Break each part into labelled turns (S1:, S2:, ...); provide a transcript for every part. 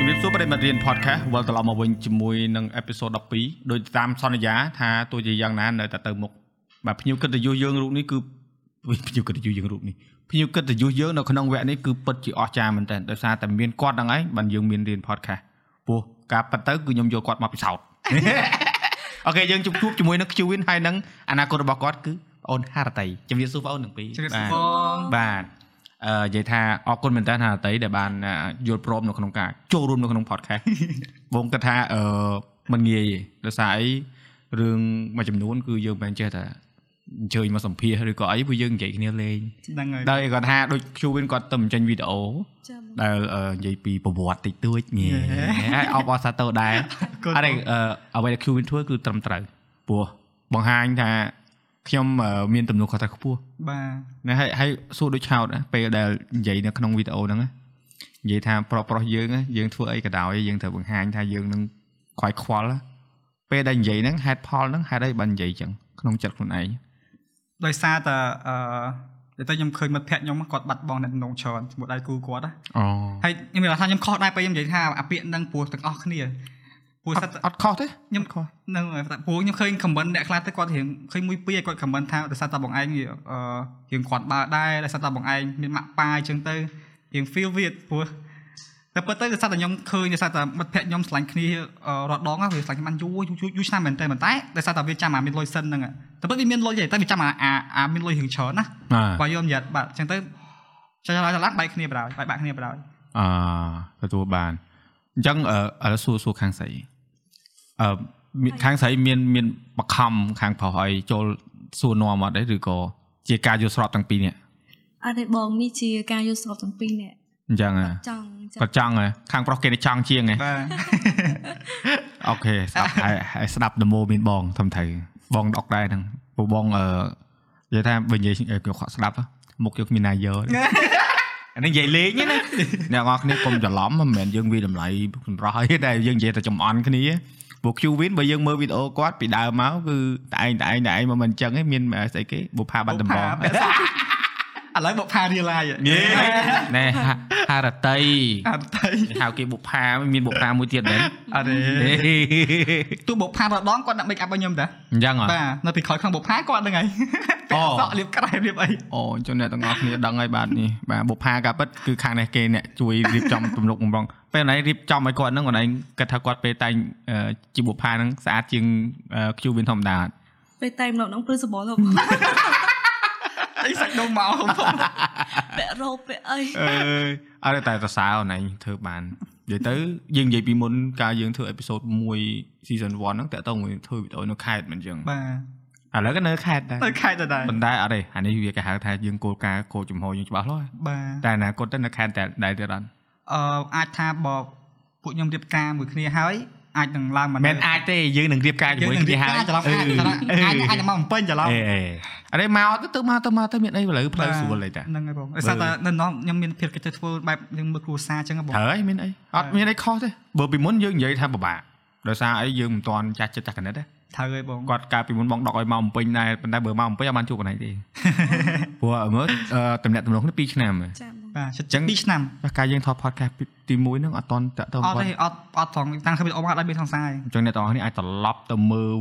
S1: រិមត្តរៀន podcast វិលត្រឡប់មកវិញជាមួយនឹង episode 12ដោយតាមសន្យាថាទោះជាយ៉ាងណានៅតែទៅមុខបាទភ្ញៀវកិត្តិយសយើងរូបនេះគឺ ភ្ញៀវកិត្តិយសយើងរូបនេះភ្ញៀវកិត្តិយសយើងនៅក្នុងវគ្គនេះគឺពិតជាអស្ចារ្យមែនទែនដោយសារតែមានគាត់ហ្នឹងឯងបានយើងមានរៀន podcast ព្រោះការប៉ັດទៅគឺខ្ញុំយកគាត់ មកពិសោធន៍ អូខេយើងជួបជួបជាមួយនឹង Qwin ហើយនឹងអនាគតរបស់គាត់គឺបងអូនហារតីជំរាបសួរបងអូនទាំងពីរ
S2: ជម្រាប
S1: បាទ
S2: សួរបង
S1: បាទអឺនិយាយថាអរគុណមែនតើថាអតីដែលបានអឺយល់ព្រមនៅក្នុងការចូលរួមនៅក្នុង podcast បងគិតថាអឺมันងាយទេដោយសារអីរឿងមួយចំនួន គឺយើងមិនចេះថាអញ្ជើញមកសម្ភាសន៍ឬក៏អីពួកយើងនិយាយគ្នាលេង
S2: ហ្នឹងហើយ
S1: ដល់ឯគាត់ថាដូច Qwin គាត់ទៅបញ្ចេញវីដេអូ
S3: ចាំ
S1: ដែលអឺនិយាយពីប្រវត្តិតិចតួចងាយហើយអបអរសាទរដែរ
S2: ក៏
S1: អរិយអឺអ្វីដែល Qwin ធ្វើគឺត្រឹមត្រូវព្រោះបង្ហាញថាខ្ញុំអឺមានទំនួលខុសត្រូវខ្ពស់
S2: បាទ
S1: ណែហើយហើយសួរដូចឆោតណាពេលដែលនិយាយនៅក្នុងវីដេអូហ្នឹងណានិយាយថាប្រុសប្រុសយើងណាយើងធ្វើអីក៏ដោយយើងត្រូវបង្ហាញថាយើងនឹងខ្វាយខ្វល់ណាពេលដែលនិយាយហ្នឹងហេតុផលហ្នឹងហេតុអីបាននិយាយចឹងក្នុងចិត្តខ្លួនឯង
S2: ដោយសារតែអឺតែខ្ញុំឃើញមិត្តភក្តិខ្ញុំគាត់បាត់បង់អ្នកដំណងច្រើនជាមួយដៃគូគាត់ណា
S1: អូ
S2: ហើយខ្ញុំមានអារម្មណ៍ថាខ្ញុំខុសដែរពេលខ្ញុំនិយាយថាអាពាក្យហ្នឹងពោះទាំងអស់គ្នាពោះ
S1: អ
S2: សិត
S1: ត់អត់ខុសទេ
S2: ខ្ញុំ
S1: អត់ខុស
S2: ហ្នឹងហើយតែព្រោះខ្ញុំឃើញ comment អ្នកខ្លះទៅគាត់រៀងឃើញមួយពីរគាត់ comment ថាដោយសារតែបងឯងអឺរៀងគាត់បើដែរដោយសារតែបងឯងមានម៉ាក់ប៉ាអញ្ចឹងទៅរៀង feel weird ព្រោះតែពិតទៅដោយសារតែខ្ញុំឃើញដោយសារតែមិត្តភក្តិខ្ញុំឆ្លាញ់គ្នាអឺរត់ដងហ្នឹងវាឆ្លាញ់គ្នាបានយូរយូរយូរយូរឆ្នាំមែនតើប៉ុន្តែដោយសារតែវាចាំអាមានលុយសិនហ្នឹងតែពិតវាមានលុយទេតែវាចាំអាអាអាមានលុយរៀងច្រើនណា
S1: បាទ
S2: បើយល់មិនយ៉ាត់បាទអញ្ចឹងទៅចង់ឡើងឡើងបែកគ្នាបណ្ដោយបែកបាក់គ្នាបណ្ដោយ
S1: អឺទទួលបានអញ្ចឹងអឺឥឡូវសួរសួរខាងស្រីអឺមានខាងស្រីមានមានបខំខាងប្រុសអីចូលសួរនាំអត់ទេឬក៏ជាការយល់ស្របទាំងពីរនេះ
S3: អត់ទេបងនេះជាការយល់ស្របទាំងពីរនាក់
S1: អញ្ចឹងណា
S3: ចង់ចា
S1: គាត់ចង់ហ៎ខាងប្រុសគេនេះចង់ជាងហ៎
S2: បាទ
S1: អូខេស្ដាប់ហើយហើយស្ដាប់ដេម៉ូមានបងធំទៅបងដកដែរហ្នឹងពូបងអឺនិយាយថាបើនិយាយឲ្យខ្ញុំខកស្ដាប់ហ៎មុខយកមានណាយកទេអានេះនិយាយលេងហ្នឹងណាអ្នកនរគ្នាកុំច្រឡំមិនមែនយើងវាយតម្លៃសម្រាប់ឲ្យតែយើងនិយាយតែចំអន់គ្នាពួក Qwin បើយើងមើលវីដេអូគាត់ពីដើមមកគឺតែឯងតែឯងតែឯងមកមិនអញ្ចឹងឯងមានស្អីគេបុប្ផាបាត់ដំ បង
S2: បុប្ផាឥឡូវបុកផារៀលឡាយ
S1: យេ ណែហារតី
S2: អត់ទៅ
S1: ហៅគេបុប្ផាមានបុប្ផាមួយទៀតមែន
S2: អត់ទេទូបុកផារដងគាត់ដាក់ make up ឲ្យខ្ញុំតា
S1: អញ្ចឹងហ៎
S2: បាទនៅពីក្រោយខាងបុកផាគាត់ ហ្នឹងហើយ
S1: អូ
S2: សក់លៀបក្រែលៀបអី
S1: អូអញ្ចឹងអ្នកទាំងអស់គ្នាដឹងហើយបាទនេះបាទបុផាកាពិតគឺខាងនេះគេអ្នកជួយរៀបចំទំនុកបំរុងពេលណៃរៀបចំឲ្យគាត់ហ្នឹងគាត់ណៃគិតថាគាត់ពេលតែងអឺជីបុផាហ្នឹងស្អាតជាងឃ្យូវិញធម្មតាអត់
S3: ពេលតែម្លប់ហ្នឹងព្រឹសសបល់លោក
S2: អីសាច់ដុំមក ខ្ញុំថា
S3: ពាក់រ៉ូបពាក់អី
S1: អឺអត់តែសរសើរណៃធ្វើបាននិយាយទៅយើងនិយាយពីមុនការយើងធ្វើអេពីសូត1 season 1ហ្នឹងតើតើមួយធ្វើវីដេអូនៅខេតមិនអញ្ចឹង
S2: បា
S1: ឥឡូវក៏នៅខេតដែរ
S2: ទទៅខែតដែរ
S1: ប៉ុន្តែអត់ទេអានេះវាគេហៅថាយើងគោលការណ៍គោលចំហរយើងច្បាស់លាស់
S2: បាទ
S1: តែអនាគតទៅនៅខេតតែដែរទៀតអត់
S2: អឺអាចថាបពួកខ្ញុំរៀបការមួយគ្នាហើយអាចនឹងឡើងមក
S1: មិនមែនអាចទេយើងនឹងរៀបការ
S2: យើ
S1: ជាមួយ
S2: ងនឹងរៀ
S1: គ្នា
S2: ប
S1: ហើ
S2: ការ
S1: យ
S2: ច្រឡំអាចច្រឡំអាចអាចនឹងមកបំពេញច្រឡំ
S1: អេអេអរេមកទៅទៅមកទៅមកទៅមានអីឥឡូវផ្លូវ
S2: បាទ
S1: ស្រួលអីតា
S2: ហ្នឹងហើយបងដោយសារតែនៅនោះខ្ញុំមានភាពកិច្ចទៅធ្វើបែបយើងមើលគ្រួសារអញ្ចឹងហ៎បង
S1: ត្រូវហើយមានអីអត់
S2: បាទ
S1: មានអីខុសទេបើពីមុនយើងនិយាយថាពិបាកដោយសារអីយើងមិនទាន់ចាស់ចិត្តចាស់កណិតទេ
S2: ត្រូវហើយបង
S1: គាត់កាលពីមុនបងដកឲ្យមកអំពេញដែរប៉ុន្តែបើមកអំពេញអត់បានជួបកណៃទេ ព្រោះមើលអឺតំណាក់តំណងនេះ2ឆ្នាំហើយចឹ
S2: បាទជិត
S3: ចាំបង
S1: ង
S2: 2ឆ្នាំ
S1: តែកាលយើងថត podcast ពីទី1ហ្នឹងអត់ទាន់តាក់ទង
S2: អត់
S1: គាត់
S2: ទេអត់អត់ផងតាំងពីអូមកអត់ដែរមានសង្សារហើយ
S1: អញ្ចឹងអ្នកទាំងអស់គ្នាអាចត្រឡប់ទៅមើល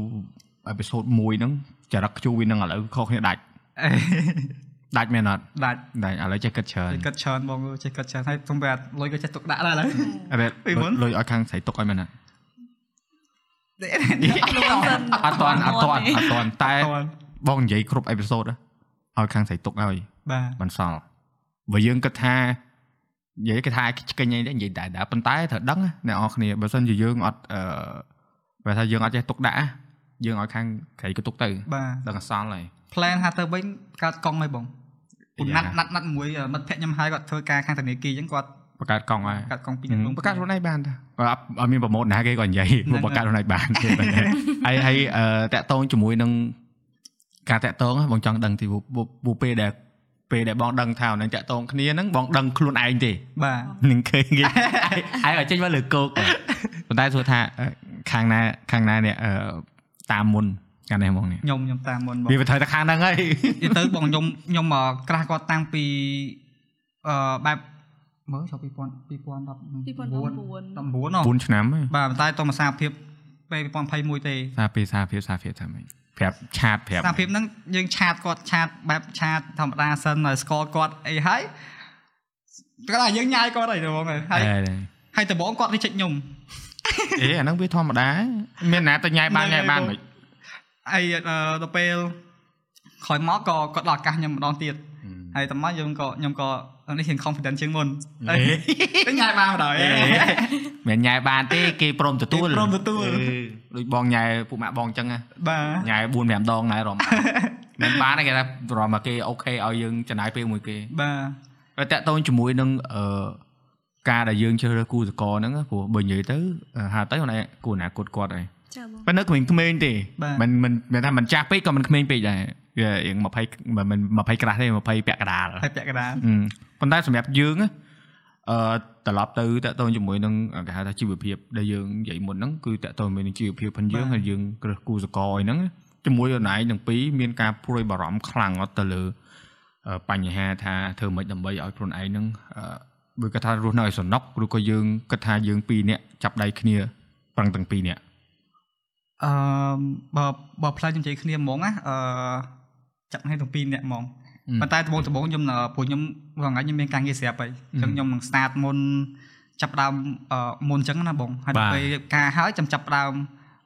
S1: អេពីសូត1ហ្នឹងចរិតខ្ជូរវាហ្នឹងឥឡូវខុសគ្នាដាច់ដាច់មែនអត់
S2: ដាច់
S1: ដាច់ឥឡូវចេះគិតច្រើន
S2: ចេះកាត់ច្រើនបងអើយចេះកាត់ច្រើនហើយខ្ញុំបែរលុយក៏ចេះទុកដាក់ដែរឡើយ
S1: អរេ
S2: ពីមុន
S1: លុយឲ្យខាងស្រីទុកឲ្យមែនអត់
S3: ខ្លួនសិន
S1: អត់តាន់អត់តាន់អត់តាន់តែ
S2: អត់
S1: បងនិយាយគ្រប់អេពីសូតឲ្យខាងស្រីទុកហើយ
S2: បាទ
S1: មិនសល់បើយើងគិតថានិយាយគេថាឆ្កេញអីដែរនិយាយដែរដែរប៉ុន្តែត្រូវដឹងណាអ្នកនរគ្នាបើសិនជាយើងអត់អឺបើថាយើងអត់ចេះទុកដាក់ណាយើងឲ្យខាងស្រីក៏ទុកទៅ
S2: បាទ
S1: ដឹងអសល់ហើយ
S2: plan ហាត់ទៅវិញកាត់កង់ឲ្យបងពុណាត់
S1: យ៉ា
S2: ណាត់ណាត់មួយអឺមិត្តភក្តិខ្ញុំហើយគាត់ធ្វើការខាងធនាគារអញ្ចឹងគាត់
S1: បង្កើតកង់ហើយ
S2: កាត់កង់ពីរ
S1: បង្កើតខ្លួនឯងបានតាគាត់អត់មានប្រម៉ូទណាគេក៏និយាយមកបង្កើតខ្លួនឯងបានទេហើយហើយអឺតាក់តងជាមួយនឹងការតាក់តងហ្នឹងបងចង់ដឹងទីព្រោះព្រោះពេលដែលពេលដែលបងដឹងថានឹងតាក់តងគ្នាហ្នឹងបងដឹងខ្លួនឯង ទេ
S2: បាទ
S1: នឹងឃើញគេហើយឲ្យចេញមកលើគោកប៉ុន្តែសួរថាអឺខាងណាខាងណាអ្នកអឺតាមមុនខាងនេះហ្មងនេះ
S2: ខ្ញុំខ្ញុំតាមមុនបង
S1: វាមិនត្រូវតែខាងហ្នឹងហើយ
S2: និយាយទៅបងខ្ញុំខ្ញុំមកក្រាស់គាត់តាំងពីអឺបែប មើលចូល2000 2019 19
S3: 2019
S2: នោះ
S1: 4ឆ្នាំហើយ
S2: បាទប៉ុន្តែតុងសារភាពពេល2021ទេ
S1: សារភាពសារភាពសារភាពថាម៉េចប្រាប់ឆាតប្រាប់
S2: សារភាពហ្នឹងយើងឆាតគាត់ឆាតបែបឆាតធម្មតាសិនហើយស្គាល់គាត់អីហើយគាត់ថាយើងញ៉ាយគាត់ហើយដបងហើយ
S1: អេ
S2: ហើយដបងគាត់រិះចិច្ចញុំ
S1: អេអាហ្នឹងវាធម្មតាមានអ្នកទៅញ៉ាយបានញ៉ាយបានមិន
S2: ហើយអឺដល់ពេលក្រោយមកក៏គាត់ដល់ឱកាសខ្ញុំម្ដងទៀតហើយតាមមកយើងក៏ខ្ញុំក៏នេះជាង confident ជាងមុនហើយទៅញ៉ាយបានបណ្ដោយ
S1: មិនញ៉ាយបានទេគេព្រមទទួល
S2: គេព្រមទទួល
S1: អេដូចបងញ៉ាយពួកម៉ាក់បងអញ្ចឹងណា
S2: បាទ
S1: ញ៉ាយ4 5ដងដែរ រំ មិនបានទេគេថារំមកគេអូខេឲ្យយើងចំណាយពេលមួយគេ
S2: បាទ
S1: តែតកតូនជាមួយនឹងអឺការដែលយើងជ្រើសរើសគូសកលហ្នឹងព្រោះបើនិយាយទៅអឺហៅទៅខ្លួនឯងគូអនាគតគាត់ឯង
S3: ចាបង
S1: ប៉ុន្តែក្មេងក្មេងៗទេមិនមិនមិនថាមិនចាស់ពេកក៏មិនក្មេងពេកដែរវារៀង20មិន20ក្រាស់ទេ20ពាក់កណ្ដាល
S2: ហើយពាក់កណ្ដាល
S1: ហឹមប៉ុន្តែសម្រាប់យើងណាអឺត្រឡប់ទៅតកតូនជាមួយនឹងគេហៅថាជីវភាពដែលយើងនិយាយមុនហ្នឹងគឺតកតូនជាមួយនឹងជីវភាពផងយើងហើយយើងគ្រឹះគូសកលអីហ្នឹងណា ជាមួយខ្លួនឯងទាំងពីរមានការព្រួយបារម្ភខ្លាំងអត់ទៅលើអឺបញ្ហាថាធ្វើម៉េចដើម្បីឲ្យខ្លួនឯងហ្នឹងអឺដូចគាត់ថារស់នៅឲ្យសំណុកឬក៏យើងគិតថាយើងពីរនាក់ចាប់ដៃគ្នាប្រឹងទាំងពីរនាក់
S2: អឺបើបើផ្លូវខ្ញុំនិយាយគ្នាហ្មងណាអឺចាប់ឲ្យទាំងពីរអ្នកហ្មងប៉ុន្តែដបងដបងខ្ញុំនៅព្រោះខ្ញុំរាល់ថ្ងៃខ្ញុំមានការងារស្រាប់ហើយអញ្ចឹងខ្ញុំនឹង start មុនចាប់ផ្ដើមអឺមុនអញ្ចឹងណាបងហើយទៅពេលរៀបការហើយចាំចាប់ផ្ដើម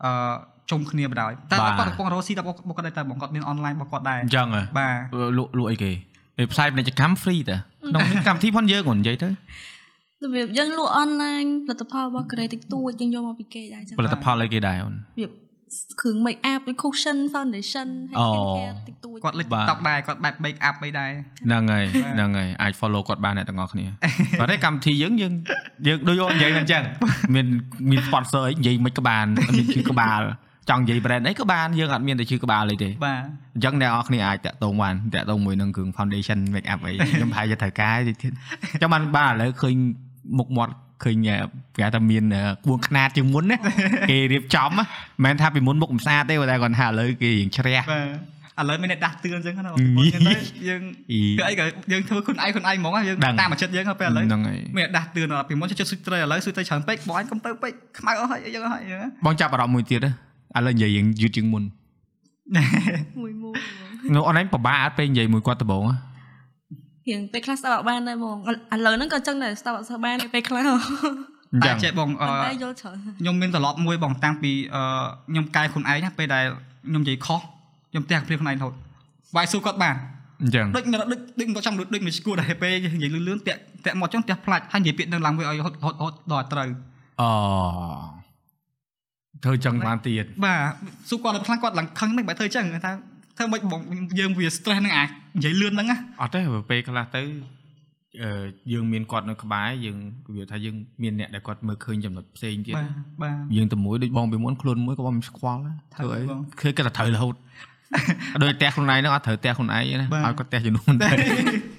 S2: អឺជុំគ្នាបណ្ដោយតែគាត់កំពុងរស់ស៊ីតែបងគាត់ដែរតែបងគាត់មាន online របស់គាត់ដែរ
S1: អញ្ចឹងហ៎
S2: បាទ
S1: លក់លក់អីគេពេលផ្សាយពាណិជ្ជកម្ម free តាក្នុង នេះកម្មវិធីផងយើងហ្នឹងនិយាយទៅ
S3: របៀបយើងលក់អនឡាញផលិតផលរបស់ Creative ទួចយើងយកមកពីគេដែរចា
S1: ផលិតផលអីគេដែរអូន
S3: របៀបគ្រឿង make up ដូច cushion foundation
S1: អូ
S3: ហើយ skincare តិចតួច
S2: គាត់លេច
S1: បាទ
S2: TikTok ដែរគាត់បែប make up អីដែរ
S1: ហ្នឹងហើយហ្នឹងហើយអាច follow គាត់បានអ្នកទាំងអស់គ្នា ប៉ុន្តែកម្មវិធីយើងយើងយើងដូចនិយាយមិនអញ្ចឹងមានមាន sponsor អីនិយាយមិនក៏បានមានឈ្មោះក្បាលចង់និយាយ brand អីក៏បានយើងអត់មានតែឈ្មោះក្បាលអីទេ
S2: បាទ
S1: អញ្ចឹងអ្នកនរគ្នាអាចតាក់ទងបានតាក់ទងមួយនឹងគ្រឿង foundation make up អី ខ្ញុំប្រហែលជាត្រូវការតិចទៀតអញ្ចឹងបានបានឥឡូវឃើញមុខមាត់ឃើញអឺគេហៅថាមានអឺក្បួនខ្នាតជាងមុនណាគេរៀបចំណាមិនមែនថាពីមុនមុខមិនស្អាតទេប៉ុន្តែគាត់ថាឥឡូវគេរៀងជ្រះ
S2: បាទឥឡូវមានអ្នកដាស់តឿនអញ្ចឹងណាបង
S1: ញី
S2: យើងទៅ
S1: អី
S2: យើងគឺអីក៏យើងធ្វើខ្លួនឯងខ្លួនឯងហ្មងណាយើង
S1: ដឹង
S2: តាមអាចិត្តយើងទៅពេលឥឡូវ
S1: ហ្នឹងហើយ
S2: មានអ្នកដាស់តឿនដល់ពីមុនចិត្តស៊ុយត្រីឥឡូវស៊ុយត្រីច្រើនពេកបងឯងកុំទៅពេកខ្មៅអស់ហើយអីយើងអស់ហើយអីហ្នឹង
S1: បងចាប់អារម្មណ៍មួយទៀតណាឥឡូវនិយាយរៀងយឺតជាងមុន
S3: មួយមួយបង
S1: នៅអនឡាញពិបាកអត់ពេលនិយាយមួយគាត់ដំបងហ៎
S3: រៀងពេលខ្លះស្ដាប់អត់បានដែរបងឥឡូវហ្នឹងក៏ចឹងដែរស្ដាប់អត់សូវបានទេពេលខ្លះ
S1: អ
S2: តែ
S1: ញ្ចឹង
S2: ចេះបងអឺ
S3: តែយល់ច្រើន
S2: ខ្ញុំមានត្រឡប់មួយបងតាំងពីអឺខ្ញុំកែខ្លួនឯងណាពេលដែលខ្ញុំនិយាយខុសខ្ញុំផ្ទះព្រៀបខ្លួនឯងរហូតវាយស៊ូគាត់បាន
S1: អញ្ចឹង
S2: ដូចមិនដឹងដូចដូចចាំដូចដូចមិនស្គាល់ដែរពេលនិយាយលឿនលឿនតាក់តាក់មកចឹងផ្ទះផ្លាច់ហើយនិយាយពាក្យនឹងឡើងវាឲ្យរហូតរហូតរហូតដល់ឲ្យត្រូវ
S1: អូធ្វើអញ្ចឹងបានទៀត
S2: បាទសួរគាត់ដល់ខ្លះគាត់ឡើងខឹងមិនបែរធ្វើចឹងគាត់ថាធ្វើមិនបងយើងវា stress ហ្នឹងអានិយាយលឿនហ្នឹងណា
S1: អត់ទេពេលខ្លះទៅអឺយើងមានគាត់នៅក្បែរយើងវាថាយើងមានអ្នកដែលគាត់មើលឃើញចំណុចផ្សេងទៀត
S2: បាទបាទ
S1: យើងទៅមួយដូចបងពីមុនខ្លួនមួយក៏បងមិនស្គាល់ដែរ
S2: ថើ
S1: ធ្វើអី
S2: បង
S1: ឃើញគាត់តែត្រូវរហូត ដោយតែខ្លួនឯងហ្នឹងអត់ត្រូវតែខ្លួនឯងទេណា
S2: បាទ
S1: ឲ្យគាត់តែជំនួសមិនទៅ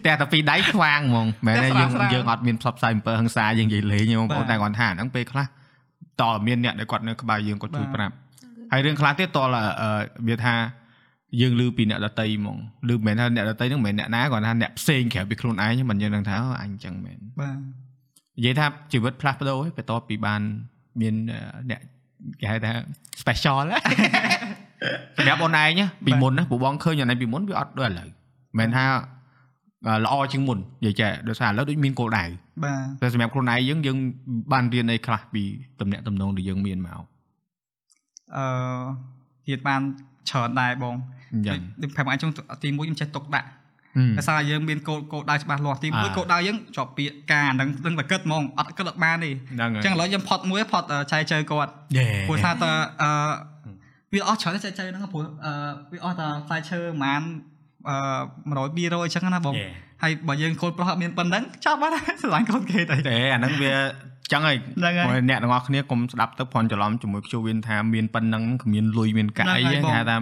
S1: តែតែពីរដៃស្វាងហ្មងមែនទេ
S2: តែ
S1: យើង
S2: ស្វាងៗ
S1: យើងអត់មានផ្សព្វផ្សាយអំពើហិង្សាយើងនិយាយលេងទេបងប្អូន
S2: បាទ
S1: តែគាត់ថាហ្នឹងពេលខ្លះតើមានអ្នកដែលគាត់នៅក្បែរយើងគាត់ជួយ
S2: បាទ
S1: ប្រាប់ ហើយរឿងខ្លះទៀតតលអឺវាថាយើងលឺពីអ្នកដតីហ្មងលឺមិនមែនថាអ្នកដតីហ្នឹងមិនមែនអ្នកណាគាត់ថាអ្នកផ្សេងក្រៅពីខ្លួនឯងហ្នឹងមិនយើងនឹងថាអូអញចឹងមែន
S2: បាទ
S1: និយាយថាជីវិតផ្លាស់ប្ដូរហើយបន្ទាប់ពីបានមានអឺអ្នកគេហៅថា special សម្រាប់អូនឯងណាពីមុនណាពួកបងឃើញអូនឯងពីមុនវាអត់ដូចឥឡូវមិនមែនថាអឺល្អជាងមុននិយាយចែដោយសារឥឡូវដូចមានគោលដៅ
S2: បាទ
S1: តែសម្រាប់ខ្លួនឯងយើងយើងបានរៀនអីខ្លះពីតំណែងតំណងដែលយើងមានមក
S2: អឺទៀតបានច្រើនដែរបង
S1: អញ្ចឹង
S2: ដូចប្រាប់អាចចុងទី1ខ្ញុំចេះទុកដាក់
S1: ហឹម
S2: ដោយសារយើងមានកោកោដៅច្បាស់លាស់ទី
S1: អា
S2: 1កោដៅយើងជាប់ពាក្យការហ្នឹងនឹងតែគិតហ្មងអត់គិតអត់បានទេ
S1: ហ្នឹងហើយ
S2: អញ្ចឹងឥឡូវយើងផត់មួយផត់ចៃជើគាត់
S1: យេ
S2: ព្រោះថាតើអឺវាអស់ច្រើនចែកចៃហ្នឹងព្រោះអឺវាអស់តែផ្លែឈើប្រហែលអឺ100 200អញ្ចឹងណាបង
S1: Yeah.
S2: ហើយបើយើងកូនប្រុសអត់មានប៉ុណ្្នឹងចប់ហើយ ណាស្រឡាញ់កូនគេតែ
S1: តែអាហ្នឹងវាចឹងហើយ
S2: ហ្នឹងហើយ
S1: បងអ្នកទាំងអស់គ្នាកុំស្ដាប់ទៅព្រន់ច្រឡំជាមួយខ្ជិលវៀនថាមានប៉ុណ្ណឹងគ្មានលុយមានកាក់អី
S2: ហ្នឹងហើយ
S1: ទេគេ
S2: បង
S1: ហៅថា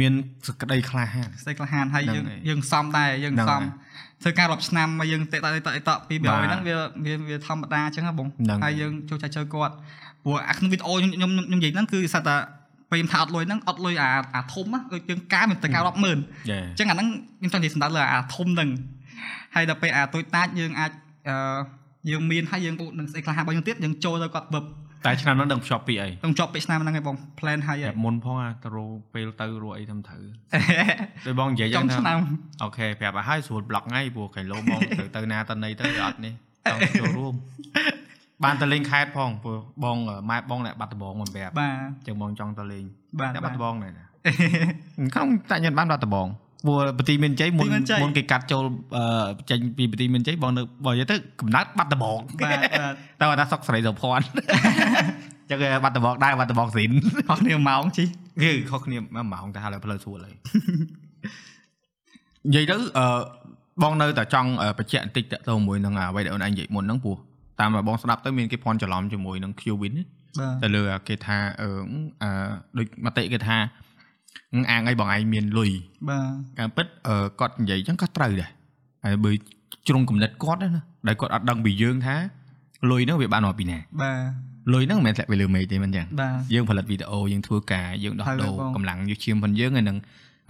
S1: មានសក្តីក្លាហាន
S2: ស្ទេក្លាហានហើយ
S1: ហ្នឹង
S2: យើង
S1: ហើយ
S2: យើងសំដែរយើង
S1: ហ្នឹងហើ
S2: សំ
S1: យ
S2: ធ្វើការរាប់ឆ្នាំមកយើងតេតតតតពី
S1: បា
S2: បើ
S1: ទ
S2: ហ្នឹងវាវាវាធម្មតាអញ្ចឹងណាបង
S1: ហ្នឹង
S2: ហើយយើងចូលចែកចូលគាត់ព្រោះអាក្នុងវីដេអូខ្ញុំខ្ញុំខ្ញុំនិយាយហ្នឹងគឺសត្វតែពេលខ្ញុំថាអត់លុយហ្នឹងអត់លុយអាអាធំណាដូចយើងការមានតែការរាប់ម៉ឺន
S1: យេ
S2: អញ្ចឹងអាហ្នឹងខ្ញុំចង់និយាយសម្ដៅលើអាធំហ្នឹងហើយដល់ពេលអាតូចតាចយើងអាចអឺ យើងមានហើយយើងពុកនឹងស្អីខ្លះរបស់យើងទៀតយើងចូលទៅគាត់វឹប
S1: តែឆ្នាំហ្នឹងដឹងភ្ជាប់ពីអី
S2: ຕ້ອງជាប់ពេកឆ្នាំហ្នឹងឯងបង plan ហើយឯ
S1: តែ
S2: ង
S1: មុនផងអាទៅរកពេលទៅរួចអីធ្វើទៅដោយបងនិយាយ
S2: ចុ
S1: យ៉ាងងថា
S2: ឆ្នាំ
S1: អូខេប្រាប់ឲ្យហើយស្រួលប្លុកថ្ងៃព្រោះកែលោបងទៅទៅណាតណីទៅវាអត់ នេះចង់ចូលរួម បានទៅលេងខេត្តផងព្រោះបងម៉ែបងអ្នកបាត់ដំបងមិនប្រាប់
S2: បាទ
S1: ចឹងបងចង់ទៅលេង
S2: បាទ
S1: អ្នកបាត់ដំបងណែណា ក្នុងតាញ៉ាំបានបាត់ដំបងព្រោះប្រទីមានជ័យមុន
S2: ប្រទីមានជ័យ
S1: មុនគេកាត់ចូលអឺចេញពីប្រទីមានជ័យបងនៅបើនិយាយទៅកំណត់បាត់ដំបង
S2: បាទបា
S1: តែគាត់
S2: ទ
S1: ថាសុកស្រីសុភ័ណ្ឌ ចឹងឯងបាត់ដំបងដែរបាត់ដំបងស៊ីន
S2: ខុសគ្នាម៉ោងជី
S1: គឺខុសគ្នាមួយម៉ោងទៅហើយផ្លូវស្រួល ហើយ និយាយទៅអឺបងនៅតែចង់អឺបញ្ជាក់បន្តិចតទៅមួយនឹងអ្វីដែលអូនឯងនិយាយមុនហ្នឹងព្រោះតាមដែលបងស្ដាប់ទៅមានគេភ័ន្តច្រឡំជាមួយនឹង Qwin
S2: បាទ
S1: ទៅលើគេថាអឺអឺដូចមតិគេថាអឺអាងអីបងឯងមានលុយ
S2: បាទ
S1: ការពិតអឺគាត់និយាយអញ្ចឹងក៏ត្រូវដែរហើយបើជ្រុងគំនិតគាត់ហ្នឹងណាដែលគាត់អត់ដឹងពីយើងថាលុយហ្នឹងវាបានមកពីណា
S2: បាទ
S1: លុយហ្នឹងមិនមែនតែវាលើមេឃទេមិនអញ្ចឹង
S2: បាទ
S1: យើងផលិតវីដេអូយើងធ្វើការយើងដោះ
S2: ហើយ
S1: ដូរ
S2: បង
S1: កម្លាំងយុឈាមផងយើងហើយនឹង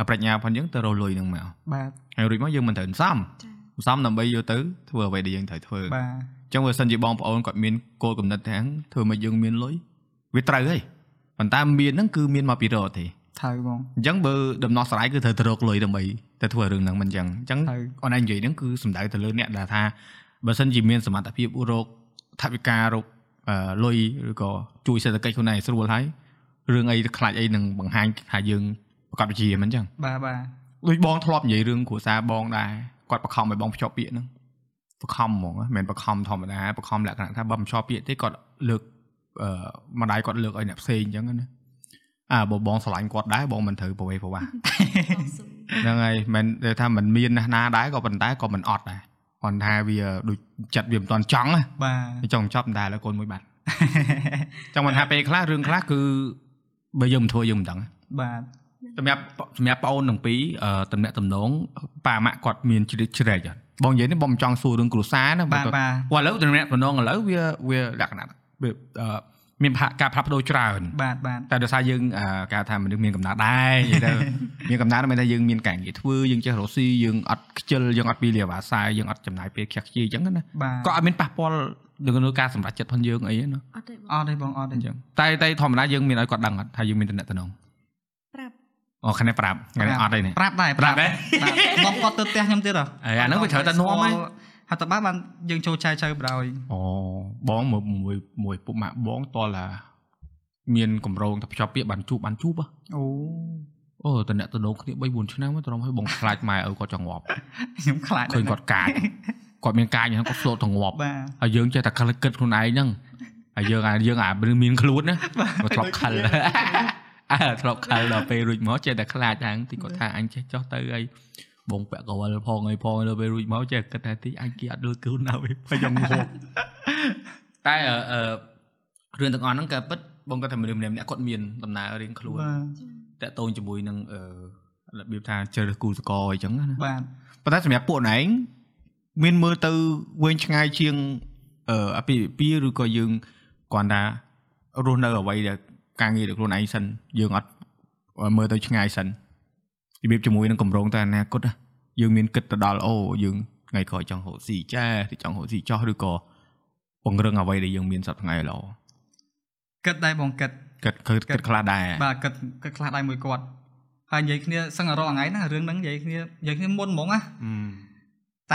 S1: ប្រាជ្ញាផងយើងទៅរកលុយហ្នឹងមក
S2: បាទ
S1: ហើយរួចមកយើងមិនត្រូវសន្សំ
S3: ចា៎
S1: សន្សំដើម្បីយកទៅធ្វើអ្វីដែលយើងត្រូវធ្វើអញ
S2: បាទ
S1: ្ចឹងបើសិនជាបងប្អូនគាត់មានគោលគំនិតថាធ្វើមកយើងមានលុយវាត្រូវហើយប៉ុន្តែមានហ្នឹងគឺមានមកពីរកទេ
S2: ថៅបង
S1: អញ្ចឹងបើដំណោះស្រាយគឺត្រូវទៅរកលុយដើម្បីទៅធ្វើរឿងហ្នឹងមិនអញ្ចឹងអញ្ចឹង
S2: ថៅ
S1: អនឡាញនិយាយហ្នឹងគឺសំដៅទៅលើអ្នកដែលថាបើសិនជាមានសមត្ថភាពរកថវិការកអឺលុយឬក៏ជួយសេដ្ឋកិច្ចខ្លួនឯងស្រួលហើយរឿងអីខ្លាចអីនឹងបង្ហាញថាយើងប្រកបវិជ្ជាមិនអញ្ចឹង
S2: បាទបាទ
S1: ដូចបងធ្លាប់និយាយរឿងគ្រួសារបងដែរគាត់បខំឲ្យបងភ្ជាប់ពាក្យហ្នឹងបខំហ្មងហ៎មិនមែនបខំធម្មតាបខំលក្ខណៈថាបើមិនភ្ជាប់ពាក្យទេគាត់លើកអឺម្ដាយគាត់លើកឲ្យអ្នកផ្សេងអញ្ចឹងណាអាបើបងស្រឡាញ់គាត់ដែរបងមិនត្រូវប្រវេប្រវាស់
S3: បងស៊ូ
S1: ហ្នឹងហើយមិនតែថាมันមានណាស់ណាដែរក៏ប៉ុន្តែក៏មិនអត់ដែរគ្រាន់ថាវាដូចចិត្តវាមិនទាន់ចង់ណា
S2: បាទ
S1: វាចង់ចប់មិនដែរលើកូនមួយបាត់ ចង់មិនថាពេលខ្លះរឿងខ្លះគឺបើយើងមិនធ្វើយើងមិនដឹង
S2: បាទ
S1: សម្រាប់សម្រាប់ប្អូនទាំងពីរអឺតំណាក់តំណងប៉ាម៉ាក់គាត់មានជ្រិតជ្រែកអត់បងនិយាយនេះបងមិនចង់សួររឿងគ្រួសារណា
S2: បាទ
S1: ព្រោះ
S2: បាទ
S1: ឥឡូវតំណាក់តំណងឥឡូវវាវាលក្ខណៈវាអឺមានផាកការផ្លាស់ប្ដូរច្រើន
S2: បាទបាទ
S1: តែដោយសារយើងអឺគេហៅថាមនុស្សមានកំណត់ដែរនិយាយទៅ មានកំណត់ហ្នឹងមានថាយើងមានការងារធ្វើយើងចេះរកស៊ីយើងអត់ខ្ជិលយើងអត់ពីលាវ៉ាសាយយើងអត់ចំណាយពេលខ្ជះខ្ជាយអញ្ចឹងណា
S2: បាទ
S1: ក៏អត់មានប៉ះពាល់នឹងក្នុងការសម្រេចចិត្តផងយើងអីណា
S3: អត់ទេបង
S2: អត់ទេបងអត់ទេ
S1: អញ្ចឹងតែតែធម្មតាយើងមានឲ្យគាត់ដឹងអត់ថាយើងមានតំណែងតំណង
S3: ប្រាប់
S1: អូខាងនេះប្រាប់ខាងនេះអត់ទេណា
S2: ប្រាប់ដែរ
S1: ប្រាប់ទេ
S2: ដែរបងគាត់ទៅផ្ទះខ្ញុំទៀតហ៎
S1: អីអាហ្នឹងវាត្រូវតែនាំហ៎
S2: ហើយតើបានយើងចូលចែកចៅបណ្ដោយ
S1: អូបងមើលមួយមួយពុកម៉ាក់បងតលថាមានកម្រងថាភ្ជាប់ពាក្យបានជួបបានជួបហ៎
S2: អូ
S1: អូតំណែងតំណងគ្នា3 4ឆ្នាំហើយត្រង់ឲ្យបងខ្លាចម៉ែឪគាត់ចង់ងាប់
S2: ខ្ញុំខ្លាច
S1: ឃើញគាត់កាចគាត់មានកាចហ្នឹងគាត់ស្លូតទៅងាប់
S2: បាទ
S1: ហើយយើងចេះតែខិលគិតខ្លួនឯងហ្នឹងហើយយើងអាយើងអារឿងមានខ្លួនណាមកធ្លាប់ខិល អើធ្លាប់ខិលដល់ពេលរួចមកចេះតែខ្លាចហ្នឹងទីគាត់ថាអញចេះចោះទៅអីបងពាក់កវលផងអីផងដល់ពេលរួចមកចេះគិតថាទីអញគេអត់លើខ្លួនណាវិញហើយយ៉ាង ហូបតែអឺអឺរឿងទាំងអស់ហ្នឹងក៏ពិតបងគាត់ថាមនុស្សម្នាក់ម្នាក់ៗគាត់មានដំណើររៀងខ្លួន
S2: បាទ
S1: តាក់ទងជាមួយនឹងអឺរបៀបថាជ្រើសគូសកលអីចឹងណា
S2: បាទ
S1: ប៉ុន្តែសម្រាប់ពួកណែងមានមើលទៅវែងឆ្ងាយជាងអឺអពីពីឬក៏យើងគ្រាន់តែរស់នៅអ្វីដែលការងាររបស់ខ្លួនឯងសិនយើងអត់មើលទៅឆ្ងាយសិនរបៀបជាមួយនឹងកម្រងទៅអនាគតណាយើងមានគិតទៅដល់អូយើងថ្ងៃក្រោយចង់រកស៊ីចាទីចង់រកស៊ីចោះឬក៏ពង្រឹងអ្វីដែលយើងមានសប្តាហ៍ថ្ងៃល្អ
S2: គិតដែរបងគិត
S1: គិតគិតគិតខ្លះដែរ
S2: បាទគិតគិតខ្លះដែរមួយគាត់ហើយនិយាយគ្នាសឹងតែរងថ្ងៃណារឿងហ្នឹងនិយាយគ្នានិយាយគ្នាមុនហ្មងណា
S1: អឺ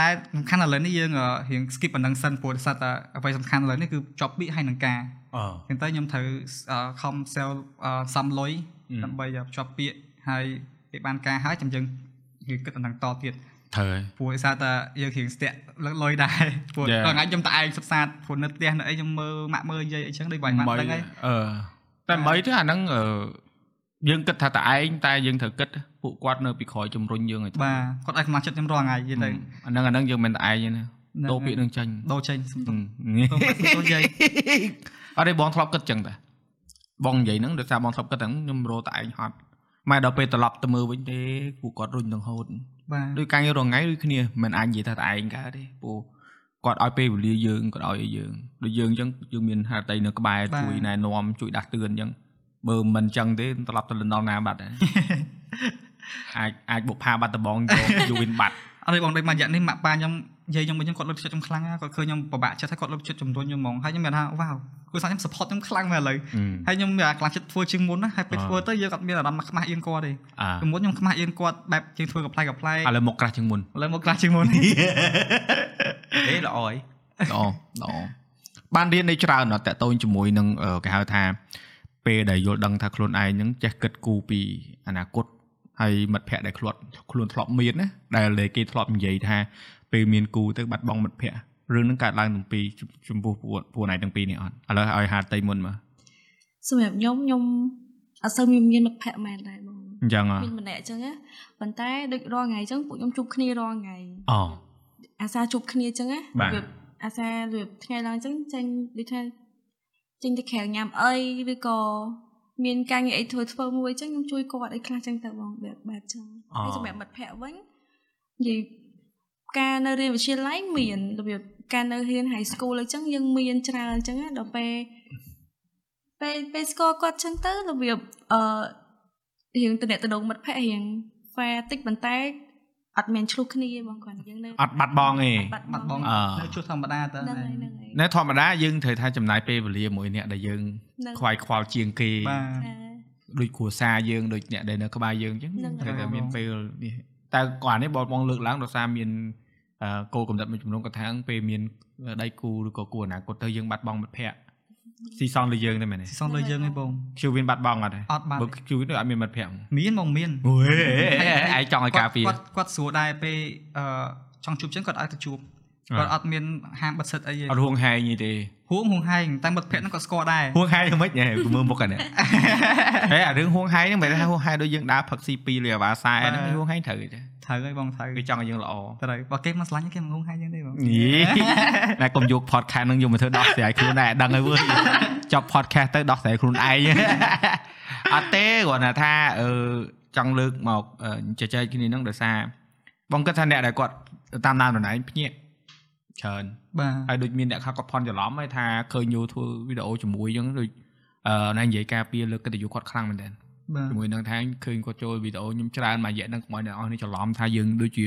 S2: តែសំខាន់ឥឡូវនេះយើងអឺរៀង skip ប៉ុណ្ណឹងសិនព្រោះដោយសារតែអ្វីសំខាន់ឥឡូវនេះគឺជាប់ពាក្យហើយនឹងការ
S1: អឺ
S2: អញ្ចឹងទៅខ្ញុំត្រូវអឺខំ sell អឺសំលុយ
S1: អឺ
S2: ដើម្បីឲ្យជាប់ពាក្យហើយពេលបានការហើយចាំយើងយើងគិតដំណឹងតទៀត
S1: ត្រូវហើយ
S2: ព្រោះដោយសារតែយើងរៀងស្ទាក់លើកលុយដែរព្រោះ
S1: Yeah.
S2: ដល់ថ្ងៃខ្ញុំតែឯងសិក្សាព្រោះនៅផ្ទះនៅអីខ្ញុំមើលម៉ាក់មើលយាយអីចឹងដូចបាយម៉ាក់ហ្នឹងហើយ
S1: អឺតែមិនទេអាហ្នឹងអឺយើងគិតថាតឯងតែយើងត្រូវគិតពួកគាត់នៅពីក្រោយជំរុញយើងឲ្យធ្វើ
S2: បាទគាត់ឲ្យកម្លាំងចិត្តខ្ញុំរងថ្ងៃយីទៅ
S1: អាហ្នឹងអាហ្នឹងយើងមិនតែឯងទេណា
S2: ហ្នឹង
S1: ដូរពាក្យនឹងចាញ់
S2: ដូរចេញ សំទុំ
S1: នេះ
S2: ដូរពាក្យដូរយាយ
S1: អត់ទេបងធ្លាប់គិតចឹងតែបងនិយាយហ្នឹងដោយសារបងធ្លាប់គិតហ្នឹងខ្ញុំរកតឯងហត់ម៉ែដល់ពេលត្រឡប់ទៅមើលវិញទេពួកគាត់រុញនឹងហូត
S2: បាទ
S1: ដោយការងាររងថ្ងៃដូចគ្នាមិនអាចនិយាយថាតឯងកើតទេពួកគាត់ឲ្យពេលវេលាយើងគាត់ឲ្យឲ្យយើងដូចយើងអញ្ចឹងយើងមានហាតីនៅក្បែរជួយណែនាំជួយដាស់តឿនអញ្ចឹងបើមិនអញ្ចឹងទេត្រឡប់ទៅលន់ដល់ណា បាត់ហើយ អាចអាចបុកផាបាត់ដបងយកយូវិនបាត់
S2: អត់ទេបងដូចមួយរយៈនេះម៉ាក់ប៉ាខ្ញុំ យាយខ្ញុំវិញខ្ញុំគាត់លើកចិត្តខ្ញុំខ្លាំងណាស់គាត់ឃើញខ្ញុំពិបាកចិត្តហើយគាត់លើកចិត្តជំរុញខ្ញុំហ្មងហើយខ្ញុំមានថាវ៉ាវគ្រួសារខ្ញុំ support ខ្ញុំខ្លាំងមែនឥឡូវហើយខ្ញុំមានអាខ្លាំងចិត្តធ្វើជាងមុនណាហើយពេលធ្វើទៅយើងអត់មានអារម្មណ៍ខ្មាស់អៀនគាត់ទេ
S1: អា
S2: ពីមុនខ្ញុំខ្មាស់អៀនគាត់បែបជាងធ្វើកំ pl ែកំ pl ែ
S1: ឥឡូវមកក្រាស់ជាងមុន
S2: ឥឡូវមកខ្លាំងជាងមុន
S4: អេល្អហើយ
S1: ល្អល្អបានរៀននៃច្រើនណាស់តកតូនជាមួយនឹងអឺគេហៅថា ពេលដែលយល់ដឹងថាខ្លួនឯងហ្នឹងចេះគិតគូរពីអនាគតហើយមិត្តភ័ក្តិដែលខ្លួនខ្លួនធ្លាប់មានណាដែលគេធ្លាប់និយាយថាពេលមានគូទៅបាត់បង់មិត្តភ័ក្តិរឿងហ្នឹងកើតឡើងទាំងពីរចំចំពោះពួកពួកឯងទាំងពីរនេះអត់ឥឡូវឲ្យហាតៃមុនមក
S3: សម្រាប់ខ្ញុំខ្ញុំអត់សូវមានមានមិត្តភ័ក្តិមែនដែរបង
S1: អញ្ចឹងអ្ហ៎
S3: មានម្នាក់អញ្ចឹងណាប៉ុន្តែដូចរាល់ថ្ងៃអញ្ចឹងពួកខ្ញុំជួបគ្នារាល់ថ្ងៃ
S1: អូ
S3: អាសាជួបគ្នាអញ្ចឹងណា
S1: បាទ
S3: របៀបអាសារបៀបថ្ងៃឡើងអញ្ចឹងចេញដូចថាចេញទៅក្រៅញ៉ាំអីឬក៏មានការងារអីធ្វើធ្វើមួយអញ្ចឹងខ្ញុំជួយគាត់អីខ្លះអញ្ចឹងទៅបងបែបបែបអញ្ចឹង
S1: អូ
S3: ហើយសម្រាប់មិត្តភ័ក្តិវិញនិយាយការនៅរៀនវិទ្យាល័យមានរបៀបការនៅរៀន high school អញ្ចឹងយើងមានច្រើនអញ្ចឹងណាដល់ពេលពេលពេលស្គាល់គាត់អញ្ចឹងទៅរបៀបអឺ រឿងតំណែងតំណងមិត្តភ័ក្តិរឿងហ្វាតិចប៉ុន្តែអត់មានឆ្លោះគ្នាទេបងគាត់យើងនៅ
S1: អត់បាត់បង់ទេ
S2: បាត់បង
S1: អឺ
S2: នៅជួសធម្មតាទៅ
S3: ហ្នឹងហើយហ្នឹងហើយ
S1: ណែធម្មតាយើងត្រូវថាចំណាយពេលវេលាមួយអ្នកដែលយើង
S3: ហ្នឹង
S1: ខ្វាយខ្វល់ជាងគេ
S2: បាទ
S1: ដូចគ្រួសារយើងដូចអ្នកដែលនៅក្បែរយើងអញ្ចឹង
S3: ហ្នឹង
S1: ត្រូវ
S2: ហើ
S1: តែ
S2: យ
S1: មានពេលនេះតែគាត់នេះបងបងលើកឡើងដោយសារមានអឺគោលកំណត់មួយចំនួនគាត់ថាពេលមានដៃគូឬក៏គូអនាគតទៅយើងបាត់បង់មិត្តភ័ក្តិស៊ីសងលើយើងតែមែនទេ
S2: ស៊ីសងលើយើងឯងបង
S1: ជឿវិញបាត់បង់អត់ទេ
S2: អត់បាត់
S1: បើជឿវិញអត់មានមិត្តភ័ក្តិហ្មង
S2: មានបងមាន
S1: អូយឯងចង់ឲ្យការពារ
S2: គាត់គាត់ស្រួលដែរពេលអឺចង់ជួបចឹងគាត់អាចទៅជួប
S1: អ่า
S2: គាត់អត់មានហាមបិទសិតអីទេ
S1: អត់ហួងហែងទេ
S2: ហួងហួងហែងតែមិត្តភក្តិហ្នឹងគាត់ស្គាល់ដែរ
S1: ហួងហែងមិនហែងគឺមើលមុខអានេះ ហេអារឿងហួងហែងហ្នឹងមិនមែនថាហួងហែងដូចយើងដើរផឹកស៊ីពីរឬអាវ៉ាសែហ្នឹងហួងហែងត្រូវទេ
S2: ត្រូវហើយបងត្រូវ
S1: គឺចង់ឲ្យយើងល្អ
S2: ត្រូវបើគេមកស្លាញ់គេមកហួងហែងចឹងទេបង
S1: យីតែកុំយក podcast ហ្នឹងយកមកធ្វើដោះស្រាយខ្លួនឯងដឹងហើយវើយចប់ podcast ទៅដោះស្រាយខ្លួនឯងអត់ទេគ្រាន់តែថាអឺចង់លើកមកអឺចែកៗគ្នាហ្នឹងដោយសារបងគិតថាអ្នកដែលគាត់តាមដានខ្លួនឯងភ្ញាក់ច្រើន
S2: បាទ
S1: ហើយដូចមានអ្នកខ្លះគាត់ផន់ច្រឡំហើយថាឃើញយូធ្វើវីដេអូជាមួយអញ្ចឹងដូចអឺណានិយាយការពារលើកកិត្តិយសគាត់ខ្លាំងមែនតើ
S2: បាទ
S1: ជាមួយនឹងថាឃើញគាត់ចូលវីដេអូខ្ញុំច្រើនមួយរយៈហ្នឹងកុំឲ្យអ្នកនរនេះច្រឡំថាយើងដូចជា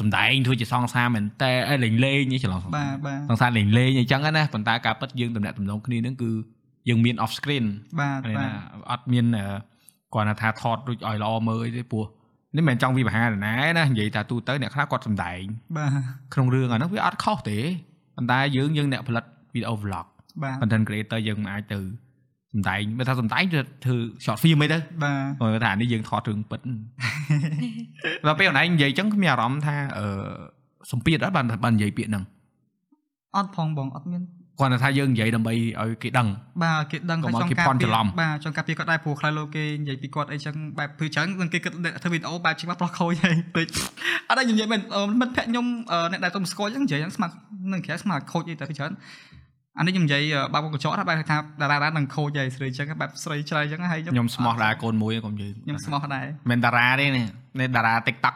S1: សំដែងធ្វើជាសងសារមែនតែអីលេងលេងនេះច្រឡំ
S2: បាទបាទ
S1: សងសារលេងលេងអញ្ចឹងណាប៉ុន្តែការពិតយើងតំណាក់តំណងគ្នាហ្នឹងគឺយើងមាន off screen
S2: បាទ
S1: នេះ
S2: បាទ
S1: ណាអត់មានអឺគាត់ថាថតរួចឲ្យល្អមើលអីទេព្រោះនេះមិនមែនចង់វិបហារណាណានិយាយថាទូទៅអ្នកខ្លះគាត់សំដែង
S2: បាទ
S1: ក្នុងរឿងអាហ្នឹងវាអត់ខុសទេប៉ុន្តែយើងយើងអ្នកផលិតវីដេអូ vlog
S2: បាទ
S1: content creator យើងមិនអាចទៅសំដែងបើថាសំដែងគឺធ្វើ short film អីទៅ
S2: បាទ
S1: គាត់ថានេះយើងថតរឿងពិត ដល់ពេលអូនឯងនិយាយអញ្ចឹងគ្មានអារម្មណ៍ថាអឺសម្ពាធអត់បានបាននិយាយពាក្យហ្នឹង
S2: អត់ផងបងអត់មាន
S1: គាត់ថាយើងនិយាយដើម្បីឲ្យគេដឹង
S2: បាទគេដឹង
S1: កុំ
S2: ថា
S1: ឲ្យ
S2: ចង់
S1: គេ
S2: ការ
S1: ភ័ន្តច្រឡំ
S2: បាទចង់ការពារគាត់ដែរព្រោះខ្លះលោកគេនិយាយពីគាត់អីចឹងបែបព្រឺចឹងនឹងគេគិតធ្វើវីដេអូបែបជាងមកប្រោះខូចហើយតិចអត់ដែរខ្ញុំនិយាយមែនអឺមិត្តភក្តិខ្ញុំអឺអ្នកដែលទុំស្គាល់ចឹងនិយាយចឹងស្មាត់នឹងក្រៅស្មាត់ខូចអីតែព្រឺចឹងអានេះខ្ញុំនិយាយអឺបែបកញ្ចក់ណាបែបថាតារាតារានឹងខូចហើយស្រីចឹងបែបស្រីឆ្លៃចឹងហើយ
S1: ខ្ញុំស្មោះដែរកូនមួយកុំនិយាយ
S2: ខ្ញុំស្មោះដែរ
S1: មិនតារាទេនេះនេះតារា TikTok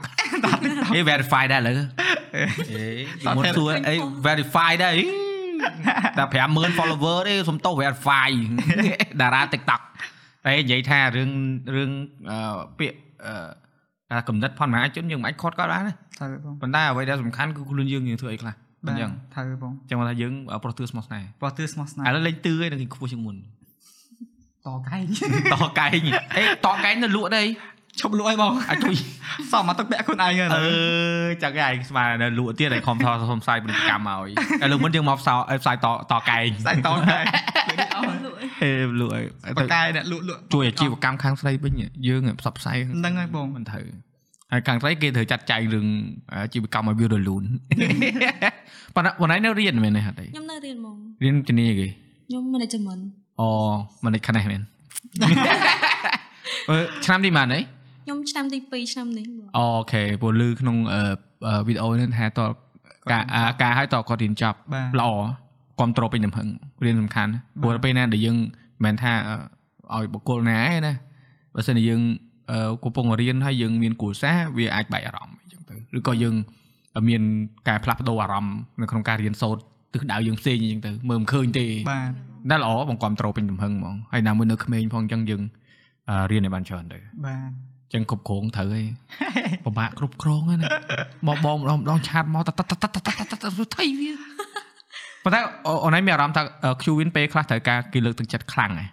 S1: ហេ verify ដែរឥឡូ
S4: អេ
S1: វពីមុនសួរអី verify ដែរអីតែ50000 follower ទេសុំទោស verify តារា TikTok តែនិយាយថារឿងរឿងអឺពាក្យអឺការកំណត់ផនមហាជនយើងមិនអាចខត់ក៏បានណា
S2: ត្រូវបង
S1: ប៉ុន្តែអ្វីដែលសំខាន់គឺខ្លួនយើងយើងធ្វើអីខ្លះអ
S2: បាទ
S1: ញ្ចឹង
S2: ត្រូវបង
S1: ចឹងគាត់ថាយើងប្រុសទឿស្មោះស្នេហ៍
S2: ព្រោះទឿស្មោះស្នេហ៍
S1: ឥឡូវលេងទឿឯងនឹងខ្ពស់ជាងមុន
S2: តកែង
S1: តកែងអេតកែងទៅលក់ដែរ
S2: ឈប់លក់ឲ្យបង
S1: អាចជួយ
S2: សមមកទឹកពាក់ខ្លួនឯង
S1: អឺ
S2: ហើយ
S1: ចាំគេឯងស្មាននៅលក់ទៀតឯងខំថតសុំផ្សាយពាណិជ្ជកម្មម កឲ្យឥឡូវមុនយើងមកផ្សាយផ្សាយតតកែង
S2: ស្អីតកែង
S3: លក់
S1: ហេលក់ឲ្យ
S2: បកកែអ្នកលក់លក់
S1: ជួយអាជីវកម្មខាងស្រីវិញយើងផ្សព្វផ្សាយ
S2: ហ្នឹងហើយបង
S1: មិនត្រូវហើយខាងស្រីគេត្រូវចាត់ចែងរឿងអាជីវកម្មឲ្យវារលូន ប៉ុន្តែ បងឯងនៅរៀនមែនទេហត់ទេ
S3: ខ្ញុំនៅរៀនហ្មង
S1: រៀនជំនាញអីគេ
S3: ខ្ញុំ management
S1: អូមិនដូចខ្នេះមែ ន អឺឆ្នាំនេះបានអី
S3: ខ្ញុំឆ្នាំទី2ឆ្នាំនេះបង
S1: អូខេពូលឺក្នុងអឺអឺវីដេអូនេះថាតើការអាការឲ្យតើគាត់រៀនចប់
S2: បាទ
S1: ល្អគ្រប់ត្រូលពេញទំហឹងរៀនសំខាន់ព្រោះដ
S2: បាទ
S1: ល់ពេលណាដែលយើងមិនមែនថាអឺឲ្យបុគ្គលណាឯណាបើសិនជាយើងអឺកំពុងរៀនហើយយើងមានគ្រួសារវាអាចបែកអារម្មណ៍អញ្ចឹងទៅឬក៏យើងមានការផ្លាស់ប្ដូរអារម្មណ៍នៅក្នុងការរៀនសូត្រទិសដៅយើងផ្សេងអញ្ចឹងទៅមើលមិនឃើញទេ
S2: បាទ
S1: ដែលល្អបងគ្រប់ត្រូលពេញទំហឹងហ្មងហើយណាមួយនៅក្មេងផងអញ្ចឹងយើងអឺរៀនឲ្យបានច្រើនទៅ
S2: បាទ
S1: ចឹងគ្រប់គ្រងត្រូវហើយពិបាកគ្រប់គ្រងហ្នឹងណាមកបងម្ដងម្ដងឆាតមកតតតតតតតតថៃវាប៉ុន្តែអូអូនឯងមានអារម្មណ៍ថាអឺ Qwin ពេលខ្លះត្រូវការគេលើកទឹកចិត្តខ្លាំងហ៎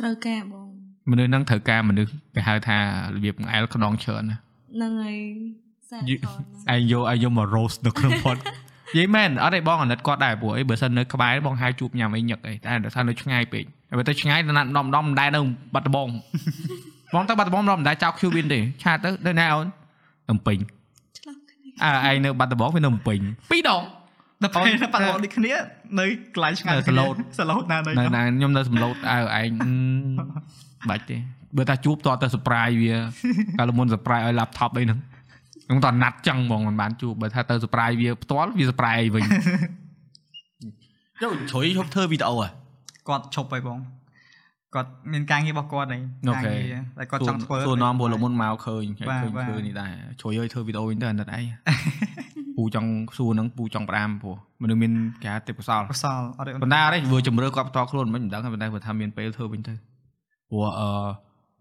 S3: ត្រូវការបង
S1: មនុស្សហ្នឹងត្រូវការមនុស្សគេហៅថារបៀបអែលខ្នងច្រើនណា
S3: ហ្នឹងហើយសារ
S1: យី
S3: ផង
S1: ឯងយកឯងយកមក roast នៅក្នុង pod និយាយមែនអត់ទេបងអាណិតគាត់ដែរព្រោះអីបើសិននៅក្បែរបងហៅជួបញ៉ាំអីញឹកអីតែដោយសារនៅឆ្ងាយពេកហើយបើទៅឆ្ងាយទៅណាត់ដំដំមិនដែរនៅបាត់ដំបងបងទៅបាត់ដំបងមិនដែរចោល Qwin ទេឆាតទៅនៅណាអូនតំពេញ
S3: ឆ្លោះគ្នា
S1: អើឯងនៅបាត់ដំបងវានៅតំពេញពីរដង
S2: ដល់ពេលប៉ាត់របស់ដូចគ្នានៅកន្លែងឆ្ងាយ
S1: នៅ Salon
S2: សឡូត ណានៅ
S1: នៅណាខ្ញុំនៅសំ ឡូតអើឯងអឺបាច់ទេបើថាជួបតោះទៅ surprise វា កាលមុន surprise ឲ្យ laptop អីហ្នឹងខ្ញុំតោះណាត់ចឹងហ្មងមិនបានជួបបើថាទៅ surprise វាផ្ទាល់វា surprise ឯងវិញ
S4: យកជ្រុយហប់ធ្វើវីដេអូហ៎
S2: គាត់ឈប់ហើយបងគាត់មានការងាររបស់គាត់ហើយ
S1: អូ
S2: ការ
S1: ខេ
S2: ងារតែគាត់ចង់ធ្វើ
S1: សួរនាំព្រោះលមុនមកឃើញហើយ
S2: បាទ
S1: ឃើញ
S2: បាទ
S1: ឃើញនេះដែរជួយឲ្យធ្វើវីដេអូ វិញទៅអាណិតឯង ពូចង់សួរហ្នឹងពូចង់ផ្ដាមព្រោះមនុស្សមានការទេពកោសល
S2: កសលអត់ទេអូ
S1: ប៉ុ
S2: ន
S1: ន្តែអត់ទេវាជំរឿគាត់ផ្ទាល់ខ្លួនមិនមិនដឹងទេប៉ុន្តែគាត់ថាមានពេលធ្វើវិញទៅព្រោះអឺ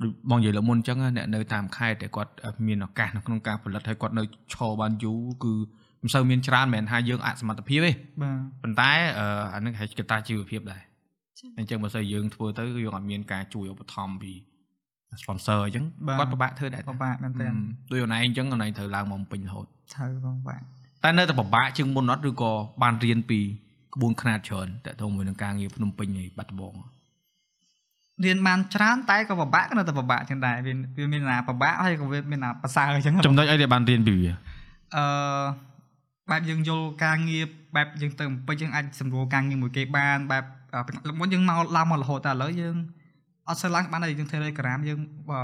S1: ដូចបងនិយាយលើកមុនអញ្ចឹងណាអ្នកនៅតាមខេត្តតែលគាត់មានឱកាសនៅក្នុងការផលិតហើយគាត់នៅឈរបានយូរគឺមិនសូវមានច្រើនមិនមែនថាយើងអសមត្ថភាពទេ
S2: បាទ
S1: ប៉ុន្តែអឺអានឹងហៅកត្តាជីវភាពដែរអញ្ចឹងបើសិនយើងធ្វើទៅគឺយើងអត់មានការជួយឧបត្ថម្ភពី sponsor អញ្ចឹងគាត់ពិបាកធ្វើដែរ
S2: ពិបាកមែនតើ
S1: ដូចអូនឯងអញ្ចឹងអូនឯងត្រូវឡើងមកពេញរហូត
S2: ឆៅបងបាទ
S1: តែនៅតែពិបាកជាងមុនអត់ឬក៏បានរៀនពីក្បួនខ្នាតច្រើនតើទៅមួយនឹងការងារភ្នំពេញហើយបាត់ដំបង
S2: រៀនបានច្រើនតែក៏ពិបាកក៏នៅតែពិបាកចឹងដែរវាវាមានអាពិបាកហើយក៏វាមានអាប្រសើរចឹង
S1: ចំណុចអីដែលបានរៀនពីវា
S2: អឺបែបយើងយល់ការងារបែបយើងទៅអំពេចយើងអាចសម្រួលការងារមួយគេបានបែបអឺពីមុនយើងមកឡើងមករហូតតែឥឡូវយើងអត់សូវឡើងបានទេយើង Telegram យើងបើ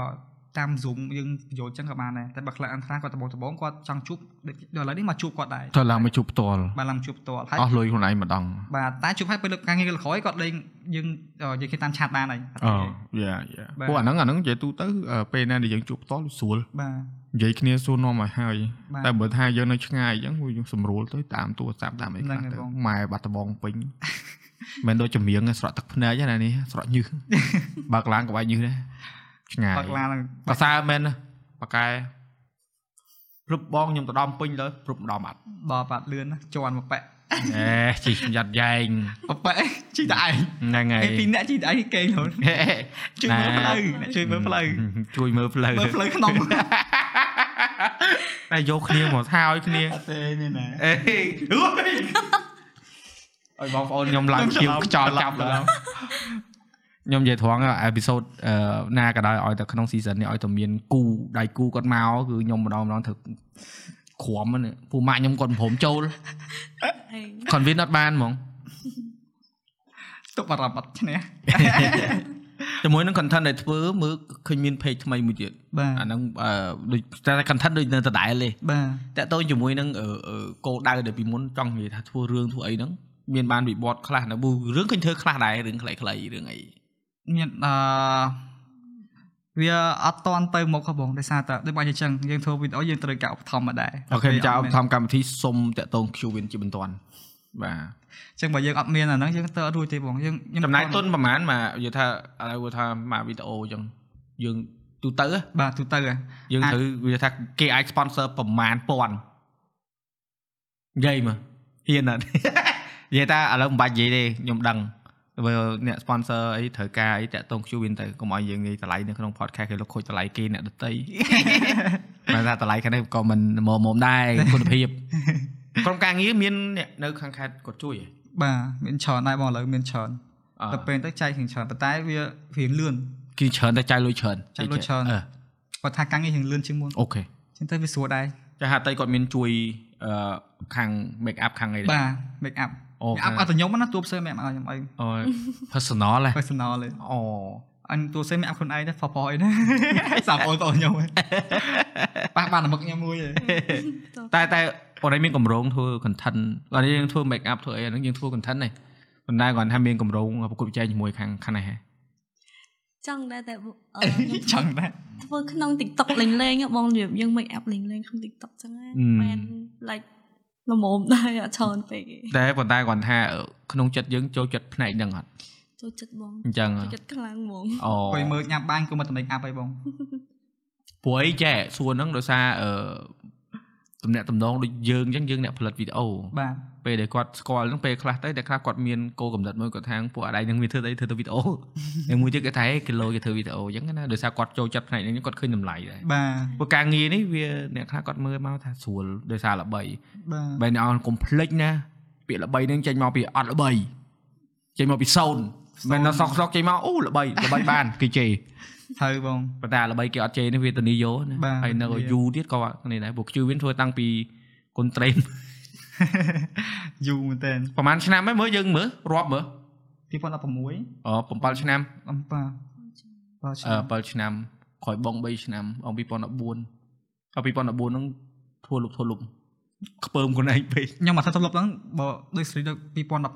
S2: តាម Zoom យើងបញ្ចូលចឹងក៏បានដែរតែបើខ្លះអានខ្លះគាត់ដំបងដំបងគាត់ចង់ជួបដូចដល់ឥឡូវនេះមកជួបគាត់ដែរ
S1: ទៅឡើងមកជួបផ្ទាល់
S2: បានឡើងជួបផ្ទាល់ហើយ
S1: អស់លុយខ្លួនឯងម្ដង
S2: បាទតែជួបហើយពេលលើកការងារលើក្រោយគាត់លេងយើងអឺនិយាយគេតាមឆាតបានហើយ
S1: អូយ៉ាយ៉ា
S2: បាទ
S1: ព្រោះអាហ្នឹងអាហ្នឹងនិយាយទូទៅអឺពេលណាដែលយើងជួបផ្ទាល់ស្រួល
S2: បាទ
S1: និយាយគ្នាសួរនាំឲ្យហើយ
S2: បាទ
S1: តែបើថាយើងនៅឆ្ងាយអញ្ចឹងវាយើងសម្រួលទៅតាមទូរស័ព្ទតាមអីខ្លះ
S2: ហ្នឹងហើយ
S1: ទៅ
S2: បង
S1: ម៉ែបាត់ដំបង ពេញ មិនដូចចម្រៀងស្រក់ទឹកភ្នែកណានេះស្រក់ញើ ស បើកឡានក៏បាច់ញើសដែរឆ្ងាយ
S2: បាក់ឡាន
S1: ប្រសើរមែនណាប៉ាកែព្រឹបបងខ្ញុំទៅដំពេញលើព្រឹបម្ដងអត់
S2: បបបាត់លឿនណាជន់មកប៉ែ
S1: អេជីយ៉ាត់យ៉ែង
S2: មក ប៉ែជីតែឯង
S1: ហ្នឹងហើយ
S2: ឯងពីរអ្នកជីតែឯងគេងហ្នឹងជួយមើលផ្លូវ
S1: ជួយមើ
S2: អ្នកជួយមើលផ្លូវ
S1: លផ្លូវ
S2: មើលផ្លូវក្នុង
S1: តែយកគ្នាមកថាឲ្យគ្នា
S2: ទេនេះណា
S1: អេឲ្យបងប្អូនខ្ញុំឡើងឈាមខ្យល់ចាប់ឡើងខ្ញុំនិយាយត្រង់អេពីសូតណាក៏ដោយឲ្យតែក្នុង season នេះឲ្យតែមានគូដៃគូគាត់មកគឺខ្ញុំម្ដងម្ដងធ្វើ ក្រំហ្នឹងពូម៉ាក់ខ្ញុំគាត់មិនព្រមចូល
S3: ហេ
S1: convince អត់បានហ្មង
S2: ស្ទប់អារម្មណ៍អត់ឈ្នះ
S1: ជាមួយនឹង content ដែលធ្វើមើលឃើញមាន page ថ្មីមួយទៀត
S2: បាទ
S1: អាហ្នឹងអឺដូចតែ content ដូចនៅដដែលទេ
S2: បាទ
S1: តាក់ទងជាមួយនឹងអឺអឺគោលដៅដែលពីមុនចង់និយាយថាធ្វើរឿងធ្វើអីហ្នឹងមានបានវិវត្តខ្លះនៅរឿងឃើញធ្វើខ្លះដែររឿងខ្លីៗរឿងអី
S2: មានអឺវាអត់តន់ទៅមុខហ៎បងដោយសារតែដូចបងនិយាយចឹងយើងធ្វើវីដេអូយើងត្រូវការឧបត្ថម្ភមកដែរ
S1: អូខេចៅធ្វើកម្មវិធីសុំតាក់ទង Qwin ជាបន្ទាន់បាទ
S2: ចឹងបើយើងអត់មានអាហ្នឹងយើងទៅអត់រួចទេបងយើងខ្ញុំ
S1: ចំណាយទុនប្រហែលមកនិយាយថាឥឡូវគាត់ថាមកវីដេអូអញ្ចឹងយើងទូទៅហ៎
S2: បាទទូទៅហ៎
S1: យើង
S2: អាច
S1: ត្រូវវាថាគេអាច sponsor ប្រមាណពាន់និយាយមកហ៊ានអត់ និយាយថាឥឡូវមិនបាច់និយាយទេខ្ញុំដឹងបើអ្នក sponsor អីត្រូវការអីតាក់ទង Qwin ទៅកុំឲ្យយើងនិយាយតម្លៃនៅក្នុង podcast គេលោកខូចតម្លៃគេអ្នកដ តី បើថាតម្លៃខាងនេះក៏មិនមកមុំដែរគុណ ភាពក្រុមការងារមានអ្នកនៅខាងខេត្តគាត់ជួយហ៎
S2: បាទមានច្រើនដែរបងឥឡូវមានច្រើន
S1: អឺ
S2: តែពេលទៅចែករៀងច្រើនប៉ុន្តែវារៀងលឿន
S1: គេច្រើនតែចាយលុយច្រើន
S2: ចាយលុយច្រើន
S1: អឺ
S2: គាត់ថាការងាររៀងលឿនជាងមុន
S1: អូខេ
S2: ចឹងទៅវាស្រួលដែរ
S1: ចាហាតៃគាត់មានជួយអឺខាង make up ខាងអីដែរ
S2: បាទ make up
S1: អូខេ
S2: make up អត់តែខ្ញុំណាតួផ្សេង make up ឲ្យខ្ញុំអី
S1: អូ personal ហ៎
S2: personal លេ
S1: អូ
S2: អញតួផ្សេង make up ខ្លួនឯងដែរផផអីណា សាប់អូនបងខ្ញុំហ៎ប៉ះបានតែមុខខ្ញុំមួយ ហ៎
S1: តែតែបងឯងមានកម្រងធ្វើ content ឥឡូវយើងធ្វើ make up ធ្វើអីអាហ្នឹងយើងធ្វើ content នេះប៉ុន្តែគ្រាន់ថាមានកម្រងប្រកួតប្រជែងជាមួយខាងខាងនេះហ៎
S3: ចង់ដែរតែបងអឺ
S2: ចង់ដែរ
S3: ធ្វើក្នុង TikTok លេងលេងៗហ៎បងរៀបយើង make up លេងលេងៗក្នុង TikTok ចឹងណាមែន like ល្មមដែរអត់ច្រើនពេកទេ
S1: តែប៉ុន្តែគ្រាន់ថាក្នុងចិត្តយើងចូលចិត្តផ្នែកហ្នឹងអត់
S3: ចូលចិត្តបង
S1: អញ្ចឹង
S3: ចូលចិត្តខ្លាំងហ្មង
S1: អូ
S2: ពេលមើលញ៉ាំបាញ់ក៏មកតែ make up អីបង
S1: ព្រោះអីចេះសួរហ្នឹងដោយសារអឺតំណាក់តំណងដូចយើងអញ្ចឹងយើងអ្នកផលិតវីដេអូ
S2: បាទ
S1: ពេលដែលគាត់ស្គាល់ហ្នឹងពេលខ្លះទៅតែខ្លះគាត់មានគោលកំណត់មួយគាត់ថាពួកអាដៃហ្នឹងវាធ្វើអីធ្វើទៅវីដេអូ ហើយមួយទៀតគាត់ថាឯងគីឡូគេធ្វើវីដេអូអញ្ចឹងណាដោយសារគាត់ចូលចិត្តផ្នែកហ្នឹងគាត់ឃើញតម្លៃដែរ
S2: បាទ
S1: ព្រោះការងារនេះវាអ្នកខ្លះគាត់មើលមកថាស្រួលដោយសារល្បី
S2: បាទ
S1: បែរអ្នកអង្គកុំភ្លេចណាពាក្យល្បីហ្នឹងចេញមកពីអត់ល្បីចេញមកពីសូន្យមិនដល់សោកសោកចេញមកអូល្បីល្បីបានគេជេរ
S2: ត្រូវបង
S1: ប៉ុន្តែល្បីគេអត់ជេរនេះវាតនីយោណា
S2: បាទ
S1: ហើយនៅ
S2: វា
S1: យូរទៀតក៏នេះដែរពួកខ្ជិវវិញធ្វើតាំងពីគុនត្រេន
S2: យូរមែនតើ
S1: ប្រហែលឆ្នាំហ្នឹងមើលយើងមើលរាប់មើល
S2: 2016
S1: អូ7ឆ្នាំ
S2: អំប៉ាបាទ
S1: អឺ7ឆ្នាំក្រោយបង3ឆ្នាំអង2014អង2014ហ្នឹងធ្វើលុបធ្វើលុបខ្ពើមខ្លួនឯងពេក
S2: ខ្ញុំមកធ្វើទម្លាប់ហ្នឹងបើដូចស្រីដូច2015 14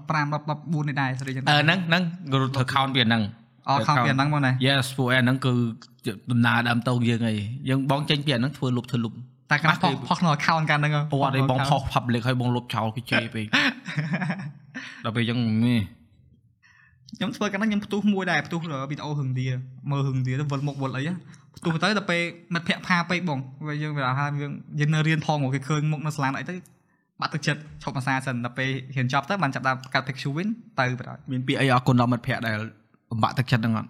S2: នេះដែរស្រីចឹង
S1: អឺហ្នឹងហ្នឹងរត់ធ្វើខោនវាហ្នឹង
S2: អត់ខំពីអាហ្នឹងមកណា
S1: Yes ពួកអាហ្នឹងគឺជាដំណើរដើមតោងយើងអីយើងបងចេញពីអាហ្នឹងធ្វើលុបធ្វើលុប
S2: តែកាលផុសផុសក្នុង account កាលហ្នឹង
S1: ពួកអត់ឲ្យបងផុស public ឲ្យបងលុបចោលគេជេរពេក ដល់ពេលយើងនេះ
S2: ខ្ញុំធ្វើកាលហ្នឹងខ្ញុំផ្ទុះមួយដែរផ្ទុះវីដេអូហឹងឌីមើលហឹងឌីទៅវល់មុខវល់អីផ្ទុះទៅដល់ពេលមិត្តភក្តិផាពេកបងវាយើងវាថាយើងយើង នៅរៀនផងមកគេឃើញមុខនៅសាលាអីទៅបាត់ទឹកចិត្តឈប់អាសាសិនដល់ពេលហ៊ានចប់ទៅបានចាប់ដល់កាត់ picture វិញទៅបាត់ហើយ
S1: មានពាក្យអីអរគុណដល់មិត្តភក្តិដែលបំបាក់ទឹកចិត្តហ្នឹងអត់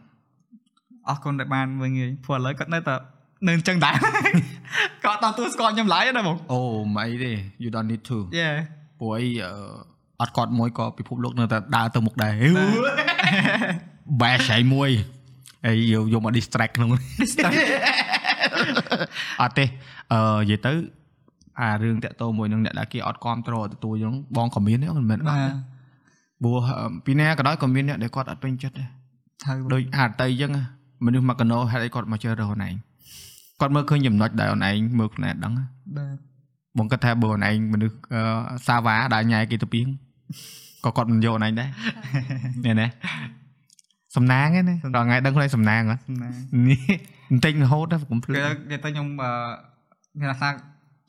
S2: អរគុណដែលបានមើលងាយព្រោះឥឡូវគាត់នៅតែនៅអញ្ចឹងដែរ គាត់អត់តទួស្គាល់ខ្ញុំឡើយណាបង
S1: អូមិនអីទេ you don't need to
S2: យេ
S1: ពួកអីអឺអត់គាត់មួយក៏ពិភពលោកនៅតែដើរទៅមុខដែរ បែរឆៃមួយអីយកយកមក distract ក្នុង អត់ទេអឺនិយាយទៅអារឿងតាក់ទោមួយនឹងអ្នកដែលគេអត់គ្រប់គ្រងទទួលហ្នឹងបងក៏មានដែរមិនមែនអត់
S2: បា
S1: ទេ
S2: ទ
S1: ព្រោះអឺពីណាក៏ដោយក៏មានអ្នកដែលគាត់អត់ពេញចិត្តដែរ
S2: ត្រូវ
S1: ដូចអាតីអញ្ចឹងណាមនុស្សមកកណោហេតុអីគាត់មកជិះរើសខ្លួនឯងគាត់មើលឃើញចំណុចដែលខ្លួនឯងមើលខ្លួនឯងដឹងណា
S2: បាទ
S1: បងគាត់ថាបើខ្លួនឯងមនុស្សអឺសាវ៉ាដែលញ៉ែគេទៅពីងក៏គាត់មិនយកខ្លួនឯង ដែរនេះណាសំណាងហ្នឹងណាដល់ថ្ងៃដឹងខ្លួនឯងសំណាង ហ៎
S2: សំណាង
S1: នេះបន្តិចរហូតដល់កុំភ្លេ
S2: គេ
S1: ច
S2: គេទៅខ្ញុំអឺគេថា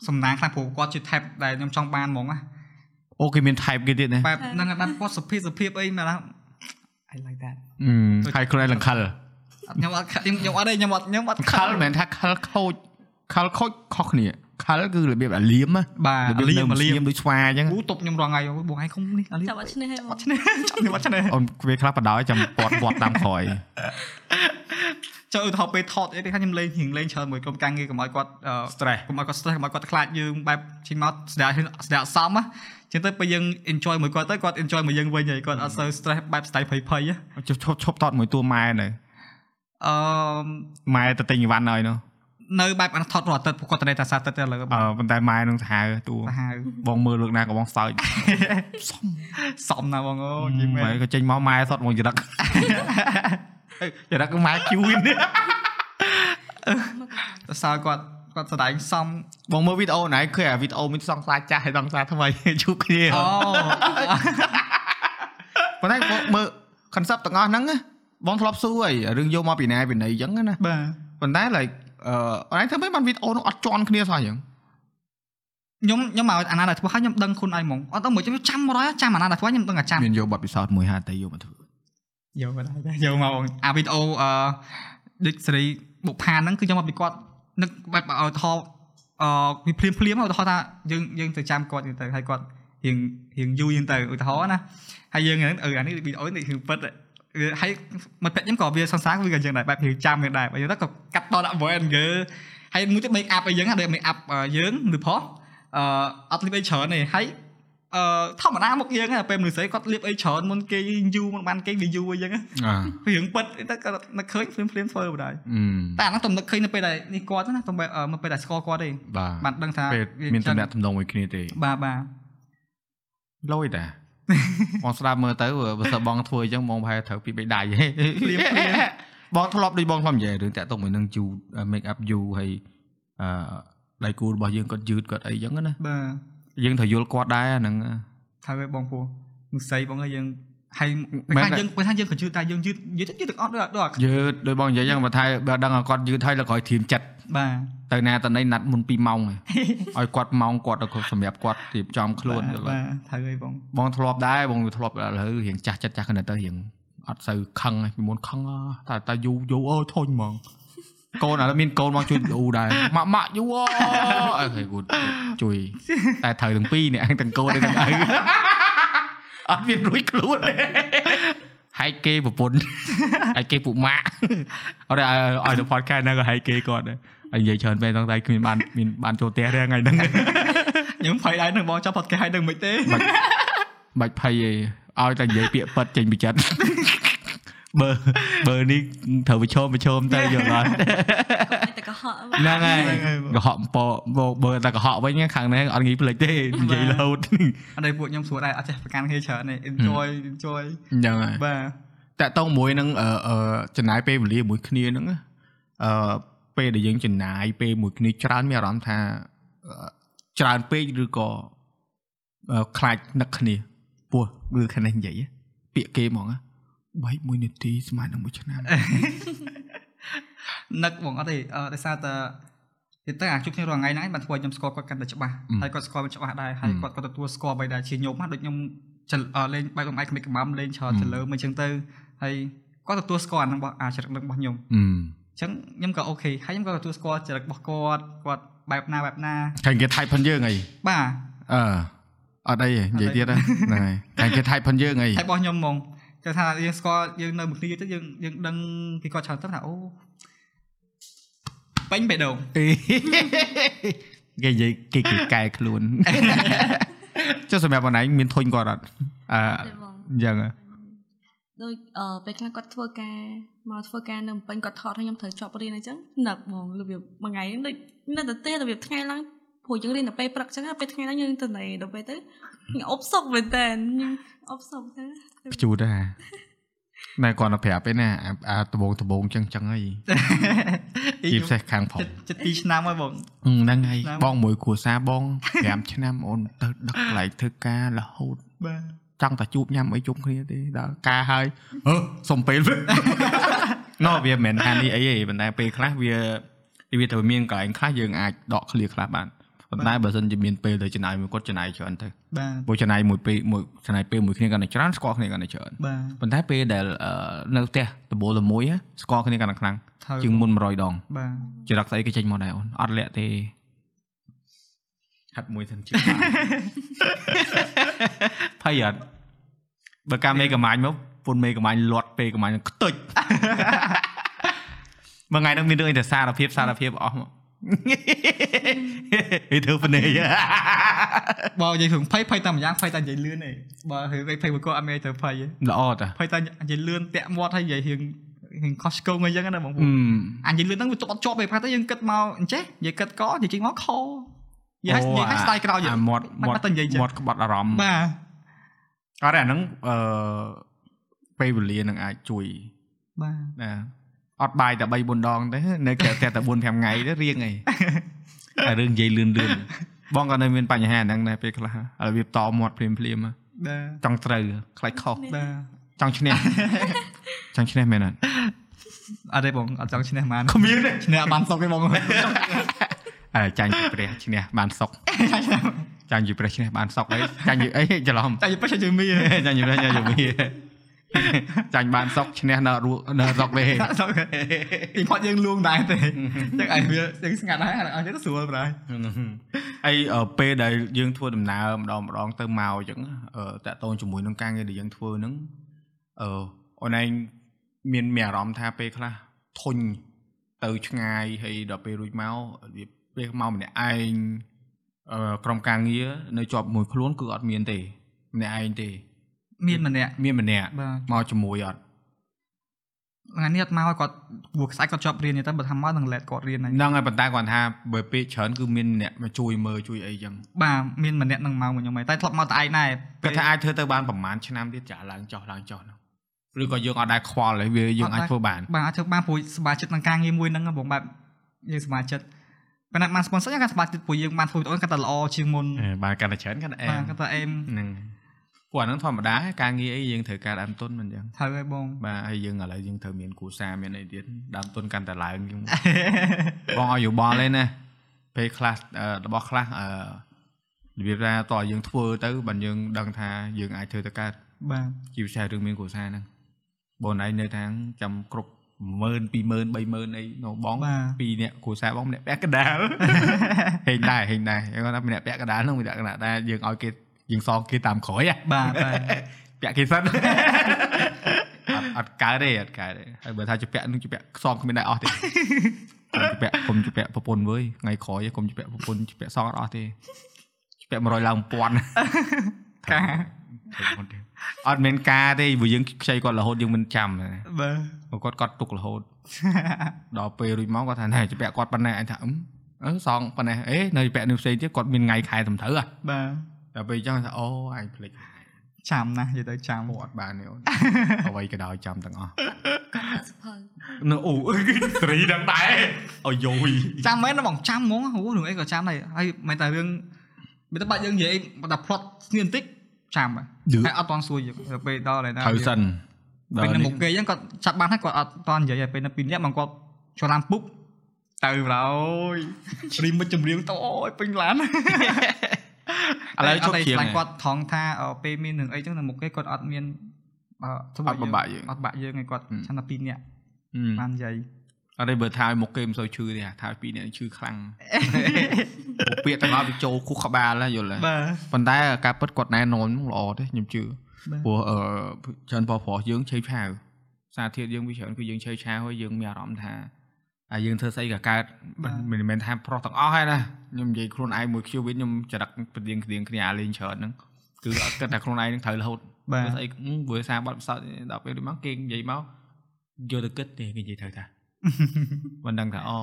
S2: សំណាងខ្លះព្រោះគាត់ជា tab ដែលខ្ញុំចង់បានហ្មងណា
S1: អូគេមាន type គេទៀតណា
S2: បែបហ្នឹងឯងបានគាត់សុភាពសុភាពអីមែនឡា I like that
S1: ហឹមហើយខ្លួនឯងលង្ខល
S2: អត់ខ្ញុំអត់ខ្ញុំខ្ញុំអត់ទេខ្ញុំអត់ខ្ញុំអត់
S1: ខលមិនមែនថាខលខូចខលខូចខុសគ្នាខលគឺរបៀបអាលៀមណា
S2: បា
S1: រ
S2: ទ
S1: បៀបនៅ
S2: លៀមលៀ
S1: ស្ងៀ
S2: ម
S1: មដូចស្វាអញ្ចឹង
S2: គូតុបខ្ញុំរងថ្ងៃបងឯងគុំនេះអាលៀម
S3: ចាប់អត់ឈ្នះហើយបង
S2: ឆ្នេះ ចាប់ខ្ញុំអត់ឆ្នេះ
S1: អូនវាខ្លះបដ ாய் ចាំពាត់ពាត់តាមក្រោយ
S2: ចូលឧទាហរណ៍ពេលថតអីគេថាខ្ញុំលេងរៀងលេងច្រើនមួយក្រុមការងារកុំឲ្យគាត់អឺ
S1: stress
S2: កុំឲ្យគាត់ stress កុំឲ្យគាត់ខ្លាចយើងបែបជិះមកស្ដាយស្ដាយអត់សមណាចឹងទៅពេលយើង enjoy មួយគាត់ទៅគាត់ enjoy មួយយើងវិញហើយគាត់អត់សូវ stress បែបស្ដាយភ័យភ័យណា
S1: ជប់ឈប់ឈប់តតមួយតួម៉ែនៅ
S2: អឺម
S1: ម៉ែទៅទិញអីវ៉ាន់ឲ្យនោះ
S2: នៅបែបអាថតរាល់អាទិត្យពួកគាត់តែតែសារអាទិត្យតែឥឡូវ
S1: អឺប៉ុន្តែម៉ែនឹងសាហាវ តួ
S2: សាហាវ
S1: បងមើលលើកណាក៏បងសើច
S2: សមណាបងអូយយីមែ
S1: ម៉ែ
S2: ន
S1: ក៏ចេញមកម៉ែសត មកចរិតអេចរិតគឺម៉ែជូន
S2: តែសារគាត់គាត់ស្ដាយសម
S1: បងមើលវីដេអូណៃឃើញអាវីដេអូមានសង្សារចាស់ហើយស ង្សារថ្មីជូបគ្នា
S2: អូ
S1: ប៉ុន្តែបងមើល concept ទាំងអស់ហ្នឹងណាបងធ្លាប់សួរហើយរឿងយកមកពីណាពីណីអញ្ចឹងណា
S2: បាទ
S1: ប៉ុន្តែ like អឺអនឡាញធ្វើម៉េចបានវីដេអូនោះអត់ជន់គ្នាសោះអញ្ចឹង
S2: ខ្ញុំខ្ញុំមកអាណាដែលធ្វើឲ្យខ្ញុំដឹងខ្លួនឯងហ្មងអត់ដឹងមួយខ្ញុំចាំ100ចាំអាណាដែលធ្វើឲ្យខ្ញុំដឹងតែចាំ
S1: មានយកបទពិសោធន៍មួយហា តែយកមកធ្វើ
S2: យកមកដែរយកមកបងអាវីដេអូអឺដូចសេរីបុកផានហ្នឹងគឺខ្ញុំមកពីគាត់នឹកបែបឲ្យថតអឺពីភ្លាមភ្លាមៗឧទាហរណ៍ថាយើងយើងទៅចាំគាត់យូរទៅហើយគាត់រៀងរៀងយូរយូរទៅឧទាហរណ៍ណាហើយយើងហ្នឹងអឺអានេះវីដេអូនេះគឺពិតវាហើយមិត្តភក្តិខ្ញុំក៏វាសង្សារគឺក៏យើងដែរបែបរៀងចាំយើងដែរបើយើងទៅក៏កាត់តដាក់ Voyager ហើយមួយទៀត make up ឲ្យយើងណាដូច make up យើងឬផុសអឺអត់លៀបអីច្រើនទេហើយ អឺធម្មតាមកយើងហ្នឹងពេលមនុស្សស្រីគាត់លាបអីច្រើនមុនគេយូរមុនបានគេវាយូរអីចឹងណា
S1: អា
S2: វារឿងប៉ិតទៅគាត់នឹកឃើញភ្លាមភ្លាមៗធ្វើបណ្ដាយ
S1: អឺ
S2: តែអាហ្នឹងទំនឹកឃើញនៅពេលដែលនេះគាត់ណាទំពេលអឺមកពេលដែលស្គាល់គាត់ទេ
S1: បាទ
S2: បានដឹងថា
S1: ពេល
S2: វា
S1: មាន
S2: ចឹ
S1: តំ
S2: ង
S1: ណាក់តំណងមួយគ្នាទេ
S2: បាទបាទ
S1: លយតា បងស្ដាប់មើលទៅបើសិនបងធ្វើអញ្ចឹងបងប្រហែលត្រូវពីរបី ដៃហេ
S2: ភ្លាមភ្លាម
S1: បងធ្លាប់ដូចបងធ្លាប់និយាយរឿងតាក់ទងមួយនឹងជូ make up you ហើយអឺដៃគូរបស់យើងគាត់យឺតគាត់អីអញ្ចឹងណា
S2: បាទ
S1: យើងត្រូវយល់គាត់ដែរអាហ្នឹង
S2: ថាវាបងពូមនុស្សស្រីបងឲ្យយើងហើយ
S1: មែន
S2: ពេលថា
S1: ទេ
S2: យើងពេលថាយើងក៏យឺតតែយើងយឺតយឺតយឺតទាំងអស់ដូចអត់ដូចអត់
S1: យឺតដោយបងនិយាយអញ្ចឹងបើថាបើដឹងថាគាត់យឺតហើយលើក្រោយធៀមចិត្ត
S2: បាទ
S1: ទៅណាតណៃណាត់មុន2ម៉ោងឯង ឲ្យគាត់ម៉ោងគាត់ដល់សម្រាប់គាត់រៀបចំ ខ្លួនទៅ
S2: បាទបាទត្រូវហើយបង
S1: បងធ្លាប់ដែរបងធ្លាប់ឥឡូវរៀងចាស់ ចិត្តចាស់គ្នាទៅរៀងអត់សូវខឹងឯងពីមុនខឹងអើតែតែយូរយូរអើធុញហ្មង កូនឥឡូវមានកូនមកជួយអ៊ូដែរម៉ាក់ម៉ាក់យូអូអូខេ good ជួយតែត្រូវទាំងពីរអ្នកទាំងកូនទាំងឪអត់មានរួចខ្លួនទេ ហែកគេប្រព ន្ធហែកគេពួកម៉ាក់ អត់ឲ្យឲ្យទៅ podcast ហ្នឹងក៏ហែកគេគាត់ដែរហើយនិយាយច្រើនពេកដល់តែគ្មានបានមានបានចូលផ្ទះទេថ្ងៃហ្នឹង
S2: ខ្ញុំភ័យដែរនឹងបងចប់ផតគេហើយនឹងមិនទេ
S1: បាច់ភ័យឯងឲ្យតែនិយាយពាក្យប៉ិតចេញពីចិត្ត បើបើនេះត្រូវប្រឈមប្រឈម ទៅយល់អត់
S3: តែតែកុហក
S1: ហ្នឹងហើយកុហកអំពបើបើតែកុហកវិញខាងនេះអត់ងាយភ្លេចទេ និយាយរហូត
S2: អត់ដូចពួកខ្ញុំស្រួលដែរអត់ចេះប្រកាន់គេច្រើនទេ enjoy enjoy
S1: ហ្នឹងហើយ
S2: បាទ
S1: តាក់តងមួយនឹងអឺអឺចំណាយពេលវេលាមួយគ្នាហ្នឹងណាអឺពេលដែលយើងចំណាយពេលមួយគ្នាច្រើនមានអារម្មណ៍ថាអឺច្រើនពេកឬក៏អឺខ្លាចនឹកគ្នាពោះឬខាងនេះនិយាយណាពាក្យគេហ្មងណាបែកមួយនាទីស្មើនឹងមួយឆ្នាំ
S2: នឹកបងអត់ទេអឺដោយសារតែនិយាយទៅអាជួបគ្នារាល់ថ្ងៃហ្នឹងឯងបានធ្វើឲ្យខ្ញុំស្គាល់គាត់កាន់តែច្បាស់
S1: អឺ
S2: ហើយគាត់ស្គាល់មិនច្បាស់ដែរហើយ
S1: អឺ
S2: គាត់ក៏ទទួលស្គាល់អ្វីដែរជាខ្ញុំណាដូចខ្ញុំចិលអឺលេងបែកបងឯងក្មេងក្មាំលេងច្រើន
S1: អឺ
S2: ទៅលើមិនអញ្ចឹងទៅហើយគាត់ទទួលស្គាល់អាហ្នឹងរបស់អាចរិតរបស់ខ្ញុំ
S1: អឺ
S2: អញ្ចឹងខ្ញុំក៏អូខេហើយខ្ញុំក៏ទទួលស្គាល់ចរិតរបស់គាត់គាត់បែបណាបែបណា
S1: ខាងគេថៃផិនយើងអី
S2: បាទ
S1: អឺអត់អីទេនិយាយទៀត ហ្នឹងហ្នឹងហើយខាងគេថៃផិនយើងអី
S2: ហើយរបស់ខ្ញុំហ្មងគេថាយើងស្គាល់យើងនៅមួយគ្នាទៀតយើងយើងដឹងពីគាត់ច្រើនទៅថាអូបាញ់បេះដូង
S1: គេនិយាយគេគេកែខ្លួន ចុះសម្រាប់បងឯងមានធុញគាត់អត់អឺ
S3: ទេបង
S1: យ៉ាងហ៎
S3: ដូចអឺពេលខ្លះគាត់ធ្វើការមកធ្វើការនៅភ្នំពេញគាត់ថតឲ្យខ្ញុំត្រូវជាប់រៀនអញ្ចឹងនឹកហ្មងរបៀបមួយថ្ងៃហ្នឹងដូចនៅតែទេរបៀបថ្ងៃឡើងព្រោះយើងរៀនតែពេលព្រឹកអញ្ចឹងណាពេលថ្ងៃឡើងយើងទៅណេដល់ពេលទៅខ្ញុំអប់សុកមែនតើខ្ញុំអប់សុកទៅ
S1: ខ្ជូតដែរណែគាត់ទៅប្រាប់ឯណាអាអាដបងដបងចឹងចឹងអី
S2: អី
S1: ជាពិសេសខាងផង
S2: ចិត្ត2ឆ្នាំហើយបង
S1: ហ្នឹងហើយ
S2: ឆ្នាំ
S1: បងមួយគ្រួសារ បង5ឆ្នាំអូនទៅដឹកកន្លែងធ្វើការរហូត
S2: បាទ
S1: ចង់តែជួបញ៉ាំអីជុំគ្នាទេដល់ការហើយអឺសុំពេល ណូ វាមិនមែនថានេះអីទេប៉ុន្តែពេលខ្លះវាវាត្រូវមានកន្លែងខ្លះយើងអាចដកឃ្លាខ្លះបានប៉ុន្តែបើសិនជាមានពេលទៅចំណាយមួយគាត់ចំណាយច្រើនទៅ
S2: បាទ
S1: ព្រោះចំណាយមួយពេលមួយចំណាយពេលមួយគ្នាកាន់តែច្រើនស្គាល់គ្នាកាន់តែច្រើន
S2: បាទ
S1: ប៉ុន្តែពេលដែលអឺនៅផ្ទះដំបូលតែមួយណាស្គាល់គ្នាកាន់តែខ្លាំង
S2: ថើ
S1: ជាងមុន100ដង
S2: បាទ
S1: ចរិតស្អីគេចេញមកដែរអូនអត់លាក់ទេហាត់មួយសិនជា ភ័យអត់បើកាមេកំាញ់មកពុនមេកំាញ់លាត់ពេលកំាញ់ខ្ទេច មួយថ្ងៃហ្នឹងមានរឿងអីតែសារភាពសារភាពអស់ មកអីធ្វើភ្នែក
S2: បើនិយាយព្រឹងភ័យភ័យតែម្យ៉ាងភ័យតែនិយាយលឿនឯងបើហឺភ័យមួយគាត់អត់មានទៅភ័យទេ
S1: ល្អតា
S2: ភ័យតែនិយាយលឿនតាក់មាត់ហើយនិយាយរៀងរៀងខុសឆ្គងអីចឹងណាបងប្អូ
S1: អឺ
S2: នអញនិយាយលឿនហ្នឹងវាទុកអត់ជាប់ទេប្រហែលតែយើងគិតមកអញ្ចេះនិយាយគិតកនិយាយចេញមកខនិយាយឲ្យនិយាយឲ្យស្ដាយក្រោយយ
S1: អាមាត់មាត់
S2: បាត់ទៅនិយាយចឹង
S1: មាត់ក្បត់អារម្មណ៍
S2: បាទ
S1: អត់ទេអាហ្នឹងអឺពេលវេលានឹងអាចជួយ
S2: បាទ
S1: ណាអត់បាយតែ3 4ដងទេនៅក្រៅផ្ទះតែ4 5ថ្ងៃទៅរៀង អីតែរឿងនិយាយលឿនលឿនបងក៏នៅមានបញ្ហាហ្នឹងដែរពេលខ្លះឥឡូវវាតមាត់ភ្លាមភ្លាមៗ
S2: បាទ
S1: ចង់ត្រូវខ្លាចខុស
S2: បាទ
S1: ចង់ឈ្នះ ចង់ឈ្នះមែនអត់
S2: អត់ទេបងអត់ចង់ឈ្នះបាន
S1: គ្មានទេ
S2: ឈ្នះអត់បានសុកទេបង
S1: អើចាញ់ជាព្រះឈ្នះបាន សុកចាញ់ជាព្រះឈ្នះបានសុកអីចាញ់ជាអីច្រឡំ
S2: តែយបិសជើងមី
S1: ចាញ់ជាព្រះញ៉ាំ យមីចាញ់បានសុកឈ្នះនៅរស់នៅសុកទេ
S2: សុកពីផត់យើងលួងដែរទេចឹងឯងវាយើងស្ងាត់ដែរអត់ចឹងស្រួលប្រហែល
S1: ហើយអឺពេលដែលយើងធ្វើដំណើរម្ដងម្ដងទៅមកអញ្ចឹងអឺតាក់ទងជាមួយនឹងការងារដែលយើងធ្វើហ្នឹងអឺអូនឯងមានមានអារម្មណ៍ថាពេលខ្លះធុញទៅឆ្ងាយហើយដល់ពេលរួចមកវាពេលមកម្នាក់ឯងអឺក្រុមការងារនៅជាប់មួយខ្លួនគឺអត់មានទេ ម្នាក់ឯងទេ
S2: មានម្នាក់
S1: មានម្នាក់
S2: បាទ
S1: មកជាមួយអត់
S2: ថ្ងៃនេះអត់មកឲ្យគាត់ព្រោះខ្សាច់គាត់ជាប់រៀនទេបើថាមកនឹងលេតគាត់រៀនហ្នឹង
S1: ហ្នឹងហើយប៉ុន្តែគាត់ថាបើពេកច្រើនគឺមានអ្នកមកជួយមើលជួយអីចឹង
S2: បាទមានម្នាក់នឹងមកមួយខ្ញុំឯងតែធ្លាប់មកតែឯងដែរ
S1: គាត់ថាអាចធ្វើទៅបានប្រហែលឆ្នាំទៀតចាក់ឡើងចុះឡើងចុះហ្នឹងឬក៏យើងអត់ដែរខ្វល់ហើយវាយើងអាចធ្វើបាន
S2: បាទអាចធ្វើបានព្រោះសមាជិកនឹងការងារមួយហ្នឹងបងបែបយើងសមាជិកប៉ុន្តែបាន sponsor យ៉ាងក៏សមាជិកព្រោះយើងបានធ្វើវីដេអូកាន់តែល្អជាងមុន
S1: អឺបានកាន់តែច្រើនកាន់តែអែ
S2: បា
S1: ម
S2: ទគាត់ថាអេម
S1: ហ្នឹងព្រោះអាហ្នឹងធម្មតាការងារអីយើងត្រូវការដើមទុនមិនអញ្ចឹង
S2: ត្រូវហើយបង
S1: បាទហើយយើងឥឡូវយើងត្រូវមានគូសារមានអីទៀតដើមទុនកាន់តែឡើងជាងមុន បងឲ្យយោបល់ឯណាពេលខ្លះអឺរបស់ខ្លះអឺរបៀបថាតើយើងធ្វើទៅបើយើងដឹងថាយើងអាចធ្វើទៅកើត
S2: បាទ
S1: ជាពិសេសរឿងមានគូសារហ្នឹងបងឯងនៅທາງចាំគ្រប់ 10000 20000 30000អីនៅបង
S2: បាទ
S1: ពីរអ្នកគ្រួសារបងម្នាក់ពាក់កណ្ដាល ហេងដែរហេងដែរគាត់ថាម្នាក់ពាក់កណ្ដាលហ្នឹងម្នាក់កណ្ដាលតែយើងឲ្យគេយើងសងគេតាមក្រោយ ហ៎
S2: បាទបាទ
S1: ពាក់គេសិន អត់អត់កើតទេអត់កើតទេហើយបើថាជាពាក់នឹងជាពាក់ខ្សងគ្មានដែរអ ស់ទេ កុំជាពាក់ខ្ញុំជាពាក់ប្រពន្ធវើយថ្ងៃក្រោយខ្ញុំជាពាក់ប្រពន្ធជាពាក់សងអត់អស់ទេជាពាក់100ឡើង1000
S2: ការ
S1: អត់មានការទេព្រោះយើងខ្ចីគាត់រហូតយើងមិនចាំទេ
S2: បាទ
S1: ព្រោះគាត់គាត់ទុករហូត ដល់ពេលរួចមកគាត់ថាណែជាពាក់គាត់ប៉ុណ្ណេះអញថាអឹមអឺសងប៉ុណ្ណេះអេនៅជាពាក់នេះផ្សេងទៀតគាត់មានថ្ងៃខែត្រឹមត្រូវហ៎
S2: បាទ
S1: ដល់ពេលអញ្ចឹងថាអូអញភ្លេច
S2: ចាំណាស់និយាយទៅចាំ
S1: អត់បានទេអូន អ្វីក៏ដោយចាំទាំងអស់
S3: ដាក់សភៅ
S1: នៅអូស្រីនឹងដែរអយយ
S2: ចាំមែនណាបងចាំហ្មងអូរឿងអីក៏ចាំដែរហើយមិនតែរឿងមិនតែបាច់យើងនិយាយតែ plot ស្ងៀមបន្តិចចាំហ
S1: យឺ
S2: ើយអត់តន់សួរយើងទៅពេលដល់ហើយណា
S1: ត្រូវសិន
S2: ពេលនៅមុខគេអញ្ចឹងគាត់ចាប់បានហើយគាត់អត់តន់និយាយហើយពេលនៅពីរនាក់បងគាត់ច្រឡាំពុកទៅបងអើយរីមិចចម្រៀងតអូយពេញឡាន
S1: ឥឡូវជប់ជាង
S2: តែគាត់ថងថាអឺពេលមានរឿងអីចឹងនៅមុខគេគាត់អត់មានអឺធ្វើ
S1: អត់បំបាក់យើង
S2: អត់បាក់យើងឯងគាត់
S1: ហឹម
S2: ឆ្នាំតែពីរនាក់បាននិយាយ
S1: អត់ទេបើថាឲ្យមុខគេមិនសូវឈឺទេអាថាពីរអ្នកឈឺខ្លាំង ពួកពាក្យទាំងអស់វាចូលខួរក្បាលហើយយល់ទេ
S2: បាទ
S1: ប៉ុន្តែការពិតគាត់ណែនាំហ្នឹងល្អទេខ្ញុំជឿ
S2: បាទ
S1: ព្រោះអឺច្រើនបងប្រុសយើងឆេវឆាវសារធាតុយើងវាច្រើនគឺយើងឆេវឆាវហើយយើងមានអារម្មណ៍ថាអាយើងធ្វើស្អីក៏កើតមិនមិនមែនថាប្រុសទាំងអស់ហើយណាខ្ញុំនិយាយខ្លួនឯងមួយ Q វិញខ្ញុំចរិតប្រទៀងគ្រៀងគ្នាអាលេងច្រើនហ្នឹងគឺអត់គិតថាខ្លួនឯងនឹងត្រូវរហូត
S2: បា
S1: បាទ ទស្អីព្រោះសារបត់ផ្សោតដល់ពេលដូចមកគេនិយាយមកយកទៅគិតទេគេនិយាយ ត្រូវថា មិនដឹងថាអូ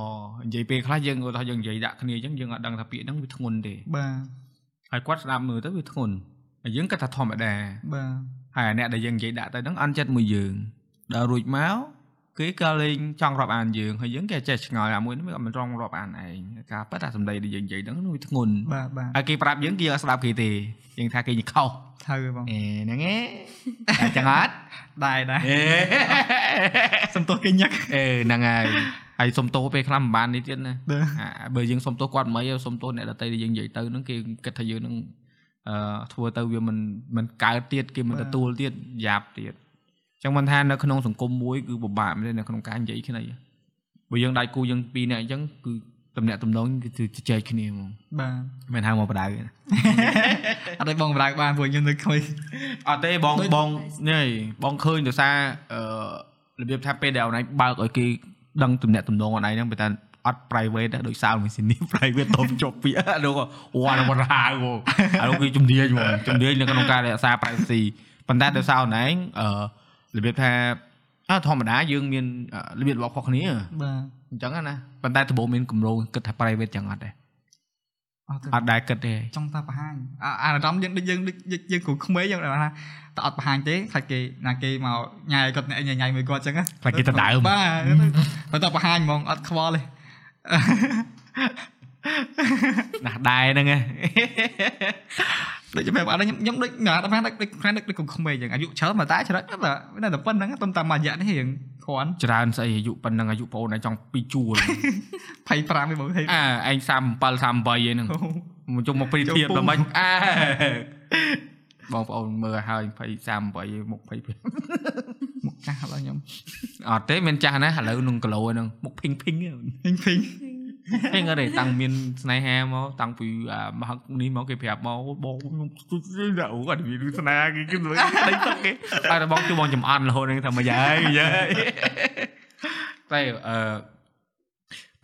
S1: និយាយពេលខ្លះយើងឧទាហរណ៍យើងនិយាយដាក់គ្នាអញ្ចឹងយើងអត់ដឹងថាពាក្យហ្នឹងវាធ្ងន់ទេ
S2: បាទ
S1: ហើយគាត់ស្ដាប់មើលទៅវាធ្ងន់ហើយយើងគិតថាធម្មតា
S2: បាទ
S1: ហើយអាអ្នកដែលយើងនិយាយដាក់ទៅហ្នឹងអន់ចិត្តមួយយើងដល់រួចមកគេក៏លេងចង់រាប់អានយើងហើយយើងគេចេះឆ្ងល់អាមួយហ្នឹងវាអត់មិនចង់រាប់អានឯងការប៉ះថាសម្ដីដែលយើងនិយាយហ្នឹងវាធ្ងន់
S2: បាទបាទ
S1: ហើយគេប្រាប់យើងគេអត់ស្ដាប់គេទេយើងថាគេញីខុស
S2: ត្រូវហើយបង
S1: អេហ្នឹងឯង តែចឹងអត់
S2: ដែរដែរ
S1: អេ
S2: សំទោសគេញឹក
S1: អេហ្នឹងហើយហើយសុំទោសពេលខ្លះមិនបាននេះទៀតណា
S2: បាទ
S1: អាបើយើងសុំទោសគាត់មិនអីសុំទោសអ្នកដតីដែលយើងនិយាយទៅហ្នឹងគេគិតថាយើងហ្នឹងអឺធ្វើទៅវាមិនមិនកើតទៀតគេមិនទទួលទៀតយ៉ាប់ទៀតអញ្ចឹងមិនថានៅក្នុងសង្គមមួយគឺពិបាកមែនទេនៅក្នុងការនិយាយគ្នាបើយើងដៃគូយើងពីរនាក់អញ្ចឹងគឺតំណាក់តំណងគឺជជែកគ្នាហ្មង
S2: បាទ
S1: មិនហៅមកបដៅទេណា
S2: អត់ឲ្យបងប្រាកបានព្រោះខ្ញុំនៅក្មេង
S1: អត់ទេបង
S2: ដូច
S1: បងនេះបងឃើញដោយសារអឺរបៀបថាពេលដែលអនឡាញបើកឲ្យគេដឹងទំនាក់ទំនងអនឡាញហ្នឹង បើតែអត់ private ដែរដោយសារមួយស៊ីនី private ទៅជប់ពី អត់នោះក៏វ៉ាន់វ៉ាន់ហៅហ្មងអានោះគឺជំនាញហ្មងជំនាញនៅក្នុងការរក្សា privacy ប៉ុន្តែដោយសារអនឡាញអឺរបៀបថាអើធម្មតាយើងមានអឺរបៀបរបស់របស់គ្នា
S2: បាទ
S1: អញ្ចឹងណាប៉ុន្តែដំបូងមានគម្រោងគិតថា private ចឹងអត់ដែរ
S2: អត់ទៅ
S1: អត់ដែរគិតទេ
S2: ចង់តែបង្ហាញអាអារម្មណ៍យើងដូចយើងដូចយើងយើងគ្រូក្មេងយើងដែរថាតែអត់បង្ហាញទេខ្លាចគេណាគេមកញ៉ាយគាត់អ្នកញ៉ាយញ៉ាយមួយគាត់អញ្ចឹងណា
S1: ខ្លាចគេដណ្ដើម
S2: បាទតែតែបង្ហាញហ្មងអត់ខ្វល់ទេ
S1: ណាស់ដែរហ្នឹងឯ ង
S2: ដូចបែបអត់ខ្ញុំខ្ញុំដូចណាដល់ថាដូចដូចខ្លាំងដូចដូចកុំក្មេងចឹងអាយុច្រើនមកតែច្រើនតែតែប៉ុណ្្នឹងតែតាមអាយុនេះរៀងគ្រាន់
S1: ច្រើនស្អីអាយុប៉ុណ្ណឹងអាយុប្អូនឯងចង់ពីរជួល
S2: 25វិញបងហេ
S1: អាឯង37 38ឯហ្នឹងមកជុំមកព្រីធៀប
S2: ចូល
S1: ដ
S2: ពុំ
S1: ល់មិនអាបងប្អូនមើលឲ្យ20 38ឯមុខ20
S2: មកចាស់ដល់ខ្ញុំ
S1: អត់ទេមានចាស់ណាស់ឥឡូវនឹងគីឡូឯហ្នឹងមុខភីងភីង
S2: ពេញពេញ
S1: ភីងអត់ទេតាំងមានស្នេហាមកតាំងពីអាមហឹកនេះមកគេប្រាប់មកបងខ្ញុំទុស្រីដាក់អូអត់មានស្នេហាគេគេលើដៃទឹកគេតែបងជួយបងចំអន់រហូតហ្នឹងថាមិនហើយមិនហើយ តែអឺ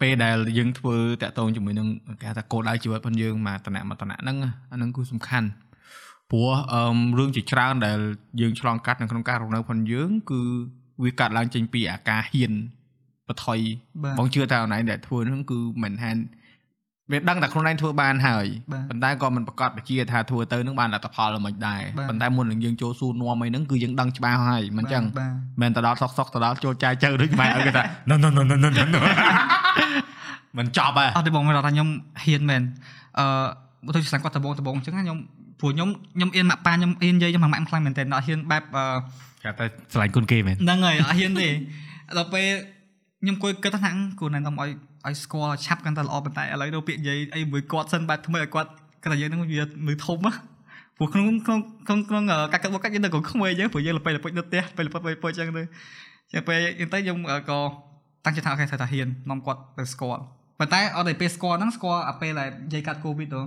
S1: ពេលដែលយើងធ្វើតាក់ទងជាមួយនឹងគេហៅថាគោលដៅជីវិតរបស់យើងមកតំណមកតំណហ្នឹងអាហ្នឹងគឺសំខាន់ព្រោះអឺមរឿងជាច្រើនដែលយើងឆ្លងកាត់នៅក្នុងការរស់នៅរបស់យើង គឺវាកាត់ឡើងចេញពីអាការហ៊ានបថុយ
S2: បាទ
S1: បងជឿថាអនឡាញដែលធ្វើហ្នឹងគឺមិនហានវាដឹងតែខ្លួនឯងធ្វើបានហើយ
S2: បាទ
S1: ប៉ុន្តែក៏មិនប្រកាសបញ្ជាថាធ្វើទៅហ្នឹងបានលទ្ធផលឬមិនដែរ
S2: បាទ
S1: ប៉ុន្តែមុននឹងយើងចូលសួរនាំអីហ្នឹងគឺយើងដឹងច្បាស់ហើយមិនចឹង
S2: បាទ
S1: មិនទៅដល់សុកសុកទៅដល់ចូលចាយចៅដូចម៉ែឲ្យគេថា no no no no no no no មិនចប់ហ៎
S2: អត់ទេបងមិនថាខ្ញុំហ៊ានមែនអឺដូចស្លាញ់គាត់ដបងដបងអញ្ចឹងណាខ្ញុំព្រោះខ្ញុំខ្ញុំអៀនម៉ាក់ប៉ាខ្ញុំអៀនយាយខ្ញុំម៉ាក់ម៉ាក់ខ្លាំងមែនតើអត់ហ៊ានបែបអឺ
S1: គេតែឆ្លាញ់គុណគេមែន
S2: ហ្នឹងហើយអត់ហ៊ានទេដល់ពេលខ្ញុំគួយគិតថាគួរណែនាំឲ្យឲ្យស្គាល់ឆាប់កាន់តែល្អប៉ុន្តែឥឡូវទៅពាក្យនិយាយអីមួយគាត់សិនបាត់ថ្មីឲ្យគាត់គិតថាយើងហ្នឹងវាមើលធំណាព្រោះក្នុងក្នុងក្នុងក្នុងការគិតរបស់គាត់យើងនៅកូនក្មេងអញ្ចឹងព្រោះយើងលបិលបុចនៅផ្ទះពេលលបិលបុចអញ្ចឹងទៅ ចេះពេលអ៊ីនទៅខ្ញុំអឺក៏តាំងចិត្តថាអូខេត្រូវថាហ៊ាននាំគាត់ទៅស្គាល់ប៉ុន្តែអត់ទេពេលស្គាល់ហ្នឹងស្គាល់អាពេលដែលនិយាយកាត់កូវីដទៅ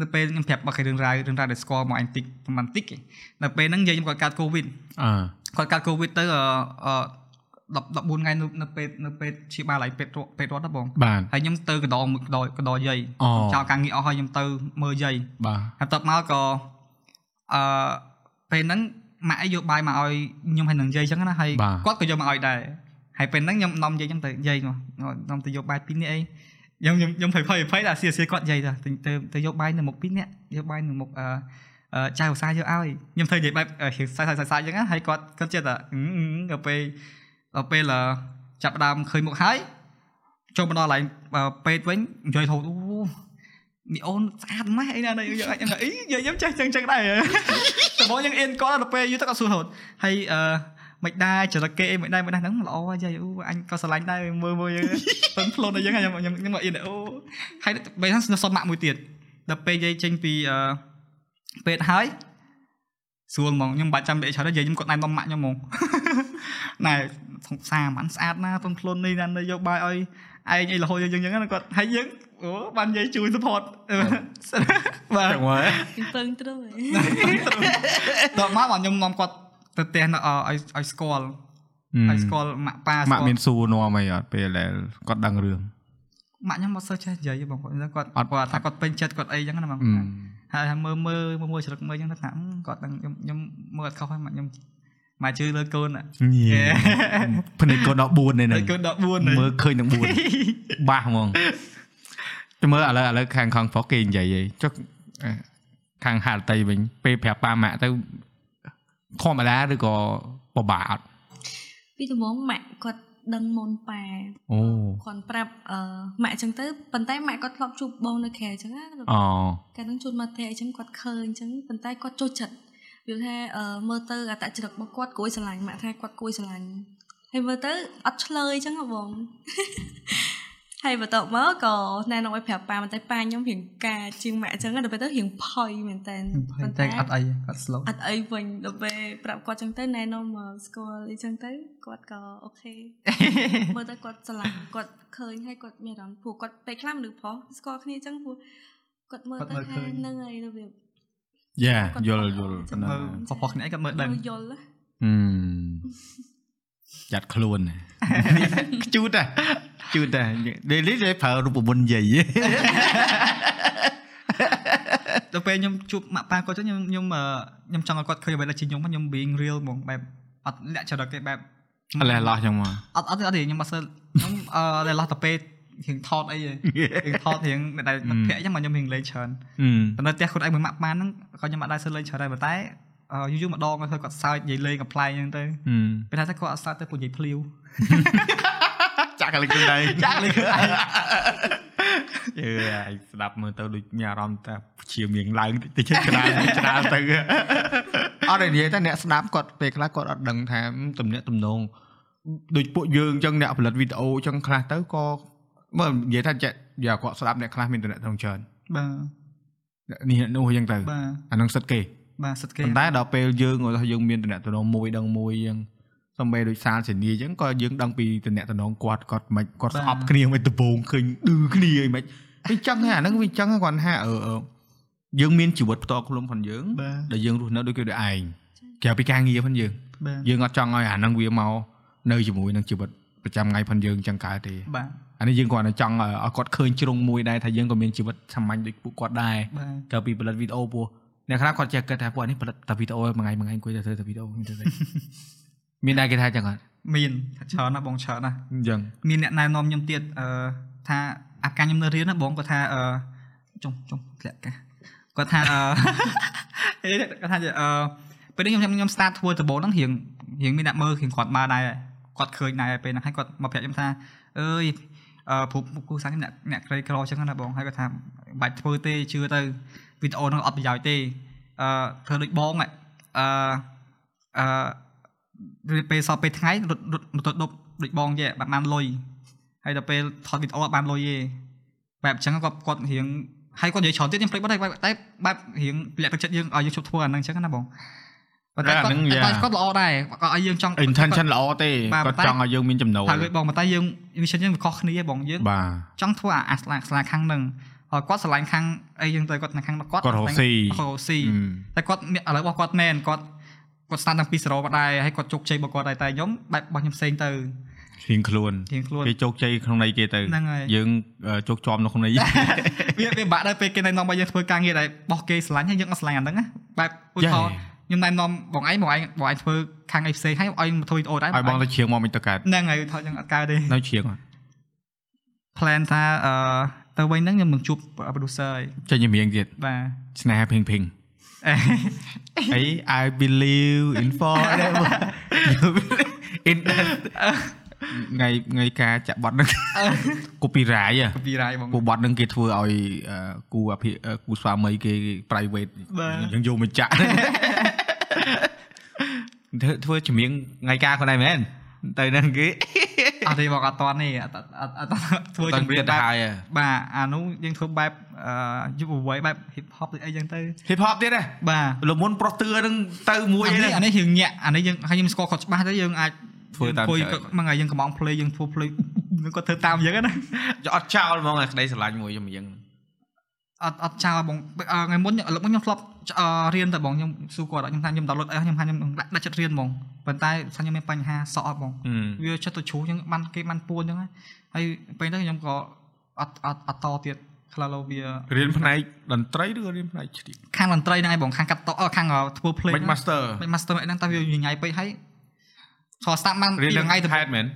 S2: នៅពេលខ្ញុំប្រាប់បើគេរឿងរ៉ាវរឿងរ៉ាវដែលស្គាល់មកអញតិចប្រហែលតិចឯងនៅពេលហ្នឹងនិយាយខ្ញុំគាត់កាត់កូវីដ
S1: អឺ
S2: គាត់កាត់កូវីដទៅអអ10 14ថ្ងៃនៅនៅពេទ្យនៅពេទ្យព្យាបាលហើយពេទ្យរត់ពេទ្យរត់ហ្នឹងបង
S1: បាទ
S2: ហើយខ្ញុំទៅកណ្ដងមួយកណ្ដងកណ្ដងយាយ
S1: អូ
S2: ចោលការងារអស់ហើយខ្ញុំទៅមើលយាយ
S1: បាទ
S2: ហើយបន្ទាប់មកក៏អឺពេលហ្នឹងម៉ាក់ឯងយកបាយមកឲ្យខ្ញុំហើយនឹងយាយអញ្ចឹងណាហើយគាត់ក៏យកមកឲ្យដែរហើយពេលហ្នឹងខ្ញុំនាំយាយខ្ញុំទៅយាយមកនាំទៅយកបាយពីរនាក់អីខ្ញុំខ្ញុំខ្ញុំភ័យភ័យភ័យដល់សៀសៀគាត់យាយទៅទៅទៅយកបាយនៅមុខពីរនាក់យកបាយនៅមុខអឺ អឺចៅឧស្សាហ៍យកឲ្យខ្ញុំធ្វើនិយាយបែបអឺហៀងសាយសាយសាយសាយអញ្ចឹងណាហើយគាត់គាត់ចិត្តថាអឺអឺដល់ពេលដល់ពេលអឺចាប់ផ្ដើមឃើញមុខហើយចូលមកដល់កន្លែងអឺពេទ្យវិញនិយាយថោអូមីអូនស្អាតម៉េះអីណានេះយកអញអីនិយាយខ្ញុំចេះចឹងចឹងដែរតែបងយើងអៀនគាត់ដល់ពេលយូរទៅគាត់សួរហូតហើយអឺមិនដែរចរិតគេអីមិនដែរមិនដែរហ្នឹងល្អយាយអូអញក៏ស្រឡាញ់ដែរមើលមើលយើង មិនផ្លន់អីចឹងខ្ញុំខ្ញុំខ្ញុំមកអៀនអូហើយបែរថាសុំម៉ាក់មួយទៀតដល់ពេលយាយចេញពីអឺ ពេទ្យហើយស្រួលហ្មងខ្ញុំមិនបាច់ចាំពាក្យច្រើនទេយាយខ្ញុំគាត់ណែនាំម៉ាក់ខ្ញុំហ្មង ណែសង្សារមិនស្អាតណាទន់ខ្លួននេះណានៅយកបាយឲ្យឯងអីរហូតយើងយើងហ្នឹងគាត់ហើយយើងអូបានយាយជួយ support អឺ បាទ
S1: ចឹងហើយ
S3: ពីពឹងទ្រូហ៎
S2: តមកបងខ្ញុំនាំគាត់ទៅផ្ទះនៅឲ្យឲ្យឲ្យស្គាល់ឲ្យស្គាល់ម៉ាក់ប៉ាស្គា
S1: ម៉ា
S2: ល់
S1: ក់មានសួរនាំអីអត់ពេលដែលគាត់ដឹង រឿង
S2: ម៉ាក់ខ្ញុំមកសើចេះនិយាយទេបងគាត់គាត់គាត់ថាគាត់ពេញចិត្តគាត់អីចឹងណាបង
S1: អឺ
S2: ហើយថាមើលមើលមើលមើលច្រឹកមើលចឹងទៅថាអឺគាត់ដឹងខ្ញុំខ្ញុំមើលអត់ខុសហើយម៉ាក់ខ្ញុំមកជឿលើកូនណា
S1: ញ៉ែ
S2: Yeah.
S1: ភ្នែកកូន14នេះ
S2: លើ
S1: ហ្នឹង
S2: កូន14ហ្នឹង
S1: មើលឃើញទាំង4 បាសហ្មងចាំមើលឥឡូវឥឡូវខាងខងហ្វុកគេនិយាយឯងចុះអ่ะខាងហាលតៃវិញពេលប្រាប់ប៉ាម៉ាក់ទៅធម្មតាឬក៏ពិបាកអត់
S3: ពីដំបងម៉ាក់គាត់ដឹងមុនប៉ែ
S1: អូ
S3: គាត់ប្រាប់អឺម៉ាក់អញ្ចឹងទៅប៉ុន្តែម៉ាក់គាត់ធ្លាប់ជួបបងនៅក្រៅអញ្ចឹងណាគាត់
S1: អូ
S3: កាលហ្នឹងជួនមកផ្ទះអញ្ចឹងគាត់ឃើញអញ្ចឹងប៉ុន្តែគាត់ចូលចិត្តយល់ថាអឺមើលទៅអត្តចរិតរបស់គាត់គួរឲ្យស្រឡាញ់ម៉ាក់ថាគាត់គួរឲ្យស្រឡាញ់ហើយមើលទៅអត់ឆ្លើយអញ្ចឹងហ៎បង ហើយបន្ទាប់មកក៏ណែនាំឲ្យប្រាប់ប៉ាប៉ុន្តែប៉ាខ្ញុំរៀងការជាងម៉ាក់អញ្ចឹងដល់ពេលទៅរៀងភ័យមែនតើ
S2: តែអ ត់អីគាត់ slow
S3: អត់អីវិញដល់ពេលប្រាប់គាត់ចឹងទៅណែនាំមកស្គាល់អីចឹងទៅគាត់ក៏អូខេ មើលទៅគាត់ឆ្លាក់គាត់ឃើញហើយគាត់មានអារម្មណ៍ព្រោះគាត់ពេលខ្លះមនុស្សប្រុសស្គាល់គ្នាចឹងព្រោះគាត់មើល
S2: គាត់
S3: ទៅ
S2: មើលឃើ
S3: ថា
S2: ញ
S3: នឹងហើយរបៀប
S1: យ៉ា
S3: គាត់
S1: យល់យ
S3: គាត់
S1: ល់
S3: គាត់
S2: មើលខុសៗគ្នាឯងគាត់មើល ដឹង
S3: មើលយល់
S1: ហឹមចាត់ខ្លួនណា ខ្ជូតតែខ្ជូតតែដេលីគេប្រើរូបមន្តនិយាយ
S2: ដល់ពេលខ្ញុំជួបម៉ាក់ប៉ាគាត់ចឹងខ្ញុំខ្ញុំអឺខ្ញុំចង់ឲ្យគាត់ឃើញបែបដូចជាខ្ញុំខ្ញុំ being real ហ្មងបែបអត់លាក់ចរិតគេបែប
S1: ឥឡូវឡោះចឹងមក
S2: អត់អត់ទេអត់ទេខ្ញុំមកសើខ្ញុំអឺតែឡោះទៅពេលរៀងថតអីហ៎ រៀងថតរៀងតែមិត្តភក្តិចឹងមកខ្ញុំរៀងលេងច្រើន
S1: អឺ
S2: ប៉ុន្តែផ្ទះខ្លួនឯងមួយម៉ាក់ប៉ាហ្នឹងក៏ខ្ញុំអត់ដែរសើលេងច្រើនដែរប៉ុន្តែអឺយូរៗម្ដងគាត់ឃើញគាត់សើចនិយាយលេងកំ plaign ចឹងទៅពេលថាតែគាត់អត់សើចទៅពួកនិយាយភ្លាវ
S1: ចាក់លេខខ្លួនឯង
S2: ចាក់លេខខ្លួនឯង
S1: យើឯងស្ដាប់មើលទៅដូចមានអារម្មណ៍ថាជាមៀងឡើងតិចតិច ក្រាលក្រាលទៅអត់និយាយតែអ្នកស្ដាប់គាត់ពេលខ្លះគាត់អត់ដឹងថា ទំនាក់ទំនងដូចពួកយើងអញ្ចឹងអ្នកផលិតវីដេអូអញ្ចឹងខ្លះទៅក៏មើលនិយាយថាចេះយកគាត់ស្ដាប់អ្នកខ្លះមានទំនាក់ទំនងច្រើន
S2: បាទ
S1: អ្នកនេះអ្នកនោះអញ្ចឹងទៅ
S2: បាទ
S1: អានឹងសិតគេ
S2: បាទសិតគេ
S1: ប៉ុន្តែដល់ពេលយើងឧទាហរណ៍យើងមានទំនាក់ទំនងមួយដឹងមួយអញ្ចឹងសំបីដូចសាលសេនីអញ្ចឹងក៏យើងដឹងពីទំនាក់ទំនងគាត់គាត់មិនគាត់ស្អប់គ្នាមិនដបងឃើញឌឺគ្នាអីមិនវាអញ្ចឹងហ่าហ្នឹងវាអញ្ចឹងហ่าគាត់ថាអឺអឺយើងមានជីវិតផ្ទាល់ខ្លួនផងយើង
S2: បាទ
S1: ដែលយើងរស់នៅដូចគេដូចឯងក្រៅពីការងារផងយើង
S2: បាទ
S1: យើងអត់ចង់ឲ្យអាហ្នឹងវាមកនៅជាមួយនឹងជីវិតប្រចាំថ្ងៃផងយើងអញ្ចឹងកើតទេ
S2: បាទ
S1: អានេះយើងគ្រាន់តែចង់ឲ្យឲ្យគាត់ឃើញជ្រុងមួយដែរថាយើងក៏មានជីវិតសាមញ្ញដូចពួកគាត់ដែរ
S2: បាទ
S1: ក្រៅពីផលិតវីដេអូពោះអ្នកខ្លះគាត់ចេះគិតថាពួកអានេះផលិតតែវីដេអូមួយថ្ងៃមួយថ្ងៃអង្គុយតែធ្វើតែវីដេអូ មានតែតែ មានដែរគេថាចឹងអត់
S2: មានច្រើនណាស់បងច្រើនណាស់
S1: អញ្ចឹង
S2: មានអ្នកណែនាំខ្ញុំទៀតអឺថាអាការខ្ញុំនៅរៀនណាបងគាត់ថាអឺចុងចុងធ្លាក់កាសគាត់ ថាអឺ គាត់ថាអឺពេលនេះខ្ញុំខ្ញុំ start ធ្វើដំបូងហ្នឹងរៀងរៀងមានអ្នកមើលរៀងគាត់មកដែរគាត់ឃើញដែរពេលហ្នឹងហើយគាត់មកប្រាប់ខ្ញុំថាអើយអឺព្រោះគូសាស្ត្រខ្ញុំអ្នកអ្នកក្រីក្រអញ្ចឹងណាបងហើយគាត់ថាមិនបាច់ធ្វើទេជឿទៅវីដេអូហ្នឹងអត់ប្រយោជន៍ទេអឺធ្វើដូចបងហ៎អឺអឺ ពេលពេលសោះពេលថ្ងៃរត់រត់ម៉ូតូដប់ដូចបងចេះបាត់បានលុយហើយដល់ពេលថតវីដេអូអត់បានលុយទេបែបអញ្ចឹងគាត់គាត់រៀងហើយគាត់និយាយច្រើនទៀតខ្ញុំព្រៃបាត់ហើយបែបតែបែបរៀងលាក់ទឹកចិត្តយើងឲ្យយើងជប់ធ្វើអាហ្នឹងអញ្ចឹងណាបង ប៉ុន្តែ
S1: អា
S2: គាត់
S1: ហ្នឹងយ៉ា
S2: តែគាត់គាត់ល្អដែរគាត់ឲ្យយើងចង់
S1: intention ល្អទេ
S2: បាទ
S1: គាត់
S2: ប៉ុ
S1: ចង់
S2: ន្តែ
S1: ឲ្យយើងមានចំណូល
S2: ថាឲ្យបងប៉ុន្តែយើង vision យើងវាខុសគ្នាឯងបងយើង
S1: បាទ
S2: ចង់ធ្វើអាអាស្លាកស្លាកខាងហ្នឹងហើយគាត់ឆ្លាញ់ខាងអីយើងទៅគាត់នៅខាងគាត់
S1: គាត់រកស៊ី
S2: គាត់រកស៊ី
S1: ហ៊ឹម
S2: តែគាត់មានឥឡូវរបស់គាត់មែនគាត់គាត់ស្តាន់តាំងពី0មកដែរហើយគាត់ជោគជ័យរបស់គាត់ដែរតែខ្ញុំបែបរបស់ខ្ញុំផ្សេងទៅ
S1: រៀងខ្លួន
S2: ជាងខ្លួន
S1: គេជោគជ័យក្នុងន័យគេទៅ
S2: ហ្នឹងហើយ
S1: យើងអឺជោគជាប់នៅ ក្នុងន័យ
S2: វាវាបាក់ដែរពេលគេណែនាំមកយើងធ្វើការងារដែលបោះគេស្រឡាញ់ហើយយើងអត់ស្រឡាញ់អាហ្នឹងណាបែបឧទាហរណ៍ខ្ញុំណែនាំបងឯងបងឯងបងឯងធ្វើខាងឯងផ្សេងហើយឲ្យមកធ្វើវីដេអូដែរ
S1: ឲ្យបងទៅជ្រៀងមកមិនទៅកើត
S2: ហ្នឹងហើយឧទាហរណ៍យើងអត់កើតទេ
S1: នៅជ្រៀងអត់
S2: plan ថាអឺទៅវិញហ្នឹងខ្ញុំនឹងជួប producer ហើយ
S1: ចេញចម្រៀងទៀត
S2: បាទ
S1: ស្នេហាភីង ភីងអី I believe in forever in that ថ្ងៃថ្ងៃការចាក់បត់ ហ្នឹង copyright ហ៎
S2: copyright បង
S1: គូបត់ហ្នឹងគេធ្វើឲ្យអឺគូអភិអឺគូស្វាមីគេ private
S2: បាទ
S1: យើងយកមកចាក់ ធ្វើធ្វើចម្រៀងថ្ងៃការខ្លួនឯងមែនទៅហ្នឹងគេ
S2: អត់ទេបងអត់តាន់ទេអត់អត់អត់ធ្វើ
S4: តែ
S2: ចម្រៀ
S4: វា
S2: ង
S4: ទៅ
S2: បែប
S4: ហើយ
S2: បាទអានោះយើងធ្វើបែបអឺយុវវ័យបែប hip hop ដូចអីចឹងទៅ
S1: hip hop ទៀតហ៎
S2: បាទ
S1: លំមុនប្រុសតឿហ្នឹងទៅមួយ
S2: អា
S1: ហ្នឹង
S2: នេះអានេះរឿងញាក់អានេះយើងហើយខ្ញុំស្គាល់គាត់ច្បាស់ទៅយើងអាច
S1: ធ្វើតាម
S2: អង្គុយ
S1: ចិត្ត
S2: មួយថ្ងៃយើងកំង play យើងធ្វើ play នឹងគាត់ធ្វើតាមយើងហ្នឹងណា
S4: យកអត់ចោលហ្មងអាក្តីស្រឡាញ់មួយខ្ញុំយើង
S2: អត់អត់ចោលបងអឺថ្ងៃមុនខ្ញុំឥឡូវមុនខ្ញុំធ្លាប់អឺរៀនតែបងខ្ញុំសួរគាត់ខ្ញុំថាខ្ញុំដោតលុតអីខ្ញុំថាខ្ញុំនឹងដាក់ដាក់ចិត្តរៀនហ្មងប៉ុន្តែថាខ្ញុំមានបញ្ហាសក់ហ៎បងវាចិត្តទៅជ្រុះចឹងបានគេបានពួនចឹងហើយហើយពេលទៅខ្ញុំក៏អត់អត់អត់តទៀតខ្លះលោវា
S1: រៀនផ្នែកតន្ត្រីឬរៀនផ្នែកជ្រៀង
S2: ខាងតន្ត្រីហ្នឹងឯងបងខាងកាត់តអឺខាងអឺធ្វើ play
S1: មិន master
S2: មិន master អីហ្នឹងតែវាញញ៉ៃពេកហើយឆ្លស្តាប់បានពី
S1: រៀន
S2: រ
S1: នឹង
S2: ថ្ងៃទៅ
S1: ខេតមែន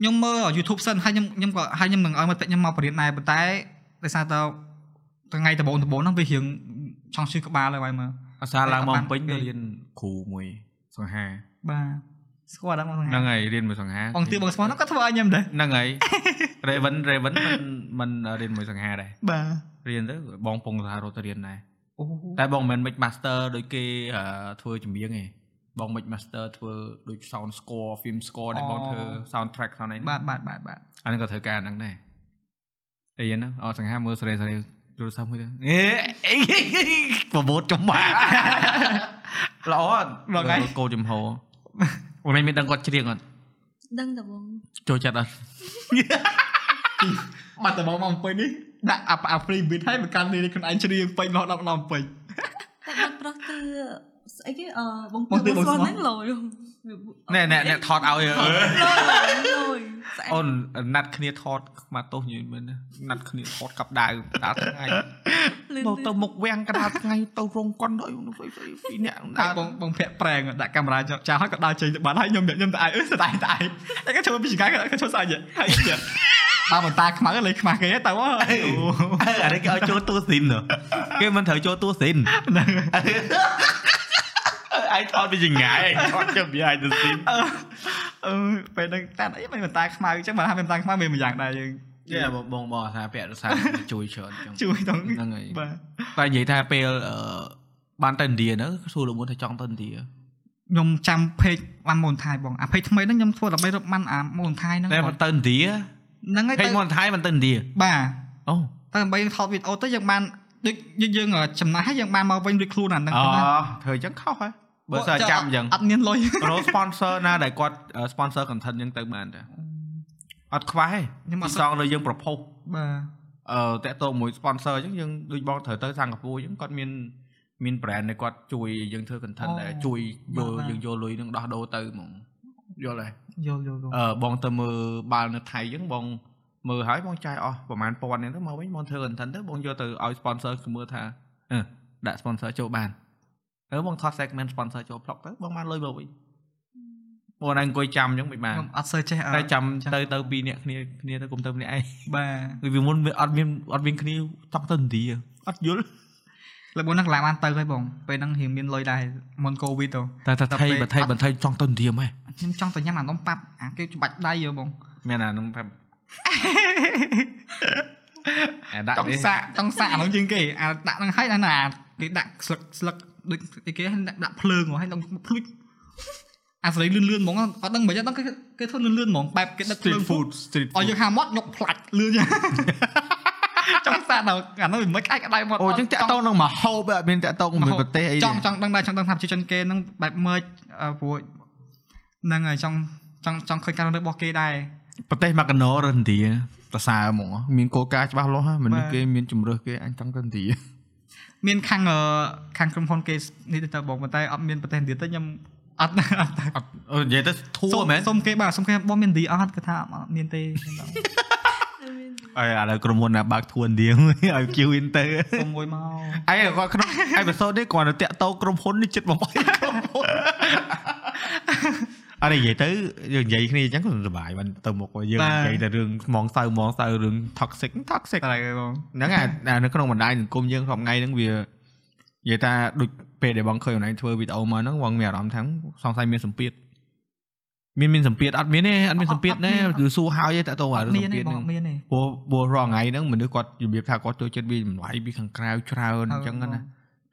S2: ខ្ញុំមើល YouTube សិនហើយខ្ញុំខ្ញុំក៏ហើយខ្ញុំនឹងឲ្យមិត្តភក្តិខ្ញុំមកបរៀនដែរប៉ុន្តែដោយសារតែថ្ងៃដំបូងដំបូងហ្នឹងវារៀងចង់ឈឺក្បាលហើយហើយមើល
S1: អាសាឡើងមក
S2: បាន
S1: ពេញ
S2: ពេ
S1: ទៅ
S2: ក
S1: រៀនគ្រូមួយសង្ហា
S2: បាទស្គាល់ដល់មក
S1: ហ្នឹងហើយរៀនមួយសង្ហា
S2: បងទីបងស្មោះហ្នឹងក៏ធ្វើឲ្យខ្ញុំដែរ
S1: ហ្នឹងហើយ Raven Raven មិនមិនរៀនមួយសង្ហាដែរ
S2: បាទ
S1: រៀនទៅបងពងសារត់ទៅរៀនដែរ
S2: អូ
S1: តែបងមិនមែន mix master ដូចគេអឺធ្វើចម្រៀងទេបង mix master ធ្វើដូច sound score film score ដែលបងធ្វើ sound track ហ្នឹងឯង
S2: បាទបាទបាទបាទ
S1: អាហ្នឹងក៏ធ្វើការហ្នឹងដែរតែយិនណាអត់សង្ហាមើលសរេសរេទូរស័ព្ទមួយទៅអេអេប្រមូតចំបាក់ ល្អអត់កោចំហអូនមានដឹងគាត់ច្រៀងអត់
S3: ដឹងតើបង
S1: ចូលចិត្តអត់
S2: បាត់ដំបងមកអំពេញនេះដាក់អាប់អា free beat ឲ្យមកកាន់នេះខ្លួនឯងជ្រៀងពេញលោះដល់ដល់អំពេញ
S3: តែបាត់ប្រុសគឺស្អីគេអឺបង
S2: បងទឿ
S3: ពូបង
S2: បងស្គាល់
S3: ស្គាល់ហ្នឹងលយ
S1: ណែណែណែថតឲ្យ
S3: លយស្អី
S1: អូនណាត់គ្នាថតខ្មាទោសញីមែនណាត់គ្នាថតកັບដៅដល់ថ្ងៃ
S3: លឿន
S1: មកទៅមុខវាំងកណ្ដាលថ្ងៃទៅរោងកុនដល់ពីរនាក់
S2: តែបងបងភាក់ប្រែងដាក់កាមេរ៉ាចោលចោលហើយក៏ដើរចេញទៅបាត់ហើយខ្ញុំខ្ញុំតែអាយអឺស្ដាយតែអាយតែក៏ចូលពីចង្កាក៏ចូលស្អាយហើយទៀតបើមិនតាខ្មៅលេងខ្មាស់គេទៅអូ
S1: អានេះគេឲ្យចូលតួស៊ីនហ៎ គេមិនត្រូវចូលតួស៊ីន
S2: ហ្នឹង
S1: អាយថតវាចង្ងាយថតចាំវាឲ្យតួស៊ីន
S2: អឺពេលហ្នឹងតាអីមិនតាខ្មៅអញ្ចឹងបើថាមិនតាខ្មៅមានមួយយ៉ាងដែរយើង
S1: ចេះបងបងអាសាពាក់រ សាជួយច្រើនចឹង
S2: ជួយទៅ
S1: ហ្នឹងហើយ
S2: បាទ
S1: តែនិយាយថាពេលអឺបានទៅឥណ្ឌាហ្នឹងសួរលោកមុនថាចង់ទៅឥណ្ឌា
S2: ខ្ញុំចាំពេកបានមូនថៃបងអាពេកថ្មីហ្នឹងខ្ញុំធ្វើដើម្បីរកបានអាមូនថៃហ្នឹង
S1: តែមកទៅឥណ្ឌា
S2: ហ្នឹងហើយ
S1: ហេ
S2: ទៅ
S1: តុមកថៃមិនទៅឥណ្ឌា
S2: បាទ
S1: អូ
S2: តែដើម្បីថតវីដេអូទៅយើងបានដូចយើងចំណាយហើយយើងបានមកវិញដូចខ្លួនអាហ្នឹង
S1: អូធ្វើចឹងខុសហើយបើសិនចាំចឹង
S2: អត់មាន លុយ
S1: រក sponsor ណាដែលគាត់ sponsor content ចឹងទៅបានតាអត់ខ្វះទេ
S2: ខ្ញុំអត់
S1: សងលើយើងប្រភព
S2: បាទ
S1: អឺតាក់ទងមួយ sponsor អញ្ចឹងយើងដូចបងត្រូវទៅសិង្ហបុរីអញ្ចឹងគាត់មានមាន brand ដែលគាត់ជួយឲ្យយើងធ្វើ content
S2: អូ
S1: ដែលជួយយ
S2: បាទ
S1: ល់
S2: បាទ
S1: យើងយកលុយនឹងដោះដូរទៅហ្មងយល់ហើយ
S2: យល់យល់យល់
S1: អឺបងទៅមើលបាល់នៅថៃអញ្ចឹងបងមើលហើយបងចាយអស់ប្រហែល1000ហ្នឹងទៅមកវិញបងធ្វើ content ទៅបងយកទៅឲ្យ sponsor គឺមើលថាអឺដាក់ sponsor ចូលបានហើយបងថត segment sponsor ចូល vlog ទៅបងបានលុយមកវិញបងណាអង្គុយចាំអញ្ចឹងមិនបាន
S2: ខ្ញុំអត់សូវចេះអឺ
S1: តែចាំទៅទៅពីរអ្នកគ្នាគ្នាទៅគុំទៅម្នាក់ឯង
S2: បាទ
S1: វាមុនវាអត់មានអត់មានគ្នាចង់ទៅឥណ្ឌាអត់យល់
S2: លើមុនហ្នឹងឡើងបានទៅហើយបងពេលហ្នឹងរៀងមានលុយដែរមុនកូវីដទៅ
S1: តែតែ
S2: តែ
S1: ថៃ
S2: ពេល
S1: បើថៃ
S2: អត់
S1: បើថៃចង់ទៅឥណ្ឌាហ្មង
S2: ខ្ញុំចង់ទៅញ៉ាំអានំប៉ាប់អាគេច្បាច់ដៃយោ បង
S1: មានអានឹងប្រាប់អាដាក់
S2: ចង់
S1: នេះ
S2: សាក់ចង់សាក់អានោះជាងគេអាដាក់ហ្នឹងហើយអាណាគេដាក់ស្លឹកស្លឹកដូចអីគេហើយដាក់ដាក់ភ្លើងហ៎ហើយដល់ភ្លុចអាសរីលឿនលឿនហ្មងអត់ដឹងមិនយ៉ាងដល់គេគេធ្វើលឿនលឿនហ្មងបែបគេដឹកភ្លើ
S1: street
S2: ង
S1: food street
S2: ឲ្យយើ
S1: food
S2: ងហាមាត់យកផ្លាច់លឿន ចង់សាកដល់អានោះវាមិនអាចក្តៅមក
S1: អូចឹងតាក់តងនឹងមហូបអត់មានតាក់តងនឹងប្រទេសអី
S2: ចង់ចង់ដឹងដែរចង់ដឹងថាប្រជាជនគេហ្នឹងបែបមើលព្រោះហ្នឹងហើយចង់ចង់ចង់ឃើញការរស់នៅរបស់គេដែរ
S1: ប្រទេសម៉ាកាណូឬឥណ្ឌាប្រសើរហ្មងមានគោលការណ៍ច្បាស់លាស់ហ្នឹងមនុ
S2: បា
S1: ស្ស
S2: ទ
S1: គេមានជំរឿសគេអញចង់ទៅឥណ្ឌា
S2: មានខាងអឺខាងក្រុមហ៊ុនគេនេះទៅបងប៉ុន្តែអត់មានប្រទេសឥណ្ឌាទេខ្ញុំ អត់អត់
S5: អត់អឺនិយាយទៅធួ
S2: សុំ
S5: មែន
S2: សុំគេបាទសុំគេបងមានឌីអត់គេថាអត់មានទេខ្ញុំដឹង
S5: អីឥឡូវក្រុមហ៊ុនណាបើកធួឥណ្ឌា មួយឲ្យ queue in ទៅ
S2: សុំមួយមក
S1: ឯងគាត់ក្នុងអេពីសូតនេះគាត់នៅតាក់តងក្រុមហ៊ុននេះចិត្តបំផុតក្រុមហ៊ុន
S5: អរិនិយាយទៅយើងនិយាយគ្នាអញ្ចឹងក៏សុបាយមិនទៅមុខយើងនិយាយតែរឿងខ្មងសៅហ្មងសៅរឿង toxic toxic
S2: តែគេបង
S1: ហ្នឹងអាអានៅក្នុងបណ្ដាញសង្គមយើងក្នុងថ្ងៃហ្នឹងវានិយាយថាដូចពេលដែលបងឃើញអនឡាញធ្វើវីដេអូមកហ្នឹងបងមានអារម្មណ៍ថាសង្ស័យមានសម្ពាធមានមានសម្ពាធអត់មានទេអត់មានសម្ពាធទេគឺសួរហើយតែតោះអារឿង
S2: មាន
S1: ស
S2: ទេ
S1: ម្ពាធ
S2: បង
S1: ហ្នឹង
S2: អត់មានទេ
S1: ព្រោះព្រោះរាល់ថ្ងៃហ្នឹងមនុស្សគាត់របៀបថាគាត់ចូលចិត្តវាចម្លៃពីខាងក្រៅច្រើនអញ្ចឹងណា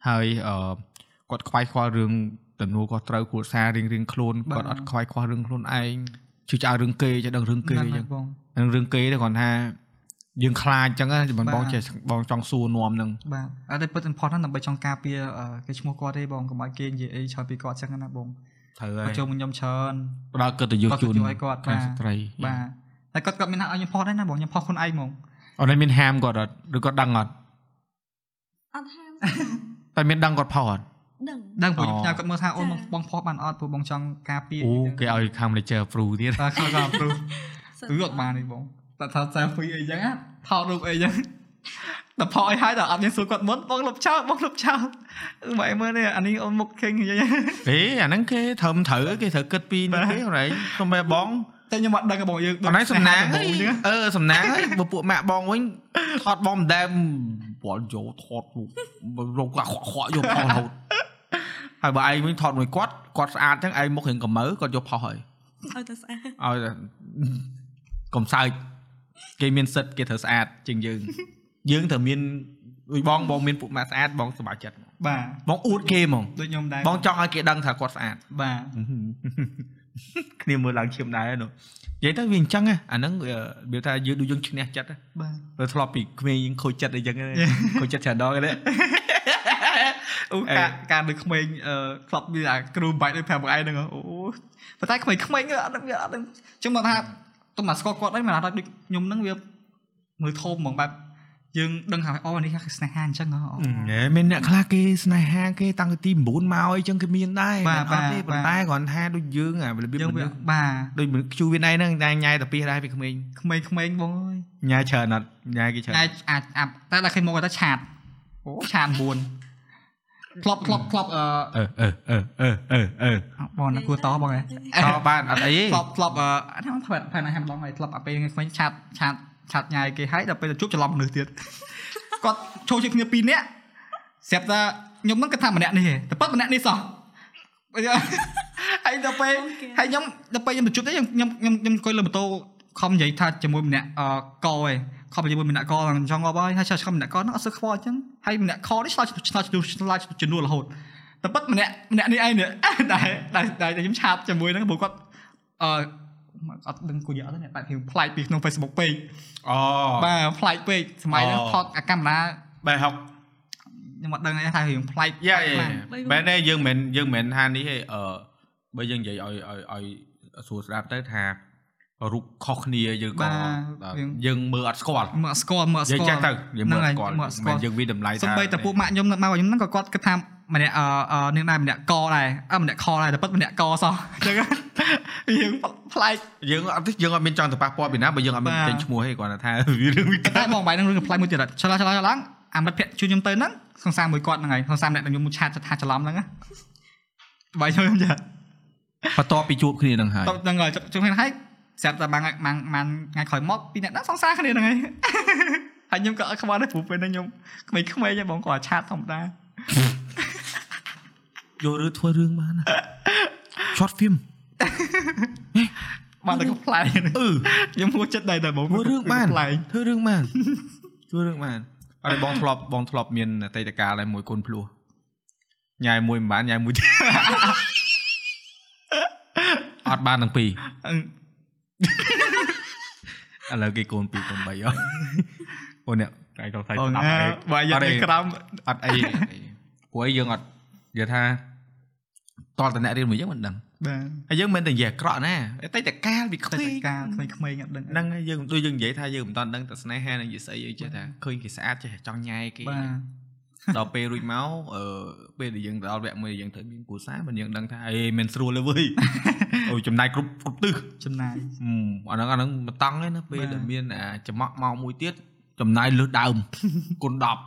S1: ហើយអឺគាត់ខ្វាយខ្វល់រឿងទំនួលគាត់ត្រូវគ្រួសាររៀងរៀងខ្លួន
S2: បាទ
S1: គាត់អត់ខ្វាយខ្វល់រឿងខ្លួនឯងជឿឆ្អើរឿងគេចេះដឹងរឿងគេអញ្ចឹង
S2: បង
S1: ហ្នឹងរឿងគេទៅគាត់ថាយើងខ្លាចអញ្ចឹងណាបងប
S2: បា
S1: ង
S2: ទ
S1: ចេះបងចង់សួរនាំហ្នឹង
S2: បាទអត់តែពិតសំផុតណាស់ដើម្បីចង់ការពារអឺគេឈ្មោះគាត់ទេបងកុំឲ្យគេនិយាយអីច្រើនពីគាត់ចឹងណាបង
S1: ត្រូវហើយ
S2: គាត់ចូលមកខ្ញុំច្រើន
S5: ផ្ដល់កិត្តិយស
S2: គាត់
S5: ជូន
S2: ទៅជួយឲ្យគាត់
S1: ខា
S2: បា
S1: ង
S2: ទ
S1: ស្ត្រី
S2: បាទតែគាត់គាត់មានហៅឲ្យខ្ញុំផុសដែរណាបងខ្ញុំផុសខ្លួនឯងហ្មង
S1: អត់ឲ្យមានហាមគាត់អត់ឬគាត់ដឹងអត់
S3: អត់ហាម
S1: តែមានដឹងគាត់ផុសអត់
S3: ដឹង
S2: ដឹងព្រោះ
S1: អូ
S2: ខ្ញុំផ្ញើគាត់មើលថាអូនបង
S3: ចា៎
S2: បងផុសបានអត់ព្រោះបងចង់ការពារ
S1: អូគេឲ្យខាង manager approve ទៀត
S2: តែខ្ញុំក៏ព្រោះគឺអត់បានទេបងតែថតសាហ្វីអីចឹងណាថតរូបអីចឹងតែផុសឲ្យហើយតែអត់មានសួរគាត់មុនបងលុបចោលបងលុបចោលម៉ែមើលនេះអានេះអូនមុខខេងនិយាយ
S1: ហេអាហ្នឹងគេត្រឹមត្រូវគេត្រូវគិតពីនេះគេហ្នឹងឯងខ្ញុំបែបបង
S2: តែខ្ញុំអត់ដឹងទេបងយើង
S1: អត់ហើយសំណាង
S2: ដ
S1: អី
S2: ង
S1: អឺសំណាងហើយ បើពួកម៉ាក់បងវិញថតបងម្ដែម បលយោថតពួករោគខ្វក់ខ្វក់យកផុសរហូត ហើយបើឯងវិញថតមួយគាត់គាត់ស្អាតចឹងឯងមុខរៀងកម្មើគាត់យកផុសហើយ
S3: ឲ្យតែស្អាត
S1: ឲ្យ តែកុំសើចគេមានសិទ្ធគេត្រូវស្អាតជាង យើង យើងត្រូវមានដូចបងបងមានពួកម៉ាក់ស្អាតបងសប្បាយចិត្ត
S2: បាទ
S1: បងអួតគេហ្មង
S2: ដូចខ្ញុំដែរ
S1: បងចង់ឲ្យគេដឹងថាគាត់ស្អាត
S2: បាទ
S1: គ្នាមើលឡើងឈាមដែរនោះនិយាយទៅវាអញ្ចឹងណាអាហ្នឹងវាវាថាយើងដូចយើងឈ្នះចិត្តណា
S2: បាទ
S1: ទៅធ្លាប់ពីក្មេងយើងខូចចិត្តអីចឹងណា ខូចចិត្តច្រើនដងហ្នឹង
S2: អូ
S1: អេ
S2: ការការដូចក្មេងអឺក្លប់វាអាគ្រូបាច់ដូចប្រាប់បងឯងហ្នឹងអូប៉ុន្តែក្មេងក្មេងៗអត់ដឹងវាអត់ដឹងចឹងមកថាទុំមកស្គាល់គាត់អីមិនថាដូចខ្ញុំហ្នឹងវាមើលធំហ្មងបែបយើងដឹងថាអូនេះគេស្នេហាអញ្ចឹងហ៎អូ
S1: ហេមានអ្នកខ្លះគេស្នេហាគេតាំងពីទី9មកអីចឹងគេមានដែរ
S2: បា
S1: មែ
S2: ទ
S1: នអត់ទេ
S2: បាទ
S1: ប៉ុន្តែគ្រាន់ថាដូចយើងអារបៀប
S2: យើង
S1: ម
S2: វា
S1: នុស្ស
S2: បា
S1: ដូចមនុស្សខ្ជូរវាណៃហ្នឹងតែញ៉ាយតាពីដែរពីក្មេង
S2: ទក្មេងក្មេងៗបងអើយ
S1: ញ៉ាយច្រើនអត់ញ៉ាយគេច្រើន
S2: អាចអាចអាប់តែដល់គេមកគាត់ថាឆាតអូឆាត9ក្លប់ក្លប់ក្លប់អឺ
S5: អឺអឺអឺអឺអឺអឺ
S2: បងណាគួរតបងហ៎
S1: តបានអត់អី
S2: ធ្លាប់ធ្លាប់អឺអត់ហ្នឹងផ្លែផ្លែណាហាំឡងហើយធ្លាប់អាពេលខ្ញុំឆ្លាតឆ្លាតឆ្លាតញ៉ាយគេហើយដល់ពេលទៅជួបច្រឡំមនុស្សទៀតគាត់ចូលជាគ្នាពីរនាក់ស្រាប់តែខ្ញុំហ្នឹងគាត់ថាម្នាក់នេះឯងតែប៉ិតម្នាក់នេះសោះហើយដល់ពេលហើយខ្ញុំដល់ពេលខ្ញុំទៅជួបទៅខ្ញុំខ្ញុំខ្ញុំអង្គុយលើម៉ូតូខំនិយាយថាជាមួយម្នាក់អកឯងខំជាមួយម្នាក់កហ្នឹងចង់អបហើយហើយឆ្លាតឆ្លាតម្នាក់កហ្នឹងអត់សឹកខ្វល់អញ្ចឹងហើយម្នាក់ខនេះឆ្លាតឆ្លាតឆ្លាតជំនួសរហូតតែប៉ិតម្នាក់ម្នាក់នេះឯងដែរដែរខ្ញុំឆាតជាមួយហ្នឹងព្រោះគាត់ អឺមកអត់ដឹងគូយកអត់ទេអ្នកបែបភាពប្លែកពីក្នុង Facebook ពេក
S1: អូ
S2: បាទប្លែកពេកសម័យហ្នឹង
S1: អូ
S2: ថតអាកាមេរ៉ា
S1: បែរហុក
S2: ខ្ញុំអត់ដឹងទេថារឿងប្លែក
S1: យ៉ា
S2: ខ្លាំង
S1: មែនទេយើងមិនយើងមិនថានេះទេអឺបើយើងនិយាយឲ្យឲ្យឲ្យស្រួលស្ដាប់ទៅថារូបខុសគ្នាយើងក៏យើងមើលអត់ស្គាល់
S2: មកអត់ស្គាល់មកអត់
S1: និយាយ
S2: ស្គាល់
S1: ចឹងទៅយើងមើលអត់ស្គាល់
S2: ហ្នឹងហើយមើលអ
S1: មិន
S2: ត់ស្គាល់
S1: យើងវាតម្លៃថា
S2: សំបីតែពួកម៉ាក់ខ្ញុំនៅមកខ្ញុំហ្នឹងក៏គាត់គិតថាម្នាក់អឺអឺនឹងដែរម្នាក់កដែរអឺម្នាក់ខដែរតែប៉ិតម្នាក់ក សោះអញ្ចឹងរឿងប្លែក
S1: យើងអត់ទេយើងអត់មានចង់ទៅប៉ះពាល់ពីណាបើយើងអត់មាន
S2: បាទ
S1: ចេញឈ្មោះទេគ្រាន់តែថា វារឿងវា
S2: តែបងបាយហ្នឹងរឿងប្លែកមួយទៀតឆ្លាឆ្លាឆ្លាអាមិត្តភក្តិជួយខ្ញុំទៅហ្នឹងសង្សារមួយគាត់ហ្នឹងហើយសង្សារម្នាក់ដែលខ្ញុំឆាតថាច្រឡំហ្នឹងណាបាយជួយខ្ញុំចា
S1: បន្ទាប់ពីជួបគ្នានឹងហើយ
S2: តបហ្នឹងហើយជជុំគ្នាហើយស្រាប់តែមួយថ្ងៃមួយមួយថ្ងៃក្រោយមកពីរអ្នកហ្នឹងសង្សារគ្នាហ្នឹង ហើយ ហើយខ្ញុំក៏អត់ខ្វល់ដែរព្រោះពេលហ្នឹងខ្ញុំក្មេងៗហ្នឹងបងគាត់ឆាតធម្មតា
S1: យករឿងធ្វើរឿងបាន short film
S2: បានតែខ្លែង
S1: អឺ
S2: ខ្ញុំហួចចិត្តដែរតែបង
S1: ធ្វើរឿងបាន
S2: ខ្លែង
S1: ធ្វើរឿងបាន ធ្វើរឿងបានអត់ឲ្យបងធ្លាប់បងធ្លាប់មានអតីតកាលតែមួយកូនភ្លោះញ៉ាយមួយមិនបានញ៉ាយមួយ ទៀត អត់បានទាំងពីរ ឥ
S2: អឺ
S1: ឡូវគេកូន2កូន3អស់អូនអ្នក ឯងក៏ខ្សែ
S2: បង
S1: ស្ដាប់
S2: ណា
S1: ឯង
S2: បើយើង
S1: អត់ទេ
S2: នេះក្រោម
S1: អត់អីព្រោះឯងយើងអត់និយាយថាតលតអ្នករៀនមួយយើងមិនដឹង
S2: បាទ
S1: ហើយយើងមិនតែនិយាយអាក្រក់ណាតែតែកាលវា
S2: តែ
S1: ខ្វេ
S2: តែ
S1: ង
S2: ការក្មេងៗអត់ដឹង
S1: ហ្នឹងហើយ
S2: ហ្នឹង
S1: យើងដូចយើងនិយាយថាយើងមិនតាន់ដឹងតែស្នេហានឹងនិយាយស្អីយើងចេះថាឃើញគេស្អាតចេះតែចង់ញ៉ែគេ
S2: បាទ
S1: ដល់ពេលរួចមកអឺពេលដែលយើងទៅដល់វគ្គមួយដែលយើងត្រូវមានគូសារមិនយើងដឹងថាអេមិនស្រួលទេ វើយ អូចំណាយគ្រប់គ្រប់ទិស
S2: ចំណាយ
S1: ហឹមអាហ្នឹងអាហ្នឹងមិនតង់ទេណាពេល
S2: បាទ
S1: ដែលមានអាចំមាក់មកមួយទៀតចំណាយលើសដើម គុណ10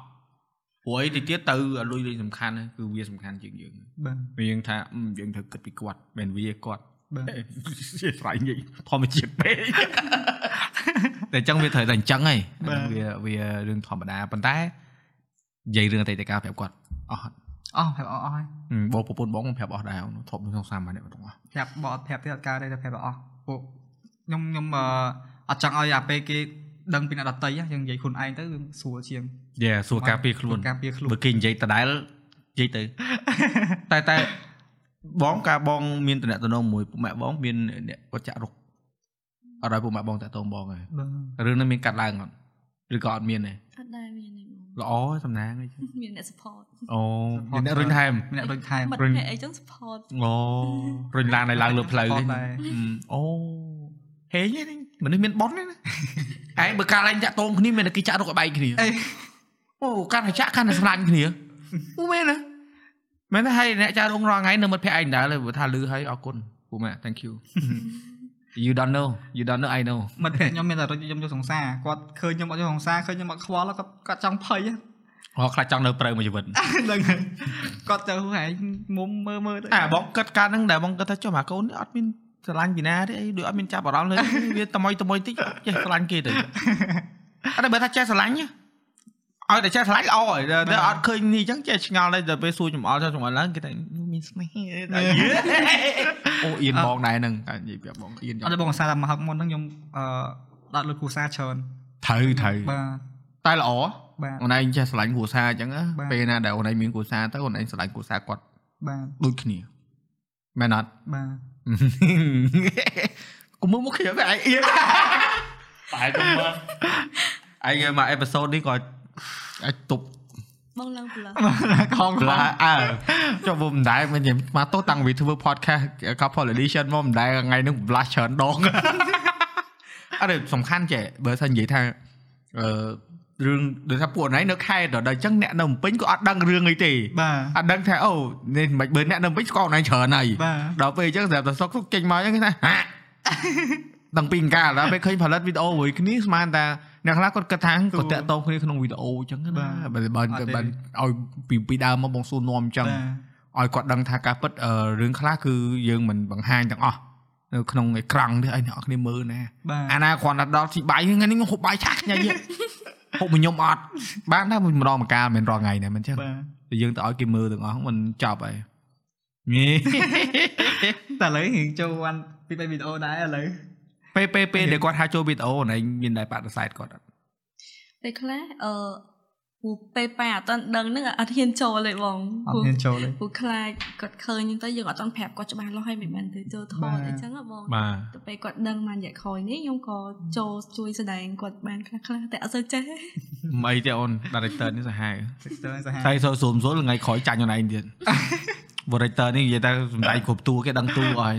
S1: ព្រោះអីទីទៀតទៅអាលុយលុយសំខាន់ណាគឺវាសំខាន់ជាងយើង
S2: បាទ
S1: វាយើងថាហឹមយើងត្រូវគិតពីគាត់មិនមែនវាគាត់
S2: បាទ
S1: ជាស្រ័យនិយាយធម្មជាតិពេកតែអ ញ្ចឹងវាត្រូវតែអញ្ចឹងហី
S2: បាទ
S1: វាវារឿងធម្មតាប៉ុន្តែនិយាយរឿងអតីតកាលប្រាប់គាត់អស់
S2: អស់ហើយអស់ហើយ
S1: ហឹមបងប្រពន្ធបងប្រាប់អស់ដែរធប់ក្នុងសាមញ្ញទាំងអស់
S2: ប្រាប់បអត់ប្រាប់ទេអត់កើតទេតែប្រាប់អស់ពួកខ្ញុំខ្ញុំអឺអត់ចង់ឲ្យអាពេលគេដឹងពីអ្នកដតីយើងនិយាយខ្លួនឯងទៅវាស្រួលជាង
S1: យេសួរការពារខ្លួន
S2: ការពារខ្លួន
S1: បើគេនិយាយដដែលនិ យាយទៅ តែតែបងការបងមានតំណែងតំណងមួយពុកម៉ែបងមានអ្នកវច្ចៈរុកអត់ឲ្យពុកម៉ែបងតាក់ទងបងហ
S2: បាទ
S1: ៎រឿងហ្នឹងមានកាត់ឡើងអត់ឬក៏អត់មានទេ
S3: អត់ដែរមានទេបង
S1: ល្អសំណាងហី
S3: មានអ្នក support
S1: អូមានអ្នក
S2: Support
S1: រុញថែម
S2: មានអ្នកដូចថែម
S3: មិត្តភក្តិអីចឹង support
S1: អូរុញឡានឲ្យឡើងលើផ្លូវ
S2: អ
S1: ហី
S2: ត់ដែរ
S1: អូហេងហីនេះមនុស្សមានប៉ុនណា ឯងបើកាលឯងចាក់តងគ្នាមានតែគេចាក់រុកឲ្យបែកគ្នា
S2: អេ
S1: អូកាន់តែចាក់កាន់តែស្លាញ់គ្នាអូមែនណាមែនទេហើយអ្នកចាក់រុងរាល់ថ្ងៃនៅមិត្តភក្តិឯងដដែលព្រោះថាលឺហើយអរគុណពូម៉ែ thank you you don't know you don't know i know
S2: មិត្តភក្តិខ្ញុំមានតែរត់ខ្ញុំយកសង្សារគាត់ឃើញខ្ញុំអត់យកសង្សារឃើញខ្ញុំអត់ខ្វល់គាត់គាត់ចង់ភ័យហ៎
S1: ហោះខ្លាចចង់នៅប្រៅមួយជីវិត
S2: ហ្នឹងហើយគាត់ទៅហែងមុំមើលមើលទៅ
S1: តែបងគិតការហ្នឹងដែរបងគិតថាចុះមកកូននេះអត់មានស្រឡាញ់ពីណាទេអីដូចអត់មានចាប់អារម្មណ៍លើ គេវាត្មយត្មយតិចចេះស្រឡាញ់ គេទៅ អត់ដឹងបើថាចេះស្រឡាញ់ណាឲ្យតែចេះស្រឡាញ់ល្អហើយតែអត់ឃើញនេះអញ្ចឹងចេះឆ្ង ល់ដែរដល់ពេលសួរចំអល់ចោះចំអល់ឡើងគេថាមានស្នេ ហ៍ដែរអូអៀនបង ដែរហ្នឹងតែនិយាយប្រាប់បងអៀន
S2: អត់ទេបងឧស្សាហ៍តែមកហឹកមុនហ្នឹងខ្ញុំអឺដាក់លុយគូសារច្រើន
S1: ត្រូវត្រូវ
S2: បាទ
S1: តែល្អ
S2: បាទ
S1: អូនឯងចេះស្រឡាញ់គ្រួសារអញ្ចឹងណា
S2: បាទ
S1: ពេលណាដែលអូនឯងមានគ្រួសារទៅអូនឯងស្រឡាញ់គ្រួសារគាត់
S2: បាទ
S1: ដូចគ្នាមែនអត់
S2: បាទ
S1: កុំមើលមកខ្ញុំឯងអៀន
S6: តែ ទៅមើល
S1: ឯងមកអេពីសូតនេះក៏អាចទប់
S3: បងឡើងប្លាស់
S2: ខំ
S1: ឡា
S2: ឡា
S1: អើចុះមិនដែរមិនញ៉ាំមកទោះតាំងពីធ្វើ podcast កប់ politician មកមិនដែរថ្ងៃហ្នឹង blast ច្រើនដ ងអត់ទេសំខាន់ចេះបើសិននិយាយថាអឺរឿងដូចថាពួកណៃនៅខេត្តដល់អញ្ចឹងអ្នកនៅភ្នំពេញក៏អត់ដឹងរឿងអីទេ
S2: បាទ
S1: អត់ដឹងថាអូនេះមិនបើអ្នកនៅភ្នំពេញស្គាល់ណៃច្រើនហើយ
S2: បាទ
S1: ដល់ពេលអញ្ចឹងសម្រាប់តែសុកសុកចេញមកអញ្ចឹងគេថាហា ដឹងពីអង្ការដល់ពេលឃើញផលិតវីដេអូមួយគ្នាស្មានតាអ្នកខ្លះគាត់គិតថាគាត់តាក់ទងគ្នាក្នុងវីដេអូអញ្ចឹងណាបើបើឲ្យពីពីដើមមកបងសួរនំអញ្ចឹង
S2: បាទ
S1: ឲ្យគាត់ដឹងថាការពិតអឺរឿងខ្លះគឺយើងមិនបង្ហាញទាំងអស់នៅក្នុងអេក្រង់ទេឲ្យអ្នកនរគ្នាមើលណា
S2: បាទ
S1: អាណាគ្រាន់តែដល់ទីបាយហ្នឹងថ្ងៃនេះខ្ញុំហូបបាយឆាក់ញ៉ៃទៀតហូបមួយញុំអត់បានតែរម្ដងម្កាលមិនមែនរាល់ថ្ងៃណាមិនចឹង
S2: បាទ
S1: តែយើងទៅឲ្យគេមើលទាំងអស់ហ្នឹងមិនចប់ហើយញី
S2: តែឥឡូវរៀងចូលវ៉ាន់ពីបីវីដេអូដែរឥឡូវ
S1: ពេលពេលពេលដែលគាត់ហៅចូលវីដេអូណៃមានដែរបដិសេធគាត់អត់
S3: ពេលខ្លះអឺពូពេលប៉ែអត់ទាន់ដឹងហ្នឹងអត់ហ៊ានចូលទេបង
S2: អត់
S3: ព្រោះ
S2: ហ៊ានចូលទេ
S3: ពូខ្លាចគាត់ឃើញហ្នឹងទៅយើងអត់ទាន់ប្រាប់គាត់ច្បាស់លាស់ហើយមិនបានទៅចូលថ
S2: បា
S3: ត
S2: ទ
S3: អីចឹងហ៎បង
S1: បាទ
S3: ទៅពេលគាត់ដឹងមករយៈក្រោយនេះខ្ញុំក៏ចូលជួយសម្ដែងគាត់បានខ្លះខ្លះៗតែអត់សូវចេះ ទេ
S1: មិនអីទេអូន director នេះសាហាវ
S2: ទៅសាហាវ
S1: តែសូសូមសូលថ្ងៃក្រោយចាញ់ខ្លួនឯងទៀត Vorator នេះនិយាយតែសំដាយគ្រប់តួគេដឹងតួហើយ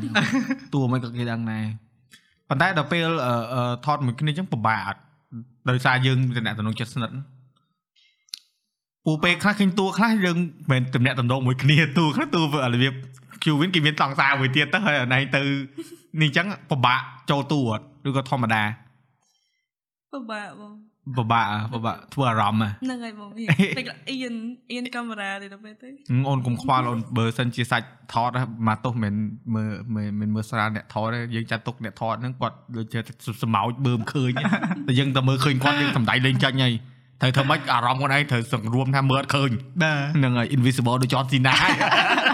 S1: តួមិនក៏គេដឹងដែរប៉ុន្តែដល់ពេលអឺអឺថតមួយគ្នាអញ្ចឹងពិបាកដោយសារយើងមានតំណែងចិត្តស្និទ្ធពូពេលខ្លះឃើញតួខ្លះយើងមិនតំណែងតំណងមួយគ្នាតួខ្លះតួវារបៀប Qwin គេមានតង់សារមួយទៀតទៅហើយអណៃទៅ នេះអញ្ចឹងពិបាកចូលតួអត់ឬក៏ធម្មតា
S3: ពិបាកបង
S1: ពិបាកអ្ហ៎ពិបាកធ្វើអារម្មណ៍ហ៎
S3: ហ្នឹងហើយ បងពេលខ្លះអៀនអៀនកាមេរ៉ាទេដល់ពេលទៅ
S1: អឺអូនកុំខ្វល់អូនបើសិនជាសាច់ថតណាមកទោះមិនមើលមិនមិនមើលស្រាលអ្នកថតទេយើងចាត់ទុកអ្នកថតហ្នឹងគាត់ដូចជាសម្ោចមើលមិនឃើញ តែយើងតែមើលឃើញគាត់យើងសំដាយលេងចាញ់ហើយត្រូវធ្វើម៉េចអារម្មណ៍ខ្លួនឯងត្រូវសង្រួមថាមើលអត់ឃើញ
S2: បាទ
S1: ហ្នឹងហើយ invisible ដូចចនស៊ីណា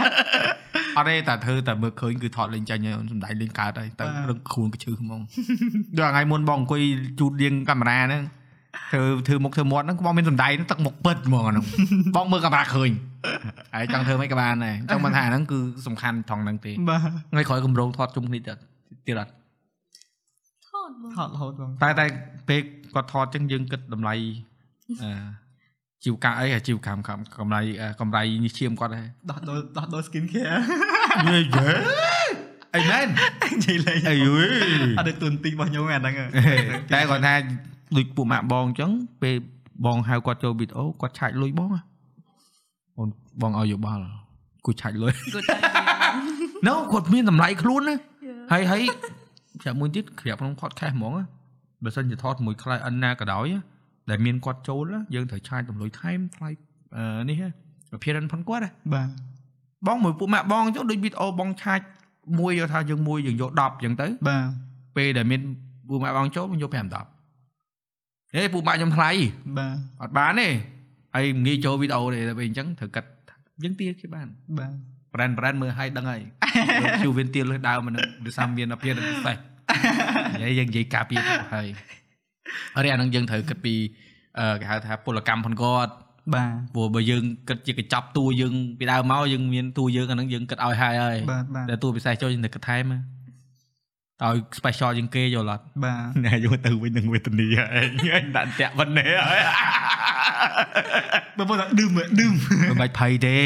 S1: អត់ទេតែធ្វើតែមើលឃើញគឺថតលេងចាញ់ហើយអូនសំដាយលេងកើតហើយទៅរឹងខ្លួនកញ្ជឺហ្មង ដល់ថ្ងៃមុនបងអង្គុយជូតលាងកាមេរ៉ាហ្នឹងធ្វើធ្វើមុខធ្វើមាត់ហ្នឹងបងមានសំដាយហ្នឹងទឹកមុខពិតហ្មងអាហ្នឹងបងមើលកាមេរ៉ាឃើញហើយចង់ធ្វើមិនក៏បានដែរចង់មិនថាអាហ្នឹងគឺសំខាន់ត្រង់ហ្នឹងទេ
S2: បាទ
S1: ថ្ងៃក្រោយគម្រោងថតជុំគ្នាទៀតទៀតអត់
S3: ថតបង
S2: ថតរហូតបង
S1: តែតែពេលគាត់ថតចឹងយើងគិតតម្លៃ អឺជីវកម្មអីអាជីវកម្មកម្មកម្រៃអឺកម្រៃញីឈាមគាត់ដែរ
S2: ដោះដូរដោះដូរ skin care
S1: យេយេអីមែន
S2: និយាយលេង
S1: អីយូយ
S2: អត់ដូចទូនទីរបស់ខ្ញុំឯអាហ្នឹងឯង
S1: តែគាត់ថាដូចពួកម៉ាក់បងអញ្ចឹងពេលបងហៅគាត់ចូលវីដេអូគាត់ឆាច់លុយបងហ៎អូនបងឲ្យយោបល់គូឆាច់លុយ
S3: គាត់តែ
S1: No គាត់មានតម្លៃខ្លួនណា ហើយហើយប្រាប់មួយទៀតក្រាប់ក្នុង podcast ហ្មងណាបើសិនជាថតជាមួយ client ណាក៏ដោយណាដែលមានគាត់ចូលណាយើងត្រូវឆាយតម្លុយថែមថ្លៃអឺនេះណា appearance ផងគាត់ណា
S2: បាទ
S1: បងមួយពួកម៉ាក់បងចុះដូចវីដេអូបងឆាយមួយយកថាយើងមួយយើងយក10អញ្ចឹងទៅ
S2: បាទ
S1: ពេលដែលមានពួកម៉ាក់បងចូលយើងយក5 10ហេពួកម៉ាក់ខ្ញុំថ្លៃ
S2: បាទ
S1: អត់បានទេហើយងាយចូលវីដេអូទេតែពេលអញ្ចឹងត្រូវកាត់ថាយើងទៀតគេបាន
S2: បាទ
S1: brand brand មើលឲ្យដឹងហើយ ជូវិនទៀលលើសដើមហ្នឹងដូចសាមមានអភិរិទ្ធពិសេសនិយាយយើងនិយាយការពារទៅហើយរីអាហ្នឹងយើងត្រូវគិតពីអឺគេហៅថាពលកម្មផងគាត់
S2: បាទ
S1: ព្រោះបើយើងគិតជាកញ្ចប់តួយើងពីដើមមកយើងមានតួយើងអាហ្នឹងយើងគិតឲ្យហើយហើយ
S2: បាទបាទ
S1: តែតួពិសេសចូលយើងទៅគិតថែមណាតើឲ្យ special ជាងគេយល់ អត់
S2: បាទ
S1: ណែយកទៅវិញនឹងវេទនីហើយឯង ដាក់តាក់ប៉ុណ្ណេះហើយ
S2: បងប្អូនថាឌឹមឌឹម
S1: មិនបាច់ភ័យទេ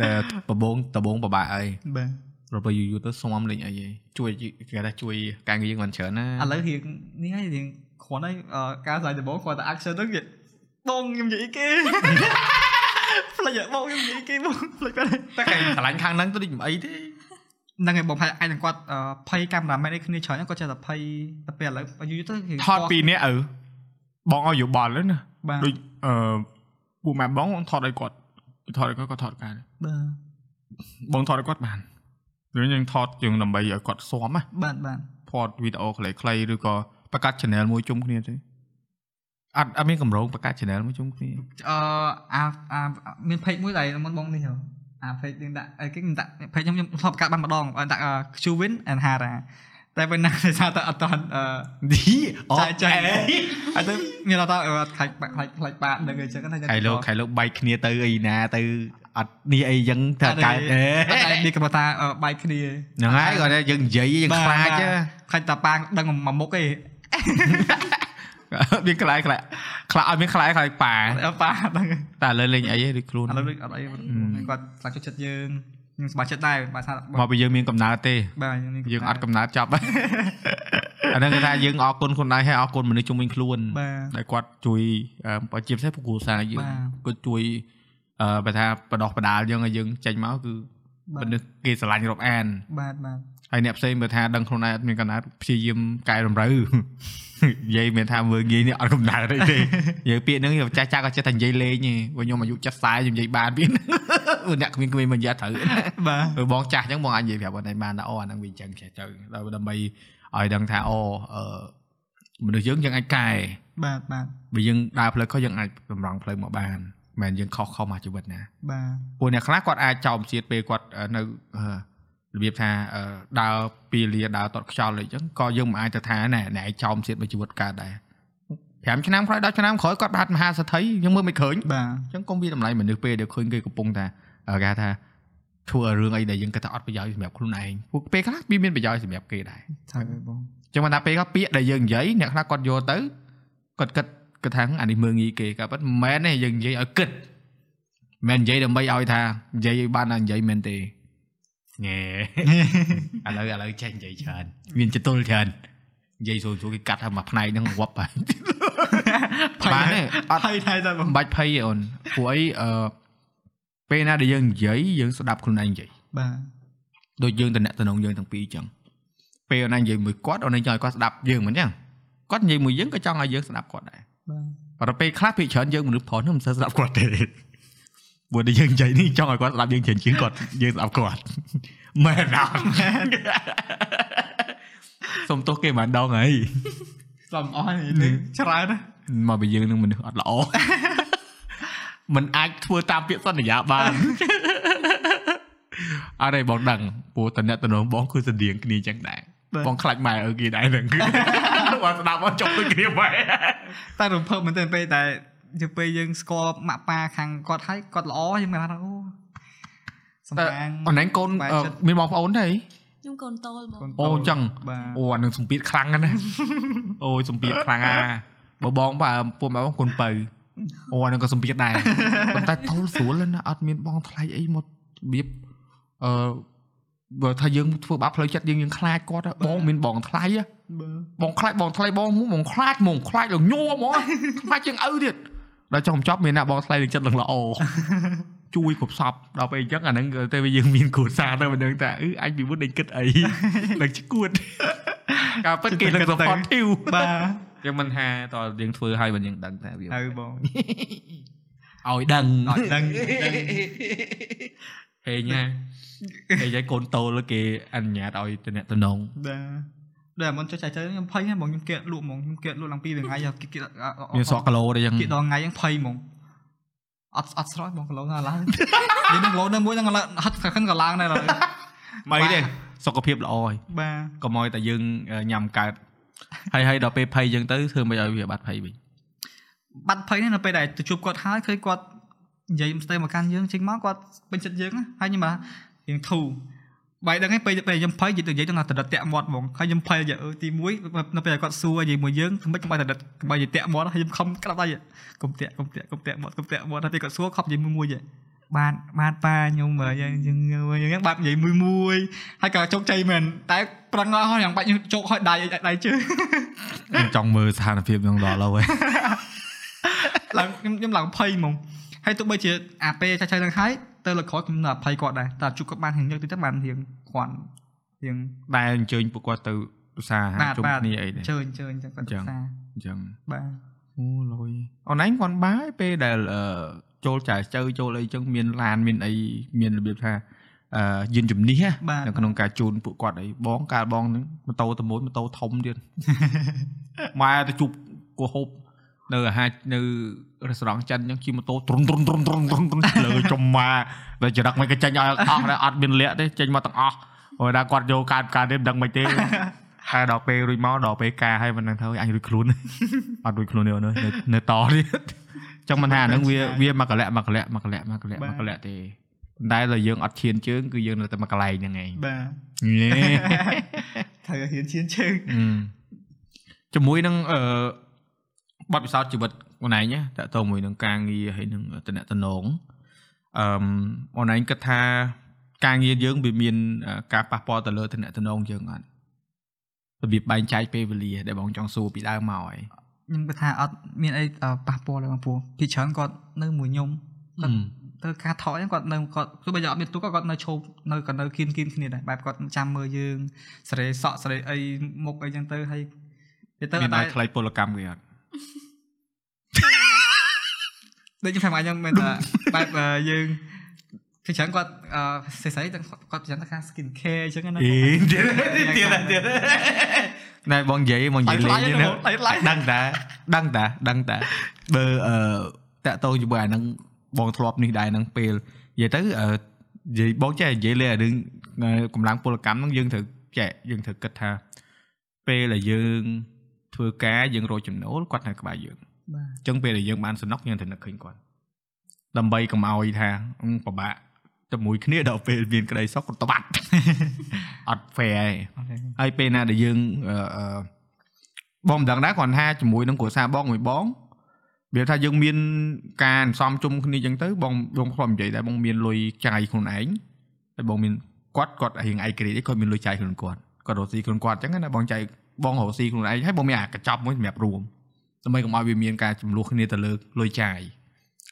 S1: តែដបងដបងប្របាក់អី
S2: បាទ
S1: របើយូរយូរទៅស្មមលេងអីឯងជួយគេថាជួយការងារយើងមិនច្រើន ណា
S2: ឥឡូវរៀងនេះហើយរៀងគ្រាន់ហើយអឺការឆ្លើយដំបូងគ្រាន់តែ action ហ្នឹងវាបងខ្ញុំនិយាយអីគេ ផ្លេចបងខ្ញុំនិយាយអីគេបងផ្លេចគាត់
S1: តែគេឆ្លាញ់ខាងហ្នឹងទៅដូចមិនអីទេ
S2: ហ្នឹងហើយបងផៃអាចនឹងគាត់អឺភ័យកាមេរ៉ាមែនឯគ្នាច្រើនណាស់គាត់ចេះតែភ័យតែពេលឥឡូវយូរៗទៅរៀង
S1: ថតពីរនាក់ឪបងឲ្យយោបល់ហ្នឹងណា
S2: បាទ
S1: ដូចអឺពូម៉ែបងបងថតឲ្យគាត់ថតឲ្យគាត់គាត់ថតការ
S2: បាទ
S1: បងថតឲ្យគាត់បានឬយើងថតយើងដើម្បីឲ្យគាត់ស៊ាំណា
S2: បាទបាទ
S1: ថតវីដេអូខ្លីៗឬក៏បង្កើត channel មួយជុំគ្នាទេអត់អត់មានកម្រងបង្កើត channel មួយជុំគ្នា
S2: អឺអាអាមាន page មួយដែលមុនបងនេះហ៎អា page នឹងដាក់អីគេខ្ញុំដាក់ page ខ្ញុំខ្ញុំធ្លាប់កាត់បានម្ដងអឺដាក់ Qwin and Hara តែពេលណា ដោយសារតែអត់តាន់អឺ
S1: ឌី
S2: អូអត់ទៅមានអត់ទៅអត់ខ្លាច់បាក់ខ្លាច់ខ្លាច់បាក់នឹងអីចឹងណា
S1: ខៃលោកខៃលោកបែកគ្នាទៅអីណាទៅអត់នេះអីចឹងថាកើតអេ
S2: អត់ដែរនេះក៏ថាបែកគ្នា
S1: ហ្នឹងហើយគាត់ថាយើងនិយាយយើងខ្លាចហ៎
S2: ខ្លាច់តាប៉ាងដឹងមួយ មុខឯង
S1: មានខ្លាចខ្លាចខ្លាចឲ្យមានខ្លាចខ្លាចប៉ា
S2: ប៉ាហ្នឹងឥ
S1: តែឥឡូវលេងអីឯងដូចខ្លួន
S2: ឡូវអត់អីគាត់ខ្លាច់ចិត្តយើងខ្ញុំសប្បាយចិត្តដែរបើថា
S1: មកពីយើងមានកំណើតទេ
S2: បាទ
S1: យើងអត់កំណើតចប់ អាហ្នឹងគេថាយើងអរគុណខ្លួនឯងហើយអរគុណមនុស្សជុំវិញខ្លួន
S2: បាទ
S1: ដែលគាត់ជួយអឺបើជាពិសេសពួកគ្រូសាស្ត្រយើង
S2: បាទ
S1: គាត់ជួយអឺបើថាបដោះបដាលយើងឲ្យយើងចេញមកគឺមនុស្សគេស្រឡាញ់រាប់អាន
S2: បាទបាទ
S1: ហើយអ្នកផ្សេងបើថាដឹងខ្លួនឯងអត់មានកំណើតព្យាយាមកែតម្រូវ និយាយមានថាមើលងាយនេះអត់កំណើតអីទេនិយាយពាក្យហ្នឹងយើងចាស់ចាស់ក៏ចេះតែនិយាយលេងទេព្រោះខ្ញុំ អាយុ70ខ្ញុំនិយាយបានពាក្យហ្នឹងព្រោះអ្នកគ្មានគ្មានមិនយ៉ាត្រូវ
S2: បាទ
S1: ព្រោះបងចាស់អញ្ចឹងបងអាចនិយាយប្រាប់គាត់ឯងបានថាអូអាហ្នឹងវាអញ្ចឹងចេះទៅដល់ដើម្បីឲ្យដឹងថាអូអឺមនុស្សយើងយើងអាចកែ
S2: បាទបាទ
S1: បើយើងដើរផ្លូវខុសយើងអាចតម្រង់ផ្លូវមកបានមិនមែនយើងខុសខុសមកជីវិតណា
S2: បាទ
S1: ពួកអ្នកខ្លះគាត់អាចចោមជាតិពេលគាត់អឺនៅអឺរបៀបថាអឺដើរពីលាដើរតត់ខ្យល់អីចឹងក៏យើងមិនអាចទៅថាណែអ្នកឯងចោមជាតិមួយជីវិតកើតដែរ5ឆ្នាំក្រោយ10ឆ្នាំក្រោយគាត់បាត់មហាសទ្ធិយើងមើលមិនឃើញអ
S2: បាទ
S1: ញ្ចឹងកុំវាតម្លៃមនុស្សពេលដែលឃើញគេកំពុងថាអឺគេហៅថាធ្វើឲ្យរឿងអីដែលយើងគិតថាអត់ប្រយោជន៍សម្រាប់ខ្លួនឯងពួកពេលខ្លះវាមានប្រយោជន៍សម្រាប់គេដែរ
S2: ថាបង
S1: អញ្ចឹងបានថាពេលគាត់ពាក្យដែលយើងនិយាយអ្នកខ្លះគាត់យកទៅគាត់គិតគិតថាអានេះមើងងាយគេក៏ប៉ុន្តែមិនមែនទេយើងនិយាយឲ្យគិតមិនមែននិយាយដើម្បីឲ្យថានិយាយឲ្យបានថានិយាយមែនទេញ៉េ ឥឡូវឥឡូវចេះនិយាយច្រើនមានចតុលច្រើននិយាយស្រួលស្រួលគេកាត់ឲ្យមួយផ្នែកហ្នឹង វប់ហើយបានទេអ ត់
S2: ភ័យថៃតែបង
S1: មិនបាច់ភ័យទេអូនព្រោះអីអឺពេលណាដែលយើងនិយាយយើងស្ដាប់ខ្លួនឯងនិយាយ
S2: បាទ
S1: ដូចយើងតំណាក់តំណងយើងទាំងពីរអញ្ចឹងពេលអូនឯងនិយាយមួយគាត់អូនឯងចង់ឲ្យគាត់ស្ដាប់យើងមិនអញ្ចឹងគាត់និយាយមួយយើងក៏ចង់ឲ្យយើងស្ដាប់គាត់ដែរ
S2: បា
S1: ប៉ុ
S2: ទ
S1: ន្តែពេលខ្លះពេលច្រើនយើងមនុស្សប្រុសហ្នឹងមិនសូវស្ដាប់ គាត់ទេព្រោះតែយើងនិយាយនេះចង់ឲ្យគាត់ស្ដាប់យើងច្រើនជាងគាត់យើងស្ដាប់គាត់ មែន អត់សុំទោសគេមិនដងហើយ
S2: ស្លំអស់នេះច្រើនណា
S1: មកពីយើងនឹងមនុស្សអត់ល្អมันអាចធ្វើ តាមពាក្យសន្យាបាន អរេបងដឹងព្រោះតំណាក់តំណងបងគឺស្តៀងគ្នាអញ្ចឹងដែរ
S2: បាទ
S1: បងខ្លាចម៉ែឲ្យគេដែរ ហ្នឹង បងស្ដាប់មកចប់ដូចគ្នាម៉ែ
S2: តែរំភើបមែនទែនពេលតែទៅពេលយើងស្គាល់ម៉ាក់ប៉ាខាងគាត់ហើយគាត់ល្អយើង មិនថាអូសំខាង
S1: អូនឯងកូន
S2: ម៉ែ
S1: អឺ
S2: ចិត្ត
S1: មានបងប្អូនទេ
S3: ខ្ញុំកូនតូលមក
S1: អូអញ្ចឹង
S2: បាទ
S1: អូអានឹងសម្ពាធខ្លាំងណាស់ណា អូយសម្ពាធខ្លាំងណាស់បើបងបើពួកម៉ែបងកូនបើ អូអាហ្នឹងក៏សម្ពាធដែរ ប៉ុន្តែធូរស្រួលណាស់អត់មានបងថ្លៃអីមករបៀបអឺបើថាយើងធ្វើបាបផ្លូវចិត្តយើងយើងខ្លាចគាត់ហ៎បងមានបងថ្លៃហ៎បងខ្លាចបងថ្លៃបងហ្មងបងខ្លាចហ្មងខ្លាចលងញោ ហ្មងខ្លាចជាងឪទៀតដល់ចុងបញ្ចប់មានអ្នកបងថ្លៃនឹងចិត្តនឹង ល្អ ជួយគ្រប់សពដល់ពេលអញ្ចឹងអាហ្នឹងក៏តែវាយើងមានគ្រួសារទៅមិនដឹងថាអឺអញពីមុនដេញគិត អី នឹងឈួត ការពិតគេនឹង support ធីវ
S2: បាទ
S1: យើងមិនថាតើយើងធ្វើឲ្យមិនយើងដឹងថាវា
S2: ហើយបង
S1: ឲ្យដឹង
S2: អត់ដឹងដឹង
S1: ហេងណាហេងឲ្យកូនតូលគេអនុញ្ញាតឲ្យតំណតំណង
S2: បាទដែលមិនចុចចៃទៅខ្ញុំភ័យហ្នឹងបងខ្ញុំគេលក់ហ្មងខ្ញុំគេលក់ឡើងពីរថ្ងៃហើយគេគេ
S1: មានសក់គីឡូដែរចឹង
S2: គេដល់ថ្ងៃហ្នឹងភ័យហ្មងអត់អត់ស្រោចបងកន្លោ ណាឡើងយើងនឹងលោនៅមួយហ្នឹងឡើងហត់ខាងក៏ឡើងដែរឡើយ
S1: មិនទេសុខភាពល្អហើយ
S2: បាទ
S1: កុំឲ្យតែយើងញ៉ាំកើត ហើយហើយដល់ពេលភ័យចឹងទៅធ្វើមិនឲ្យវាបាត់ភ័យវិញ
S2: បាត់ភ័យនេះនៅពេលដែលទៅជួបគាត់ហើយឃើញគាត់និយាយស្ទេមកកាន់យើងចេញមកគាត់ពេញចិត្តយើងណាហើយខ្ញុំថាយើងធូរបាយដឹងឯងពេលពេលខ្ញុំភ័យនិយាយទៅនិយាយទៅណាស់ដិតតាក់មាត់ហ្មងហើយខ្ញុំភ័យយ៉ាងអឺទី1នៅពេលដែលគាត់សួរនិយាយមួយយើងធ្វើម៉េចកុំឲ្យដិតកុំឲ្យនិយាយតាក់មាត់ហើយខ្ញុំខំក្រាប់ដៃកុំតាក់កុំតាក់កុំតាក់មាត់កុំតាក់មាត់ហើយពេលគាត់សួរខំនិយាយមួយមួយឯងបាទបាទប៉ាខ្ញុំមើលយ៉ាងយ៉ាងយ៉ាងបាទនិយាយមួយមួយហើយក៏ជោគជ័យមែនតែប្រឹងអស់ហើយយ៉ាងបាច់ខ្ញុំជោគហើយដៃដៃជើ ង
S1: ខ្ញុំចង់មើលស្ថានភាពនឹងដល់ ហើយ
S2: ឡើងខ្ញុំខ្ញុំឡើងភ័យហ្មងហើយទោះបីជាអាពេលចាស់ចាស់ហ្នឹងហើយទៅលោកក្រោយខ្ញុំនៅភ័យគាត់ដែរតែជួបគាត់បានរៀងញឹកតិចទៅបានរៀងខ្វាន់រៀង
S1: ដែលអញ្ជើញពួកគាត់ទៅឧស្សាហ
S2: បាទ
S1: កម្មជុំ
S2: បាទ
S1: គ្នាអីដែរ
S2: ជើញជើញចឹងគាត់
S1: ចឹ
S2: ទៅ
S1: ង
S2: សា
S1: អញ្ចឹង
S2: បាទ
S1: អូលយអូនឯងគាត់បាយពេលដែលអឺចូលចែចៅចូលអីចឹងមានឡានមានអីមានរបៀបថាអឺយានជំនិះណា
S2: បាទ
S1: នៅក្នុងការជូនពួកគាត់អីបងកាលបងហ្នឹងម៉ូតូតមួយម៉ូតូធំទៀត ម៉ែទៅជប់គោហូបនៅអាហារនៅរេស្តូរ៉ង់ចិនចឹងជិះម៉ូតូទ្រុនទ្រុនទ្រុនទ្រុនទ្រុនទ្រុនលើចំម៉ាតែចរិតមិនក៏ចេញឲ្យអស់ដែរអត់មានលាក់ទេចេញមកទាំងអស់ហើយដល់គាត់យកកាតកាតទេមិនដឹងមិនទេ ហើយដល់ពេលរួចមកដល់ពេលការហើយមិនដឹងថាអញរួចខ្លួន អត់រួចខ្លួនទេអូនអើយនៅនៅតទៀតចង់មិនថាអាហ្នឹងវាវាមកកលៈមកកលៈមកកលៈមកកលៈមកកលៈទេប៉ុន្តែដល់យើងអត់ឈានជើងគឺយើងនៅតែមកកន្លែងហ្នឹងឯង
S2: បាទ
S1: ញ៉េ
S2: ត្រូវរៀនឈានជើង
S1: ជាមួយនឹងអឺបទពិសោធន៍ជីវិតខ្លួនឯងណាតើតើមួយនឹងការងារហើយនឹងតំណតំណងអឺអនឡាញគិតថាការងារយើងវាមានអឺការប៉ះពាល់ទៅលើតំណតំណងយើងអត់របៀបបែងចែកពេលវេលាដែលបងចង់សួរពីដើមមកហើយ
S2: ខ្ញុំគាត់ថាអត់មានអីអឺប៉ះពាល់ដល់បងពូពីច្រើនគាត់នៅមួយខ្ញុំគាត់ទៅការថតហ្នឹងគាត់នៅគាត់ទោះបីជាអត់មានទូកក៏គាត់នៅឈប់នៅក៏នៅគៀនគៀនគ្នាដែរបែបគាត់ចាំមើលយើងសេរីសក់សេរីអីមុខអីចឹងទៅហើយវាទៅ
S1: មាន
S2: អត់
S1: ឲ្យ
S2: ដែរ
S1: ថ្លៃពលកម្មគេអត់
S2: ដូចខ្ញុំថាមកអញ្ចឹងមែនថា បែបអឺយើងពីច្រើនគាត់អឺសេះស្អីទាំងគាត់ចឹងថា skin care អញ្ចឹងណា
S1: ទៀតណែបងនិយាយបងនិយាយ
S2: ថ្លៃថ្លៃ
S1: លេងទេណា
S2: ណាថ្លៃថ្លៃ
S1: ដឹងតាដឹងតាដឹងតាបើអឺតាក់តងជាមួយអាហ្នឹងបងធ្លាប់នេះដែរហ្នឹងពេលនិយាយទៅអឺនិយាយបងចេះនិយាយលេងអារឿងអឺកម្លាំងពលកម្មហ្នឹងយើងត្រូវចេះយើងត្រូវគិតថាពេលដែលយើងធ្វើការយើងរកចំណូលគាត់នៅក្បែរយើង
S2: បា
S1: អ
S2: ទ
S1: ញ្ចឹងពេលដែលយើងបានសំណុកយើងត្រូវនឹកឃើញគាត់ដើម្បីកុំឲ្យថាអឺពិបាកជាមួយគ្នាដល់ពេលមានក្តីសុខគាត់ត្បាត់ អត់ fair ទេ
S2: អត់ទេ
S1: ហើយពេលណាដែលយើងអឺអឺបងមិនដឹងដែរគ្រាន់ថាជាមួយនឹងគ្រួសារបងមួយបងវាថាយើងមានការអន្សំជុំគ្នាចឹងទៅបងបងធ្លាប់និយាយដែរបងមានលុយចាយខ្លួនឯងហើយបងមានគាត់គាត់រៀងឯករាជ្យអីគាត់មានលុយចាយខ្លួនគាត់គាត់រកស៊ីខ្លួនគាត់ចឹងណាបងចាយបងរកស៊ីខ្លួនឯងហើយបងមានអាកញ្ចប់មួយសម្រាប់រួមដើម្បីកុំឲ្យវាមានការចំលោះគ្នាទៅលើលុយចាយ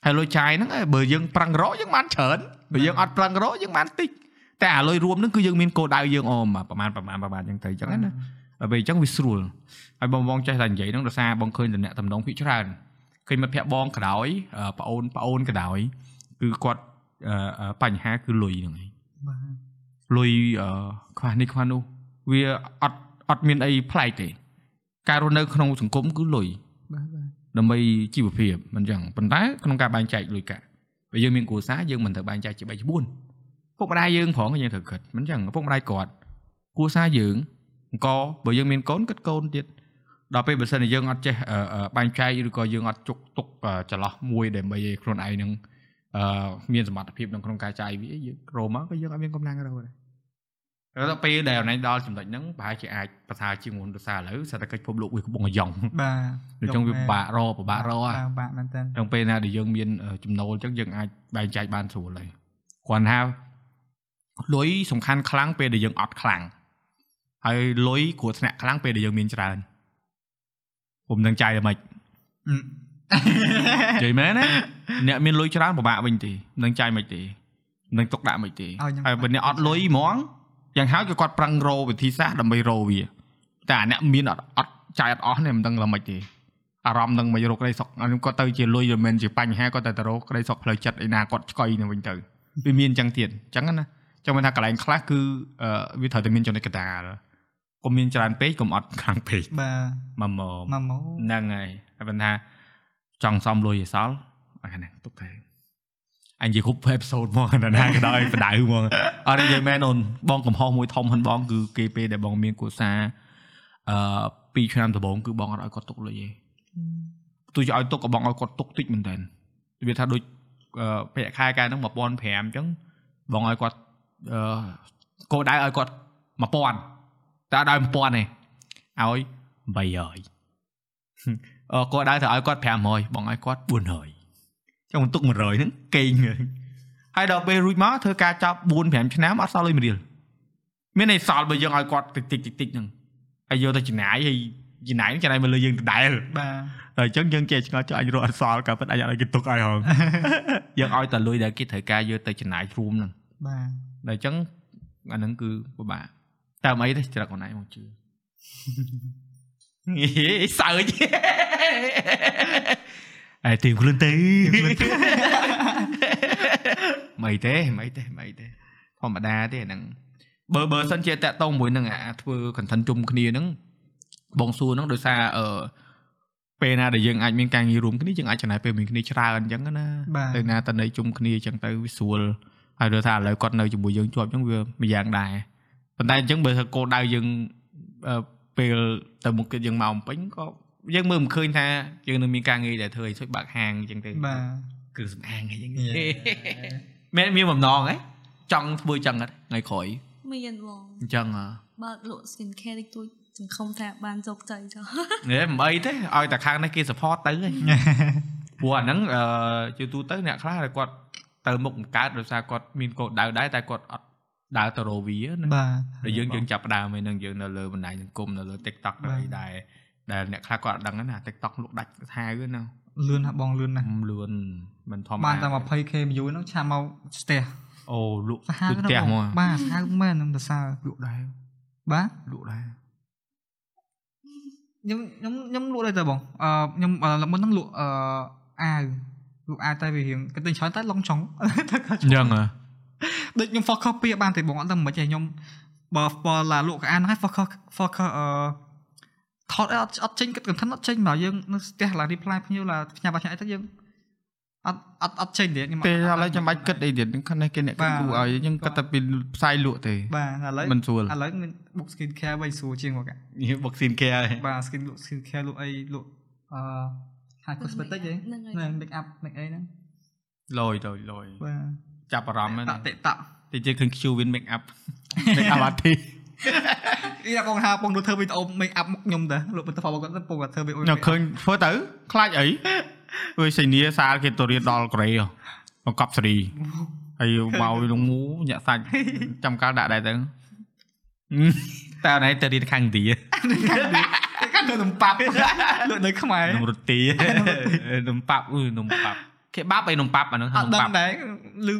S1: ហើយលុយចាយហ្នឹងឯងបើយើងប្រឹងរកយើងបានច្រើនបើយើងអត់ប្រឹងរកយើងបានតិចតែអាលុយរួមហ្នឹងគឺយើងមានគោលដៅយើងអូមប្រហែលប្រហែលប្រហែលចឹងទៅចឹងណា ដល់ពេលអញ្ចឹងវាស្រួលហើយបងបងចេះតែនិយាយហ្នឹងដោយសារបងឃើញតំណែងតំណងភាគច្រើនឃើញមិត្តភក្តិបងក្រោយអឺប្អូនប្អូនក្រោយគឺគាត់អឺអឺបញ្ហាគឺលុយហ្នឹងឯង
S2: បាទ
S1: លុយអឺខ្វះនេះខ្វះនោះវាអត់អត់មានអីប្លែកទេការរស់នៅក្នុងសង្គមគឺលុយ
S2: បាទបាទ
S1: ដើម្បីជីវភាពមិនចឹងប៉ុន្តែក្នុងការបែងចែកលុយកាក់បើយើងមានគ្រួសារយើងមិនត្រូវបែងចែកជា3ជា4ពុកម្ដាយយើងផងយើងត្រូវគិតមិនចឹងឪពុកម្ដាយគាត់គ្រួសារយើងអង្គបើយើងមានកូនគិតកូនទៀតដល់ពេលបើសិនជាយើងអត់ចេះអឺអឺបែងចែកឬក៏យើងអត់ជុកទុកអឺចន្លោះមួយដើម្បីឲ្យខ្លួនឯងនឹងអឺមានសមត្ថភាពនៅក្នុងការចាយវាយើងរោមកក៏យើងអត់មានកម្លាំងរោដែរ ដល់ទៅពេលដែលអនឡាញដល់ចំណុចហ្នឹងប្រហែលជាអាចប្រសើរជាងមុនដោយសារឥឡូវសេដ្ឋកិច្ចពិភពលោកវាកំពុងអា យ៉ង
S2: បាទ
S1: ដូច្នេះវាពិបាករកពិបាករកអ่ะ
S2: បាទបាទមែនតើ
S1: តាំងពេលណាដែលយើងមានអឺចំណូលអញ្ចឹងយើងអាចបែងចែកបានស្រួលហើយគ្រាន់ថាលុយសំខាន់ខ្លាំងពេលដែលយើងអត់ខ្លាំងហើយលុយគ្រោះថ្នាក់ខ្លាំងពេលដែលយើងមានច្រើនខ្ញុំនឹងចែកតែមិន
S2: Ừ.
S1: និយាយមែនណាអ្នកមានលុយច្រើនពិបាកវិញទេនឹងចែកមិនទេនឹងទុកដាក់មិនទេហើយបើអ្នកអត់លុយហ្មងយ៉ាងហោចក៏គាត់ប្រឹងរកវិធីសាស្ត្រដើម្បីរកវាតែអាអ្នកមានអត់អត់ចែកអត់អស់នេះមិនដឹងថាម៉េចទេ អារម្មណ៍នឹងមិនរកក្តីសុខអានោះគាត់ទៅជាលុយវាមិនមែនជាបញ្ហាគាត់តែទៅរកក្តីសុខផ្លូវចិត្តឯណាគាត់ឆ្កុយនឹងវិញទៅវាមានអញ្ចឹងទៀតអញ្ចឹងណាចាំមិនថាកន្លែងខ្លះគឺអឺវាត្រូវតែមានចំណុចកណ្ដាលកុំមានច្រើនពេកកុំអត់ខ្លាំងពេក
S2: បាទ
S1: មកម
S2: មកមក
S1: ហ្នឹងហើយតែប៉ុន្តែចង់សំលុយឲ្យសល់អាហ្នឹងទុកទៅអញនិយាយគ្រប់អេផ isode មកណាក៏ដោយបដៅមកអត់ទេនិយាយមែនអូនបងកំហុសមួយធំហ្នឹងបងគឺគេពេលដែលបងមានគូសារអឺ2ឆ្នាំដំបូងគឺបងអត់ឲ្យគាត់ទុកលុយទេ ទោះជាឲ្យទុកក៏បងឲ្យគាត់ទុកតិចមែនតើវាថាដូចអឺប្រាក់ខែកែហ្នឹង1500អញ្ចឹងបងឲ្យគាត់អឺគោលដៅឲ្យគាត់1000តែដល់1000ទេឲ្យ300អឺគោលដៅទៅឲ្យគាត់500បងឲ្យគាត់400ចឹងបន្ទុក100ហ្នឹងកេងហើយហើយដល់ពេលរួចមកធ្វើការចប់4 5ឆ្នាំអត់សល់លុយមួយរៀលមានន័យសល់បើយើងឲ្យគាត់តិចតិចតិចតិចហ្នឹងហើយយកទៅចំណាយហើយចំណាយហ្នឹងចំណាយមកលើយើងដដែល
S2: បាទ
S1: តែអញ្ចឹងយើងគេឆ្ងល់ចុះអញរកអសល់ក៏មិនអាចឲ្យគេទុកឲ្យហង យើងឲ្យតែលុយដែលគេត្រូវការយកទៅចំណាយរួមហ្នឹង
S2: បាទ
S1: តែអញ្ចឹងអាហ្នឹងគឺពិបាកតើមិនអីទេច្រឹកខ្លួនឯងមក ជឿ ហេសើច អេទីមខ្លួន ទៅ មិនទេមិនទេមិនទេធម្មតាទេអាហ្នឹងបើបើសិនជាតាក់តងមួយនឹងអាធ្វើ content ជុំគ្នាហ្នឹងបងសួរហ្នឹងដោយសារអឺពេលណាដែលយើងអាចមានការងាររួមគ្នាយើងអាចចំណាយពេលមួយគ្នាច្រើនអញ្ចឹងណា
S2: បាទ
S1: ទៅណាទៅណីជុំគ្នាអញ្ចឹងទៅវាស្រួលហើយដូចថាឥឡូវគាត់នៅជាមួយយើងជាប់អញ្ចឹងវាម្យ៉ាងដែរប៉ុន្តែអញ្ចឹងបើថាគោលដៅយើងអឺពេលទៅមុខទៀតយើងមកអំពេញក៏យើងមើលមិនឃើញថាយើងនឹងមានការងារដែលធ្វើឲ្យជួយបាក់ហាងអញ្ចឹងទៅ
S2: បាទ
S1: គ្រឿងសម្អាងអីអញ្ចឹង មានមានបំណងហ៎ចង់ធ្វើចឹងហ៎ថ្ងៃក្រោយ
S3: មានបង
S1: អញ្ចឹងហ៎
S3: បើកលក់ skin care តិចតួចសង្ឃុំថាបានជោគជ័យចុះ
S1: ហេមិនអីទេឲ្យតែខាងនេះគេ support ទៅហី ព្រោះអាហ្នឹងអឺជាទូទៅអ្នកខ្លះដែលគាត់ទៅមុខបង្កើតដោយសារគាត់មានកោដៅដែរតែគាត់អត់ដើរទៅរកវាណា
S2: បាទ
S1: តែយើងយើងចាប់ផ្ដើមឯហ្នឹងយើងនៅលើបណ្ដាញសង្គមនៅលើ TikTok ទៅអីដែរដែលអ្នកខ្លះគាត់អត់ដឹងណា TikTok លោកដាច់ថាវហ្នឹង
S2: លឿនហ่ะបងលឿនណាស់
S1: លឿនមិនធម្ម
S2: បានតែ
S1: តា
S2: 20k view ហ្នឹងឆាប់មកស្ទះ
S1: អូលោក
S2: សាហាវ
S1: ដូចផ្ទះ
S2: ហ្នឹ
S1: មក
S2: ងបាទសាហាវមែនហ្នឹងប្រសើរ
S1: លោកដែរ
S2: បាទ
S1: លោកដែរ
S2: ខ្ញុំខ្ញុំខ្ញុំលក់ដែរតើបងអឺខ្ញុំឥឡូវមុនហ្នឹងលក់អឺអាវលក់អាវតែវារៀងគេទិញច្រើនតែឡុងចុង តែគាត់
S1: អញ្ចឹងហ៎
S2: ដូចខ្ញុំ focus ពីបានតែបងអត់ដឹងមិនខ្មិចទេខ្ញុំបើបើឡាលក់កាអានហ្នឹងហើយ focus focus អឺថតអត់អត់ចេញគិត content អត់ចេញមកយើងនៅស្ទះឡា reply ភ្ញៀវឡាផ្ញើបាច់ឆ្ងាយទៅយើងអត់អត់អត់ចេញទេខ្ញុំអត់
S1: ពេលឥឡូវចាំបាច់គិតអីទៀតខាងនេះគេអ្នកគិតគូរឲ្យយើងគិតតែពីផ្សាយលក់ទេ
S2: បាទឥឡូវ
S1: មិនស្រួល
S2: ឥឡូវមាន book skin care វិញស្រួលជាងមកកា
S1: នេះវ៉ាក់ស៊ីនគេហើយ
S2: បាទ skin លក់ skin care លក់អីលក់អឺ high cosmetic ហ
S3: ហ្នឹងហើយ
S2: ្នឹង make up ហ្នឹងអីហ្នឹង
S1: លយទៅលយ
S2: បាទ
S1: ចាប់អារម្មណ៍ហ្នឹង
S2: តេតតក់
S1: តិចទៀតឃើញ Qwin make up make up artist
S2: នេះតែបងថាបងទៅធ្វើវីដេអូ make up មកខ្ញុំតើលក់បន្តបងគាត់ទៅបងគាត់ធ្វើវីដេអូ
S1: ខ្ញុំឃើញធ្វើទៅខ្លាចអី អើយសញ្ញាសាលគេទៅរៀនដល់កូរ៉េហ៎បង្កប់សេរីហើយមកលងូញាក់ សាច់ចាំកាលដាក់ដែរទៅតែណៃទៅរៀនខាងឥណ្ឌា
S2: កាន់ទៅនំប៉ាប់លក់នៅខ្មែរ
S1: នំរ ទីនំប៉ាប់អឺនំប៉ាប់គេបាប់អីនំប៉ាប់អាហ្នឹង
S2: អ
S1: ហៅ
S2: ត់
S1: នំ
S2: ដឹង
S1: ប៉ាប់
S2: ដែរលឺ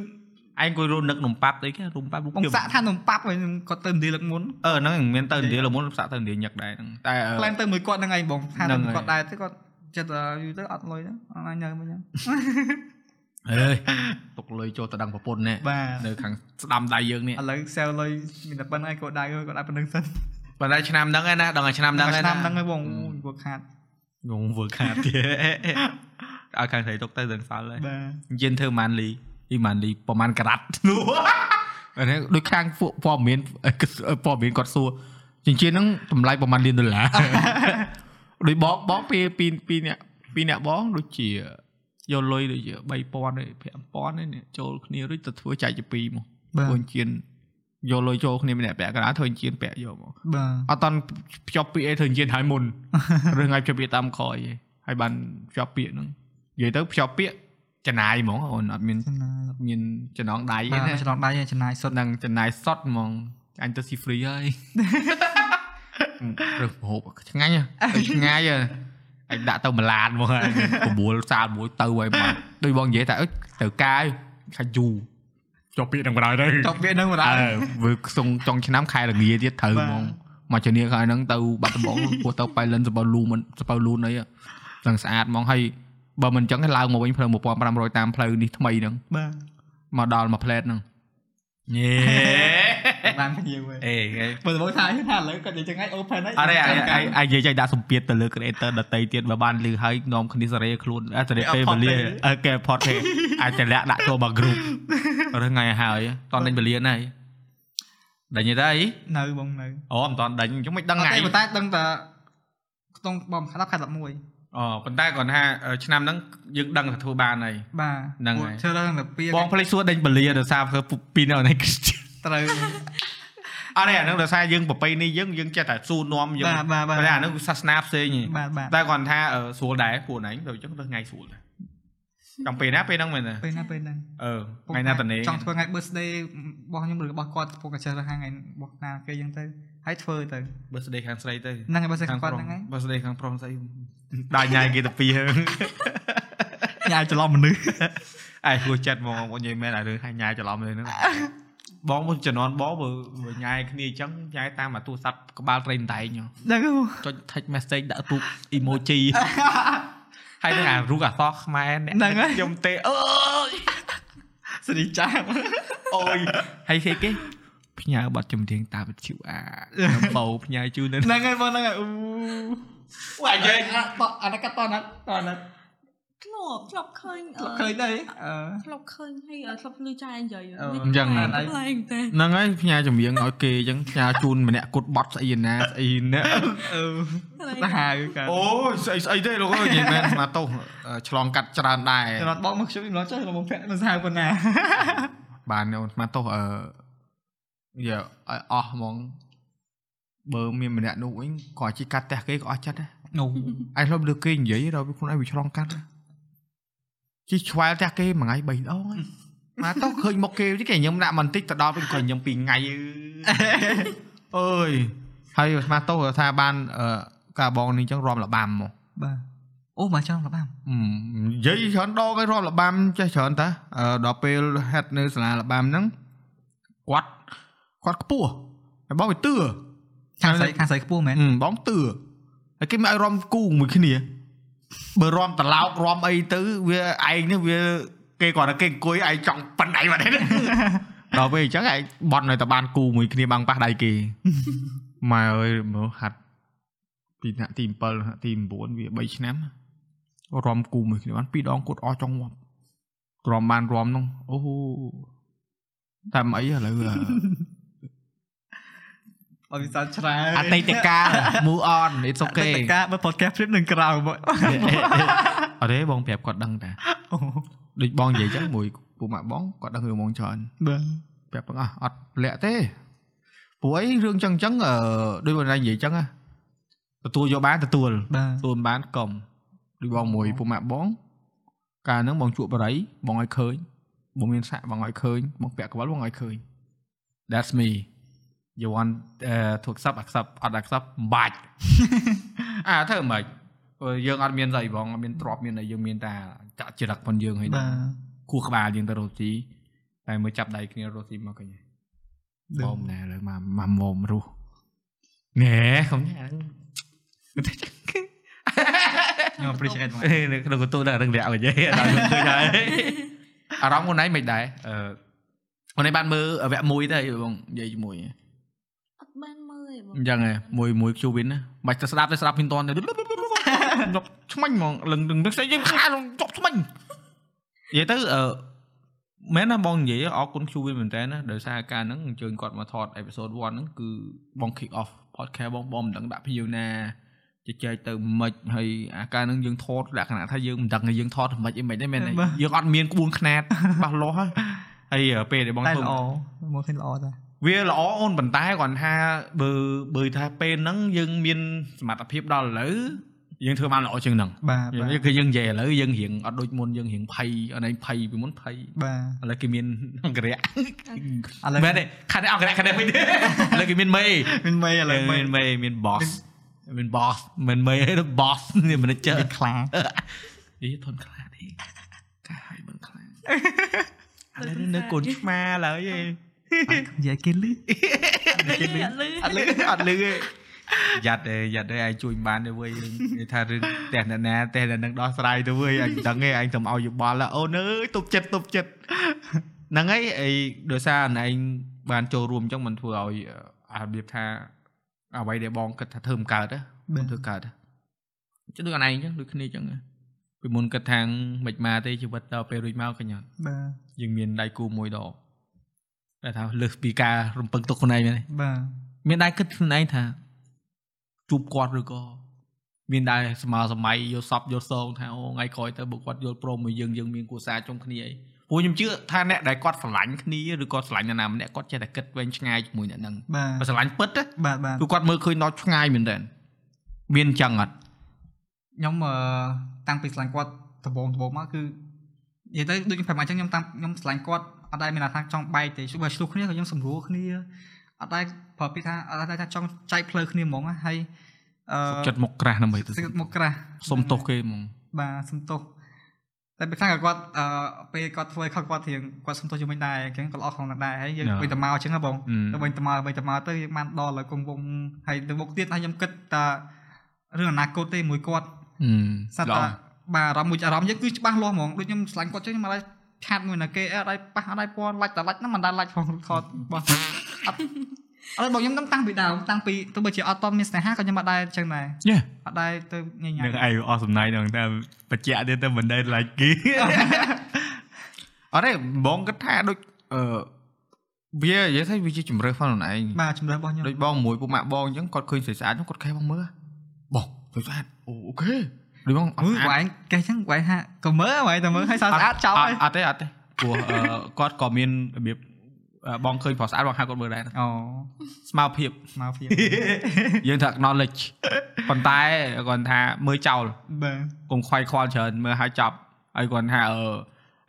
S1: ឯងគួយរនឹកនំប៉ាប់អីគេនំប៉ាប់រូប
S2: បង
S1: ភាព
S2: សាក់ថានំប៉ាប់ហើយខ្ញុំគាត់ទៅឥណ្ឌាលើកមុន
S1: អឺហ្នឹងមានទៅឥណ្ឌាលមុនផ្សាក់ទៅឥណ្ឌាញឹកដែរហ្នឹងតែអឺ
S2: ខ្លាំងទៅមួយគាត់ហ្នឹងឯងបងថា
S1: ហ្នឹងហើយ
S2: គាត់ដែរទៅគាត់ចិត្តអឺយូរទៅអត់លុយទៅអត់អាចញ៉ាំមិនញ៉ាំ
S1: អេទុកលុយចូលទៅដឹងប្រពន្ធណែ
S2: បាទ
S1: នៅខាងស្ដាំដៃយើងនេះ
S2: ឥឡូវសែលលុយមានតែប៉ុណ្្នឹងឯងគាត់ដែរគាត់ដែរប៉ុណ្្នឹងសិន
S1: បើតែឆ្នាំហ្នឹងឯណាដឹងតែឆ្នាំហ្នឹងឯណា
S2: ឆ្នាំហ្នឹងឯងបងអូយគាត់ខាត
S1: ងងធ្វើខាតទៀតឲ្យខាងស្រីទុកទៅដឹងសល់ហើយ
S2: បាទ
S1: យិនធ្វើម៉ានលីអីម៉ានលីប្រហែលការ៉ាត់ នោះអានេះដូចខាងពួកព័ត៌មាន ព័ត៌មានគាត់សួរចិញ្ចៀនហ្នឹងតម្លៃប្រហែលលានដុល្លារ ដូចបងបងពីពីពីអ្នកពីអ្នកបងដូចជាយកលុយដូចជា3000ឯ5000ឯនេះចូលគ្នារួចទៅធ្វើចែកជាពីរមក
S2: បាទ
S1: បងជៀន យកលុយចូលគ្នាម្នាក់ពាក់កណ្ដាលធ្វើអញ្ជៀនពាក់យកមក
S2: បាទ
S1: អត់តន់ភ្ជាប់ពាក្យអីធ្វើអញ្ជៀនហើយ មុន រឿងឲ្យភ្ជាប់ពាក្យតាមក្រោយឯងហើយបានភ្ជាប់ពាក្យហ្នឹងនិយាយទៅភ្ជាប់ពាក្យចំណាយហ្មងអូនអត់មាន
S2: ចំណាយ
S1: មានចំណងដៃទេ
S2: បាទ
S1: ណា
S2: ឆ្លងដៃហើយចំណាយសុ
S1: សុទ្ធ
S2: ទ្ធ
S1: នឹងចំណាយសតហ្មងអញទៅស៊ី free ហើយ រើសម្ហូបឆ្ងាញ់ហ៎ទៅឆ្ងាយហ៎អញដាក់ទៅម្លាន មកហើយ9សាល មួយទៅហើយបាទដូចបងនិយាយតែអុយទៅកាយខាយយូរជាប់ពាក្យនឹងបណ្ដោយ ទៅ
S2: ចប់វានឹងបណ្ដា
S1: អើ
S2: ល
S1: វាខ្សងចុងឆ្នាំខែលងាទៀតត្រូវ
S2: បាទ
S1: ហ្មងមកជំនាញខែហ្នឹងទៅបាត់ដំបង ពោះទៅប៉ៃលិនសបៅលូមិនសបៅលូនអីហ្នឹងស្អាតហ្មងហើយបើមិនអញ្ចឹងឯងឡើងមកវិញផ្លូវ1500តាមផ្លូវនេះថ្មីហ្នឹង
S2: បាទ
S1: មកដល់មួយផ្លែតហ្នឹងយេ
S2: បានភ្ញៀវហើយ
S1: អេគេ
S2: បើសមកថាថាឥឡូវគាត់និយាយចឹងហើយ open ហើយ
S1: អរេអាយអាយអាយនិយាយចៃដាក់សម្ពាធទៅលើ creator ដតីទៀតបើបានលឺហើយនាំគ្នាសេរីខ្លួនអត់សេរីពេលវេលាអើគេ report ទេអាចតែលាក់ដាក់ចូលមក group រើសថ្ងៃឲ្យហើយតន់ដេញវេលាណាស់ដេញទេអី
S2: នៅបងនៅ
S1: អូមិនតន់ដេញអញ្ចឹងមិនដឹង
S2: អត់
S1: ថ្ងៃ
S2: ទេប៉ុន្តែដឹងតែក្នុងបងខែ10ខែ11
S1: អប៉ុន្តែគាត់ថាអឺឆ្នាំហ្នឹងយើងដឹងថាធ្វើបានហើយ
S2: បាទ
S1: ហ្នឹងហើយ
S2: ឈើដល់ដល់ពី
S1: បងភ្លេចសួរដេញបលាដោយសារធ្វើពីនៅនេះ
S2: ត្រូវ
S1: អត់ទេអាហ្នឹងដោយសារយើងប្រពៃនេះយើងយើងចេះតែសួរនាំយើង
S2: បាទបាទបាទ
S1: តែអាហ្នឹងគឺសាសនាផ្សេងឯង
S2: បាទបាទ
S1: តែគាត់ថាអឺស្រួលដែរខ្លួនឯងដូចអញ្ចឹងទៅថ្ងៃស្រួល ដែរចង់ពេលណាពេលហ្នឹងមែនទេ
S2: ពេលណាពេលហ្នឹង
S1: អឺថ្ងៃណាតនេ
S2: ចង់ធ្វើថ្ងៃ birthday របស់ខ្ញុំឬរបស់គាត់ពួកកាចេះហាងថ្ងៃរបស់ណាគេអញ្ចឹងទៅហើយធ្វើទៅ
S1: birthday ខាងស្រីទៅ
S2: ហ្នឹងហើយបើសិនគាត់ហ្នឹងហើយ
S1: birthday ខាងប្រុសស្អីដាក់ញ៉ាយគេទៅពីហើយ
S2: ញ៉ាយច្រឡំមនុ ស្ស
S1: អាយគួរចិត្តហ្មងបងនិយាយមែនអារឿងហើយ ញ៉ាយច្រឡំលើហ្នឹងបងមួយជំនាន់បងបើបើញ៉ាយគ្នាអញ្ចឹងញ៉ាយតាមអាទូរស័ព្ទក្បាលត្រេនតែងហ៎
S2: ហ្នឹងហ៎
S1: ចុច text message ដាក់ទូក emoji ហើយនឹងអារូកអសរខ្មែរអ្នក
S2: ហ្នឹងហើយ
S1: ខ្ញុំទេអើ យ
S2: សេរី ចាស់
S1: អូយ ហើយគេគេផ្ញើប័ណ្ណចម្រៀងតាមវិទ្យុ អាដំបូងផ្ញើជូននៅ
S2: ហ្នឹងហើយបងហ្នឹងហើយអូ
S1: អូអាយយើង
S2: អាតអាហ្នឹងកាត់តហ្នឹងតហ្នឹង
S3: ធ្លាប់ធ្លាប់ឃើញអឺ
S2: លោកឃើញដែរអឺ
S3: ធ្លាប់ឃើញ ហើយអត់ធ្លាប់លឺចាយនិយាយ
S2: អឺ
S3: ដូចខ្លាំងខ្លាំង តែ
S1: ហ្នឹងហើយផ្ញើចម្រៀងឲ្យគេអញ្ចឹងផ្ញើជូនម្នាក់គុតប័ណ្ណស្អីណាស្អីណា
S2: អឺ
S3: ខ្លាំង
S2: ទៅហៅកើត
S1: អូយស្អីស្អីទេលោកអើយនិយាយមែនស្មាតោសអឺឆ្លងកាត់ច្រើនដែរ
S2: ចំណត់បងមកខ្ញុំចំណត់ចុះរបស់ភ័ក្រមិនសាវប៉ុណ្ណា
S1: បានអូនស្មាតោសអឺយកឲ្យអស់ហ្មងបើមានម្នាក់នោះវិញគាត់ជិះកាត់ផ្ទះគេក៏អស់ចិត្តដែរ
S2: នោះ
S1: ឯងធ្លាប់លើគេនិយាយដល់វាខ្លួនឯងវាឆ្លងកាត់ជិះឆ្វែលផ្ទះគេមួយថ្ងៃ3ដងហើយស្មាតោសឃើញមកគេគេញឹមដាក់បន្តិចទៅដល់វិញគាត់ញឹមពីរថ្ងៃអឺ អើយហើយស្មាតោសថាបានអឺការបងនេះអញ្ចឹងរំលបាំមក
S2: បាទអូមកចង់របាំ
S1: អឺនិយាយច្រើនដងហើយរាប់របាំចេះច្រើនតាអឺដល់ពេល head នៅសាលារបាំហ្នឹងគាត់គាត់ខ្ពស់ហើយបងវាទឿ
S2: ខាងស្រីខាងស្រីខ្ពស់មែន
S1: អឺបងទឿហើយគេមិនឲ្យរំគូមួយគ្នាបើរំតឡោករំអីទៅវាឯងនេះវាគេគាត់ថាគេអង្គុយឯងចង់ប៉ិនឯង បាត់ទេណា ដល់ពេលអញ្ចឹងឯងបន់ឲ្យតែបានគូមួយគ្នាបាំងប៉ះដៃគេ ម៉ែអើយមើលហាត់ពីថ្នាក់ទី7ថ្នាក់ទី9វា3ឆ្នាំរំគូមួយគ្នាបានពីរដងគាត់អស់ចង់ងាប់រំបានរំហ្នឹងអូតាមអីឥឡូវ
S2: អត់មានសាច្រើន
S1: អតីតកាល move on it's
S2: អ តី
S1: okay
S2: តកាលបើ podcast ព្រៀបនឹង ក្រៅមក
S1: អត់ទេបងប្រាប់គាត់ដឹងតា
S2: អូ
S1: ដូចបងនិយាយចឹងមួយពូម៉ាក់បងគាត់ដឹងរឿងហ្មងច្រើន
S2: បាទ
S1: ប្រាប់បងអស់អត់លាក់ទេព្រោះអីរឿងចឹងចឹងអឺដូចបងណានិយាយចឹងណាទទួលយកបានទទួល
S2: បាទ
S1: ទទួលមិនបានកុំដូចបងមួយពុកម៉ាក់បង កាលហ្នឹងបងជក់បរិយបងឲ្យឃើញបងមានសាក់បងឲ្យឃើញបងពាក់កវលបងឲ្យឃើញ That's me you want uh, to accept accept អត់ accept មិនបាច់ អាធ្វើមិនព្រោះយើងអត់មានស្អីបងអត់មានទ្រព្យមានអីយើងមានតែចាក់ចរិតប៉ុនយើងហើយ
S2: បា
S1: ណា
S2: ទ
S1: គោះក្បាលយើងទៅរស់ទីតែមើលចាប់ដៃគ្នារស់ទីមកកញ្ញា
S2: ដឹង
S1: បងណែលើមកមកមុំរស់ណែកុំញ៉ាំ
S2: ខ្ញុំ appreciate ហ្មង
S1: នៅក្នុងកន្ទូលដែររឿងលាក់កញ្ញាដល់ខ្ញុំឃើញហើយ អារម្មណ៍ខ្លួនឯងមិនដែរអឺខ្លួនឯងបានមើលវគ្គមួយទៅបងនិយាយជាមួយ
S3: អត់បានមើលឯងបង
S1: អញ្ចឹងឯងមួយមួយខ្ជូវិនណាមិនទៅស្ដាប់ទៅស្ដាប់ពីតនទៅ ឆ្មាញ់ហ្មងលឹងលឹងស្អី យើងខ្លាចជាប់ឆ្មាញ់និយាយទៅអឺ មែនណាបងនិយាយអរគុណ Qwin មែនតើណាដោយសារការហ្នឹងអញ្ជើញគាត់មកថត episode 1ហ្នឹងគឺបង kick off podcast បងបងមិនដឹងដាក់ភីវណាជជែកទៅមិនហើយអាការហ្នឹងយើងថតលក្ខណៈថាយើងមិនដឹងថាយើងថតមិនអីមិនទេមែនទេយើងអត់មានក្បួនខ្នាត បោះលោះហើយហើយពេលដែលបង
S2: តែ
S1: ធ្វើ
S2: ល្អមកឃើញល្អតា
S1: វ វាល្អអូនប៉ុន្តែគ្រាន់ថាបើបើថាពេលហ្នឹងយើងមានសមត្ថភាពដល់ឥឡូវយើងធ្វើបានល្អជាងហ្នឹង
S2: បាទ
S1: យើ
S2: បាទ
S1: ងគឺយើងនិយាយឥឡូវយើងរៀងអត់ដូចមុនយើងរៀងភ័យអត់ឯងភ័យពីមុនភ័យ
S2: បាទ
S1: ឥឡូវគេមានអង្គរៈ
S2: ឥឡូវ
S1: មែនទេខាត់អង្គរៈខាត់មិនទេឥឡូវគេមានមេ
S2: មានមេឥឡូវមេ
S1: មាន មេមាន boss មាន boss មិនមេទេ boss នេះ manager
S2: ខ្លា
S1: អីធនខ្លាទេកាហើយមិនខ្លាឥឡូវនេះនៅកូនឆ្មាឡើយឯង
S2: និយាយគេលឺ
S3: គេលឺលឺ
S1: អត់លឺអត់លឺទេយ៉ាត់ទេយ៉ាត់ទេឯងជួយមិនបានទេវើយនិយាយថារឿងផ្ទះអ្នកណាផ្ទះអ្នកនឹងដោះស្រាយទៅវើយឯងមិនដឹងទេឯងទៅឲ្យយោបល់ឡាអូនអើយទប់ចិត្តទប់ចិត្តហ្នឹងហើយអីដោយសារអនឯងបានចូលរួមអញ្ចឹងມັນធ្វើឲ្យអឺអារបៀបថាអ្វីដែលបងគិតថាធ្វើមិនកើតហ្នឹងធ្វើកើតហ៎ចឹងដូចអនឯងអញ្ចឹងដូចគ្នាអញ្ចឹងហ៎ពីមុនគិតថាមិនខ្មិចមកទេជីវិតដល់ពេលរួចមកកញ្ញត់
S2: បាទ
S1: យើងមានដៃគូមួយដងដែលថាលើសពីការរំពឹងទុកខ្លួនឯងមែនទេ
S2: បាទ
S1: មានដែរគិតខ្លួនឯងថាជួបគាត់ឬក៏មានដែរស្មើសម័យយកសពយកសងថាអូថ្ងៃក្រោយទៅបើគាត់យល់ព្រមមកយើងយើងមានគូសារចុងគ្នាអីព្រោះខ្ញុំជឿថាអ្នកដែលគាត់ស្រឡាញ់គ្នាឬក៏ស្រឡាញ់នរណាម្នាក់គាត់ចេះតែគិតវែងឆ្ងាយជាមួយអ្នកហ្នឹង
S2: បាទ
S1: បើស្រឡាញ់ពិតណា
S2: បាទបាទ
S1: គឺគាត់មើលឃើញដល់ឆ្ងាយមែនតើមានអញ្ចឹងអត់
S2: ខ្ញុំអឺតាំងពីស្លាញ់គាត់ដំបូងដំបូងមកគឺនិយាយទៅដូចខ្ញុំប្រាប់មកអញ្ចឹងខ្ញុំតាំងខ្ញុំស្លាញ់គាត់អត់ដែរមានអារម្មណ៍ថាចង់បែកទេបើឆ្លោះគ្នាក៏ខ្ញុំសម្រួលគ្នាអត់ដែរប្រាប់ពីថាអត់ដែរថាចង់ចែកផ្លូវគ្នាហ្មងណាហើយអឺ
S1: ចិត្តមកក្រាស់ដើម្បីទៅ
S2: សឹកមកក្រាស់
S1: សុំទោសគេហ្មង
S2: បាទសុំទោសតែពេលខ្លះក៏គាត់អឺពេលគាត់ធ្វើឲ្យខុសគាត់រៀងគាត់សុំទោសជាមួយដែរអញ្ចឹងក៏ល្អក្នុងនោះដែរហើយយើងវិញទៅមកអញ្ចឹងណាបង ទៅវិញទៅមកវិញទៅមកទៅយើងបានដល់ហើយគង់វងហើយទៅមុខទៀតហើយខ្ញុំគិតថារឿងអនាគតទេមួយគាត់
S1: អឺ
S2: សត្វ
S1: ល្អ
S2: តាបាទអារម្មណ៍មួយអារម្មណ៍យើងគឺច្បាស់លាស់ហ្មងដូចខ្ញុំស្លាញ់គាត់ចឹងខ្ញុំអត់ឲ្យឆាតមួយណាគេអត់ឲ្យប៉ះអត់ឲ្យពណ៌ឡាច់តឡាច់ហ្នឹងមិនដាច់ឡាច់ផងថតបោះអត់អត់បងខ្ញុំនឹងតាំងពីដើមតាំងពីទោះបីជាអត់តមានស្នេហាក៏ខ្ញុំអត់ដែរចឹងដែរ
S1: យេ
S2: អត់ដែរទៅញញ៉ៃ
S7: នឹងឯងអស់សំណាយដល់តែបច្ចៈទៀតទៅមិនដែលឡាយគេ
S1: អត់ទេបងគិតថាដូចអឺវានិយាយថាវាជាជំរឿផងខ្លួនឯង
S2: បាទជំរឿនរបស់ខ្ញុំ
S1: ដូចបងមួយពុកម៉ាក់បងអញ្ចឹងគាត់ឃើញស្អាតស្អាតហ្នឹងគាត់ខេះបងមើលបងស្អាតស្អាតអូអូខេដូចបងអ
S2: អូ
S1: ត់
S2: យ
S1: ស្អា
S2: វ៉ៃ
S1: ត
S2: កេះចឹងវ៉ៃហាក់ក៏មើលវ៉ៃតែមើលឲ្យស្អាតស្អាតចោល
S1: អ
S2: ហើយ
S1: ត់អត់ទេអត់ទេព្រោះអឺ គាត់ក៏មានរបៀបអឺបងឃើញប្រុសស្អាតបងហៅគាត់មើលដែរ
S2: អូ
S1: ស្មារភាព
S2: មកភៀប
S1: យើងថា acknowledge ប៉ុន្តែគាត់ថាមើលចោល
S2: បាទ
S1: កុំខ្វាយខ្វល់ច្រើនមើលឲ្យចប់ហើយគាត់ថាអឺ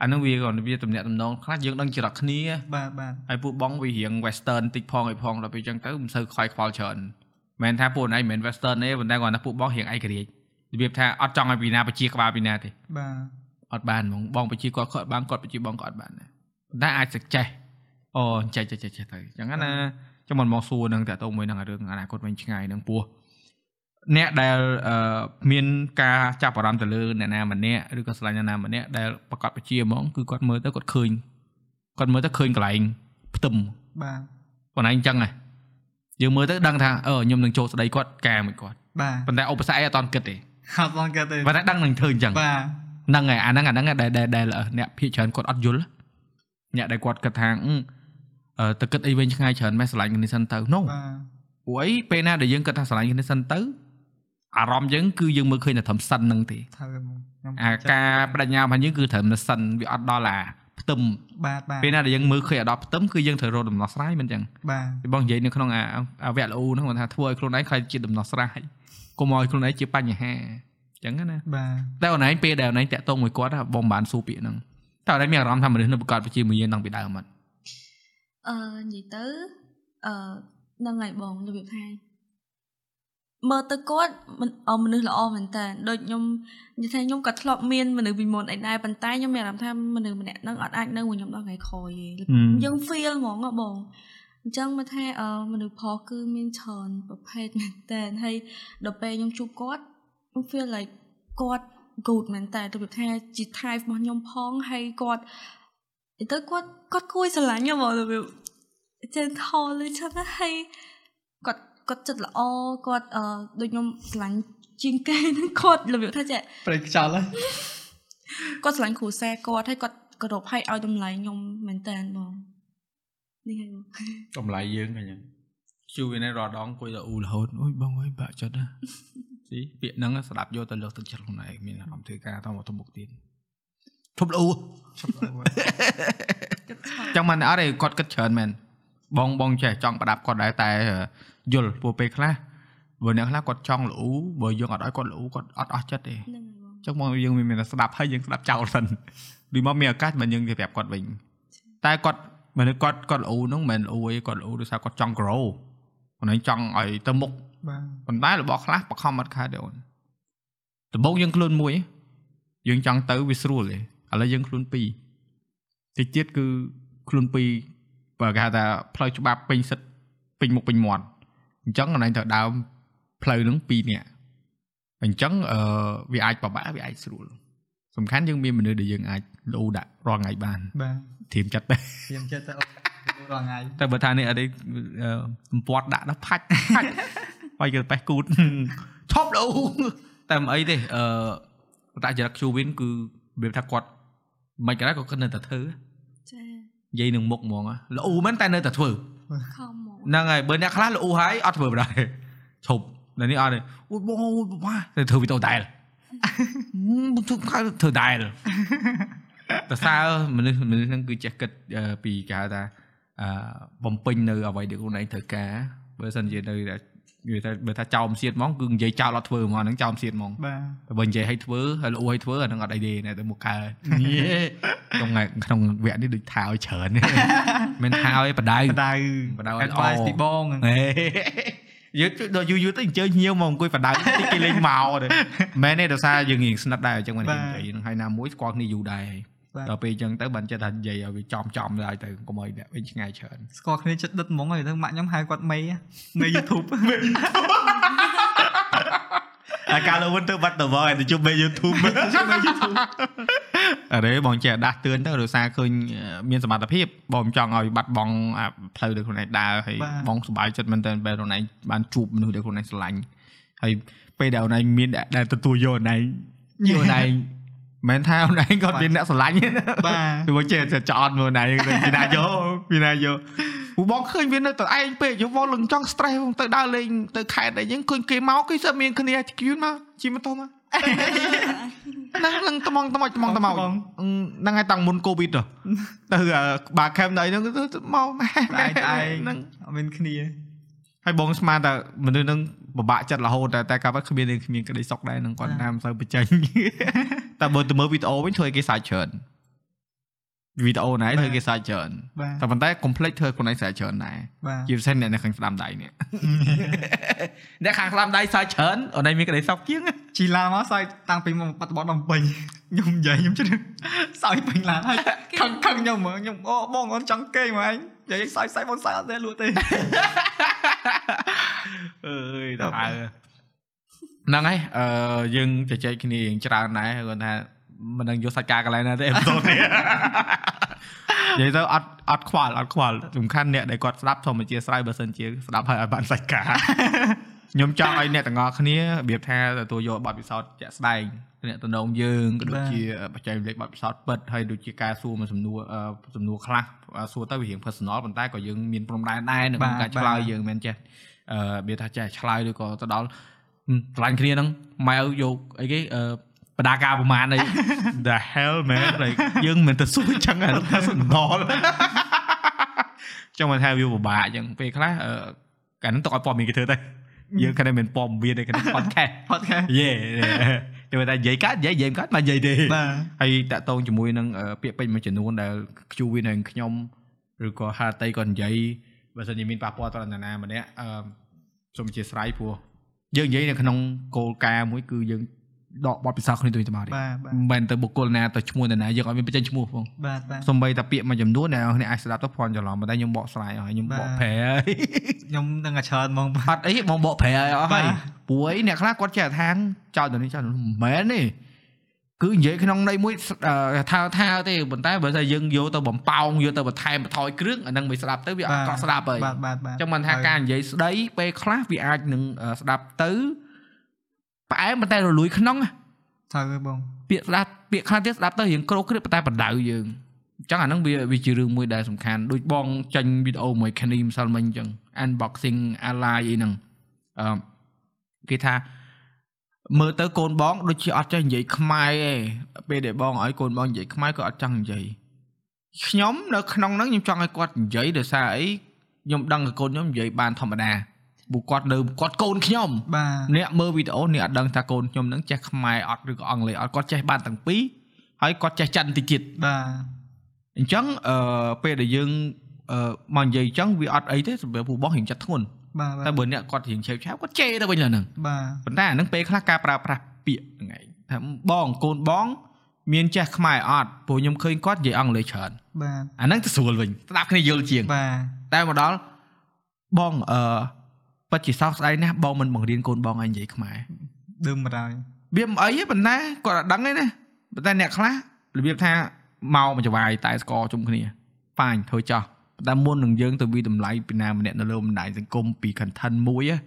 S1: អាហ្នឹងវាគាត់វាតំណាក់តំណងខ្លះយើងដឹងច្រកគ្នា
S2: បាទបាទ
S1: ហើយពួកបងវារៀង western តិចផងអីផងដល់ពេលអញ្ចឹងទៅមិនសូវខ្វាយខ្វល់ច្រើនមិនមែនថាពួកឯងមិនមែន western ទេប៉ុន្តែគាត់ថាពួកបងរៀងឯករាជ្យរបៀបថាអត់ចង់ឲ្យពីណាបជាក្បាលពីណាទេ
S2: បាទ
S1: អត់បានហ្មងបងបជាគាត់គាត់បានគាត់បជាបងគាត់អត់បានដែរប៉ុន្តែអាចសេចចេះអូចេះចេះចេះចេះទៅអញ្ចឹងណាចាំមិនមកសួរនឹងតាក់ទងមួយនឹងរឿងអនាគតវិញឆ្ងាយនឹងពោះអ្នកដែលអឺមានការចាប់អារម្មណ៍ទៅលើអ្នកណាម្នាក់ឬក៏ស្រឡាញ់អ្នកណាម្នាក់ដែលប្រកបបជាហ្មងគឺគាត់មើលទៅគាត់ឃើញគាត់មើលទៅឃើញកន្លែងផ្ទឹម
S2: បាទ
S1: ប៉ុន្តែអញ្ចឹងហ៎យើងមើលទៅដឹងថាអឺខ្ញុំនឹងចូលស្ដីគាត់ការមួយគាត់
S2: បាទ
S1: ប៉ុន្តែឧបសគ្គអីអត់តន់គិតទេ
S2: អត់បងកើតទេ
S1: ប៉ុន្តែដឹងនឹងធ្វើអញ្ចឹងហ
S2: បាទ
S1: ្នឹងហើយអាហ្នឹងអាហ្នឹងហើយដែលដែលដែលអ្នកភាគច្រើនគាត់អត់យល់អ្នកដែលគាត់គិតថាអឺអឺទៅគិតអីវិញឆ្ងាយច្រើនម៉េះស្រឡាញ់គ្នាសិនទៅ No ព
S2: បាទ
S1: ្រោះអីពេលណាដែលយើងគិតថាស្រឡាញ់គ្នាសិនទៅអារម្មណ៍យើងគឺយើងមើលឃើញតែត្រឹមសិនហ្នឹងទេ
S2: ថាទៅបងខ្ញុំ
S1: អាការបដិញ្ញារបស់យើងគឺត្រឹមតែសិនវាអត់ដល់អាផ្ទឹម
S2: បាទបាទ
S1: ពេលណាដែលយើងមើលឃើញអាដល់ផ្ទឹមគឺយើងត្រូវរកដំណោះស្រាយមិនអញ្ចឹង
S2: បាទ
S1: ពីបងនិយាយនៅក្នុងអាអាវគ្គល្អហ្នឹងគាត់ថាធ្វើឲ្យខ្លួនឯងខ្លាចជាដំណោះស្រាយកុំឲ្យខ្លួនឯងជាបញ្ហាអញ្ចឹងណា
S2: បាទ
S1: តែអូនឯងពេលដែលអូនឯងតាក់ទងមួយគាត់ហ่ะបងមិនបានសួរពាក្យហ្នឹងតែអូនឯងមានអារម្មណ៍ថាមនុស្សនៅប្រកបជាមួយយើងតាំងពីដើមមក
S3: អឺនិយាយទៅអឺហ្នឹងហើយបងរបៀបថាមើលទៅគាត់មិនអមនុស្សល្អមែនតើដូចខ្ញុំនិយាយថាខ្ញុំក៏ធ្លាប់មានមនុស្សពីមុនអីដែរប៉ុន្តែខ្ញុំមានអារម្មណ៍ថាមនុស្សម្នាក់ហ្នឹងអត់អាចនៅជាមួយខ្ញុំដល់ថ្ងៃក្រោយទេ យើង feel ហ្មងហ៎បងអញ្ចឹងមើលថាអឺមនុស្សប្រុសគឺមានច្រើនប្រភេទមែនតើហើយដល់ពេលខ្ញុំជួបគាត់ខ្ញុំ feel like គាត់ good មែនតើទៅពីថាជា type របស់ខ្ញុំផងហើយគាត់និយាយទៅគាត់គាត់គួយស្រឡាញ់ហ៎បងទៅពីចឹងខលលើឆាប់ណាហើយគាត់គាត់ចិត្តល្អគាត់អឺដូចខ្ញុំស្រឡាញ់ជាងគេ នឹងគាត់របៀបថាចេះ
S2: ប្រេកខ្យល់ហើយ
S3: គាត់ស្រឡាញ់គ្រូសាគាត់ហើយគាត់គោរពហើយឲ្យតម្លៃខ្ញុំមែនតើបងនេះហើយបង
S1: តម្លៃយើងអញ្ចឹងជួវានៅរដងគួយទៅអ៊ូរហូតអូយបងអើយបាក់ ចិត្តណាស៊ីពាក្យហ្នឹងស្ដាប់យកទៅលើកទឹកចិត្តខ្លួនឯងមានអារម្មណ៍ធ្វើការតមកទៅមុខទៀតធប់ល្អ
S2: ឈប់អើយ
S1: ចឹងមិនអត់ទេគាត់គិតច្រើនមែន បងបងចេះចង់ប្រដាប់គាត់ដែរតែយល់ពួកពេលខ្លះបើអ្នកខ្លះគាត់ចង់ល្អូបើយើងអត់ឲ្យគាត់ល្អូគាត់អត់អស់ចិត្តទេ
S3: ហ្នឹងហើយបង
S1: ចឹងមកយើងមានមានតែស្ដាប់ហើយយើងស្ដាប់ចោលសិនដូចមកមានឱកាសមិនយើងទៅប្រាប់គាត់វិញតែគាត់មនុស្សគាត់គាត់ល្អហ្នឹងមិនមែនល្អអីគាត់ល្អដោយសារគាត់ចង់ grow គាត់នឹងចង់ឲ្យទៅមុខ
S4: បាទ
S1: ប៉ុន្តែរបស់ខ្លះបខំអត់ខាតទេអូនដំបូងយើងខ្លួនមួយយើងចង់ទៅវាស្រួលទេឥឡូវយើងខ្លួនពីរតិចទៀតគឺខ្លួនពីរបើគេហៅថាផ្លូវច្បាប់ពេញសិទ្ធពេញមុខពេញមាត់អញ្ចឹងកន្លែងទៅដើមផ្លូវហ្នឹងពីរនាក់ អញ្ចឹងអឺវាអាចពិបាកវាអាចស្រួលសំខាន់យើងមានមនុស្សដែលយើងអាចលោដាក់រាល់ថ្ងៃបាន
S2: បាទ
S1: ធៀមចិត្តដែរ
S2: ខ្ញុំចិត្តទៅអូនរាល់ថ្ងៃ
S1: តែបើថានេះអត់ទេអឺសម្ពាត់ដាក់ដល់ ផាច់ផាច់បាយគេប៉េះគូត ឈប់លោ តែមិនអីទេអឺតាចរិតឈូវិនគឺរបៀបថាគាត់មិនក៏ដែរគាត់គិតនៅតែធ្វើ
S3: ចា
S1: និយាយនឹងមុខហ្មងលោមែនតែនៅតែធ្វើ
S3: ខំមក
S1: ហ្នឹងហើយបើអ្នកខ្លះលោហើយអត់ធ្វើបណ្ដោយឈប់នៅនេះអត់ទេអូយបងអូយបងតែធ្វើវីដេអូដែរ មិនធ្វើខៅធ្វើដែរតសើមនុស្សមនុស្សហ្នឹងគឺចេះគិតអឺពីគេហៅថាអឺបំពេញនៅអ្វីដែលខ្លួនឯងត្រូវការបើសិនជានៅតែនិយាយថាបើថាចោលសៀតហ្មងគឺនិយាយចោលអត់ធ្វើហ្មងអាហ្នឹងចោលសៀតហ្មង
S2: បាទ
S1: តែបើនិយាយឲ្យធ្វើហើយល្អឲ្យធ្វើអាហ្នឹងអត់អីទេណែទៅមកកើយេក្នុងថ្ងៃក្នុងវគ្គនេះដូចថាឲ្យច្រើនមិនថាឲ្យបដៅ
S2: បដៅ
S1: បដៅ
S2: អ
S1: ឲ្យ
S2: ត់
S1: ល្អ
S2: បាយទីបង
S1: ហេ យឺតដល់យូរយូរទៅអញ្ជើញញៀវមកអង្គុយបដៅតិចគេលេងមកទេមែនទេដោយសារយើងងាយស្និទ្ធដែរអញ្ចឹងមិននិយាយនឹងហើយណាមួយស្គាល់គ្នាយូរដែរដល់ពេលអញ្ចឹងទៅបានចិត្តថានិយាយឲ្យវាចំចំដែរទៅកុំឲ្យអ្នកវិញឆ្ងាយច្រើន
S2: ស្គាល់គ្នាចិត្តដិតហ្មងហើយទៅម៉ាក់ខ្ញុំហៅគាត់មេមេ YouTube
S1: អាកាលវិញទៅបាត់ទៅមកឯងទៅជុំមេ YouTube អរេបងចេះដាស់តឿនទៅដោយសារឃើញមានសមត្ថភាពបងចង់ឲ្យបាត់បង់អាផ្លូវដែលខ្លួនឯងដើរហើយ
S2: បាទ
S1: បងសប្បាយចិត្តមែនតើពេលខ្លួនឯងបានជួបមនុស្សដែលខ្លួនឯងស្រឡាញ់ហើយពេលដែលខ្លួនឯងមានអ្នកដែលទទួលយកខ្លួនឯង ខ្លួនឯ ងមិនមែនថាខ្លួនឯងក៏មានអ្នកស្រឡាញ់ ទេ
S2: បា
S1: ទោះចេះតែចោតមើលខ្លួនឯងទៅពីណាយកពីណាយកពូបងឃើញវានៅតែឯងពេកយកមកលឹងចង់ stress ផងទៅដើរលេងទៅខេត្តអីហ្នឹងឃើញគេមកគេសើមានគ្នាជឿមកជិះម៉ូតូមកណាស់លឹងត្មងត្មោចត្មងត្មោចហ្នឹងហើយតាំងមុន covid ទៅទៅបាខេមណៃហ្នឹងទៅមក
S2: ទតែឯ ង
S1: ហ្នឹង
S2: អត់មានគ្នា
S1: ហើយបងស្មានតែមនុស្សនឹងពិបាកចិត្តរហូតតែតែកាប់គ្មាននឹងគ្មានក្តីសុខដែរនឹងគាត់តាមសូវបញ្ចេញ តែបើទៅមើលវីដេអូវិញធ្វើឲ្យគេសាច់ច្រើនវីដេអូណាធ្វើឲ្យគេសាច់ច្រើន
S2: បាទ
S1: តែប៉ុន្តែ complex ធ្វើឲ្យខ្លួនឯងសាច់ច្រើនដែរ
S2: បាទ
S1: ជាពិសេសអ្នកនៅខាងស្ដាំដៃនេះ អ្នកខាងស្ដាំដៃសាច់ច្រើនអូនឯងមានក្តីសុខជាង
S2: ជីឡាមកសើចតាំងពីមកបាត់បោះដល់ពេញខ្ញុំនិយាយខ្ញុំជិះសើចពេញឡានហើយខឹងខឹងខ្ញុំហ្មងខ្ញុំអូបងអូនចង់គេហ្មងឯងនិយាយសើចសើចបងសើចអត់ទេលក់ទេ
S1: អើយតើហ្នឹងហើយអឺយើងជជែកគ្នារៀងច្រើនដែរគាត់ថាមិនដឹងយកសាច់ការកន្លែងណាទេ អេពីសូតនេះនិយាយទៅអត់អត់ខ្វល់អត់ខ្វល់សំខាន់អ្នកដែលគាត់ស្ដាប់សូមអធិស្ឋានបើសិនជាស្ដាប់ហើយអត់បានសាច់ការ ខ្ញុំចង់ឲ្យអ្នកទាំងអស់គ្នារបៀបថាទទួលយកបទពិសោធន៍ជាក់ស្ដែងទំនាក់ទំនងយើងក៏ដូច
S2: បាទ
S1: ជាបច្ចេកវិទ្យាបទពិសោធន៍ពិតហើយដូចជាការសួរមួយសំណួរអឺសំណួរខ្លះអឺសួរទៅវារៀង personal ប៉ុន្តែក៏យើងមានព្រំដែនដែរនៅក្នុងកា
S2: បាទ
S1: រឆ្លើយ
S2: បាទ
S1: យើងមិនមែនចេះ អឺវាថាចេះឆ្លើយឬក៏ទៅដល់ហឹមឆ្លាញ់គ្នាហ្នឹងម៉ែឪយកអីគេអឺបដាការប្រមាណអី the hell man like យើងមិនទៅសួរចឹងអារថាសណ្ដល ចង់មកថាវាពិបាកចឹងពេលខ្លះអឺកាលហ្នឹងទុកឲ្យពណ៌មានគេធ្វើទៅយើងគ្រាន់តែមិនពណ៌មាន ទេគ្រាន់តែ podcast
S2: podcast
S1: yeah តែបើថានិយាយកើតនិយាយនិយាយមិនកើតមកនិយាយទេ
S2: បាទ
S1: ហើយតាក់ទងជាមួយនឹងអឺពាក្យពេចន៍មួយចំនួនដែលខ្ជូវានឹងខ្ញុំឬក៏ហាតៃក៏និយាយបើសិនជាមានប៉ះពាល់ដល់អ្នកណាម្នាក់អឺសូមអធិស្ឋានព្រោះយើងនិយាយនៅក្នុងគោលការណ៍មួយគឺយើងដកបទពិសោធន៍គ្នាទៅវិញទៅមកទេ
S2: បាទបាទ
S1: មិនមែនទៅបុគ្គលណាទៅឈ្មោះអ្នកណាយើងអត់មានបញ្ចេញឈ្មោះផង
S2: បាទបាទ
S1: សំបីតាពាក្យមួយចំនួនដែលអ្នកនរអាចស្ដាប់ទៅភ័ន្តច្រឡំប៉ុន្តែខ្ញុំបកស្រាយឲ្យខ្ញុំប
S2: បា
S1: ក
S2: ទ
S1: ប្រែឲ្យ
S2: ខ្ញុំនឹងតែច្រើនហ្មង
S1: អត់អីបងបកប្រែឲ្យអស់
S2: បា
S1: ហើយ
S2: ទ
S1: ព្រោះអីអ្នកខ្លះគាត់ចេះអាថាងចោលទៅនេះចោលទៅនោះមិនមែនទេគឺនិយាយក្នុងន័យមួយស្អឺថាថាទេប៉ុន្តែបើស្អីយើងយកទៅបំប៉ោងយកទៅបន្ថែមបន្ថយគ្រឿងអាហ្នឹងមិនស្ដាប់ទៅវាអត់កក់ស្ដាប់ហើយ
S2: បាទបាទបាទ
S1: ចឹងមិនថាការនិយាយស្ដីពេលខ្លះវាអាចនឹងអឺស្ដាប់ទៅផ្អែមប៉ុន្តែរលួយក្នុងណា
S2: ត្រូវហើយបង
S1: ពាក្យស្ដាប់ពាក្យខ្លះទៀតស្ដាប់ទៅរៀងក្រោកគ្រិបប៉ុន្តែបដៅយើងអញ្ចឹងអាហ្នឹងវាវាជារឿងមួយដែលសំខាន់ដូចបងចាញ់វីដេអូមួយគ្នាម្សិលមិញអញ្ចឹង unboxing ally អីហ្នឹង អឺគេថាមើលទៅកូនបងដូចជាអត់ចេះនិយាយខ្មែរទេពេលដែលបងឲ្យកូនបងនិយាយខ្មែរក៏អត់ចង់និយាយខ្ញុំនៅក្នុងហ្នឹងខ្ញុំចង់ឲ្យគាត់និយាយដោយសារអី ខ្ញុំដឹងកូនខ្ញុំនិយាយបានធម្មតាពូគាត់នៅគាត់កូនខ្ញុំ
S2: បាទ
S1: អ្នកមើលវីដេអូអ្នកអត់ដឹងថាកូនខ្ញុំនឹងចេះខ្មែរអត់ឬក៏អង់គ្លេសអត់គាត់ចេះបានទាំងពីរហើយគាត់ចេះចិនតិចទៀត
S2: បាទ
S1: អញ្ចឹងអឺពេលដែលយើងអឺមកនិយាយអញ្ចឹងវាអត់អីទេសម្រាប់ពូបងរៀងចិត្តធ្ងន់
S2: បាទបា
S1: តែ
S2: ទ
S1: បើអ្នកគាត់រៀងឆេវឆាវគាត់ចេទៅវិញលើហ្នឹង
S2: បាទ
S1: ប៉ុន្តែអាហ្នឹងពេលខ្លះការប្រើប្រាស់ពាក្យហ្នឹងឯងថាបងកូនបង មានចេះខ្មែរអត់ព្រោះខ្ញុំឃើញគាត់និយាយអង់គ្លេសច្រើន
S2: បាទ
S1: អាហ្នឹងទៅស្រួលវិញស្ដាប់គ្នាយល់ជាង
S2: បាទ
S1: តែមកដល់បងអឺពិតជាសោកស្ដាយណាស់បងមិនបង្រៀនកូនបងឲ្យនិយាយខ្មែរ
S2: ដើមបារាយ
S1: វាមិនអីទេប៉ុន្តែគាត់អត់ដឹងទេណាប៉ុន្តែអ្នកខ្លះរបៀបថាមកមកចវាយតែស្គរជុំគ្នាប៉ាញ់ធ្វើចោះប៉ុន្តែមុននឹងយើងទៅវិតម្លៃពីណាម្នាក់នៅលើបណ្ដាញសង្គមពី content មួយណា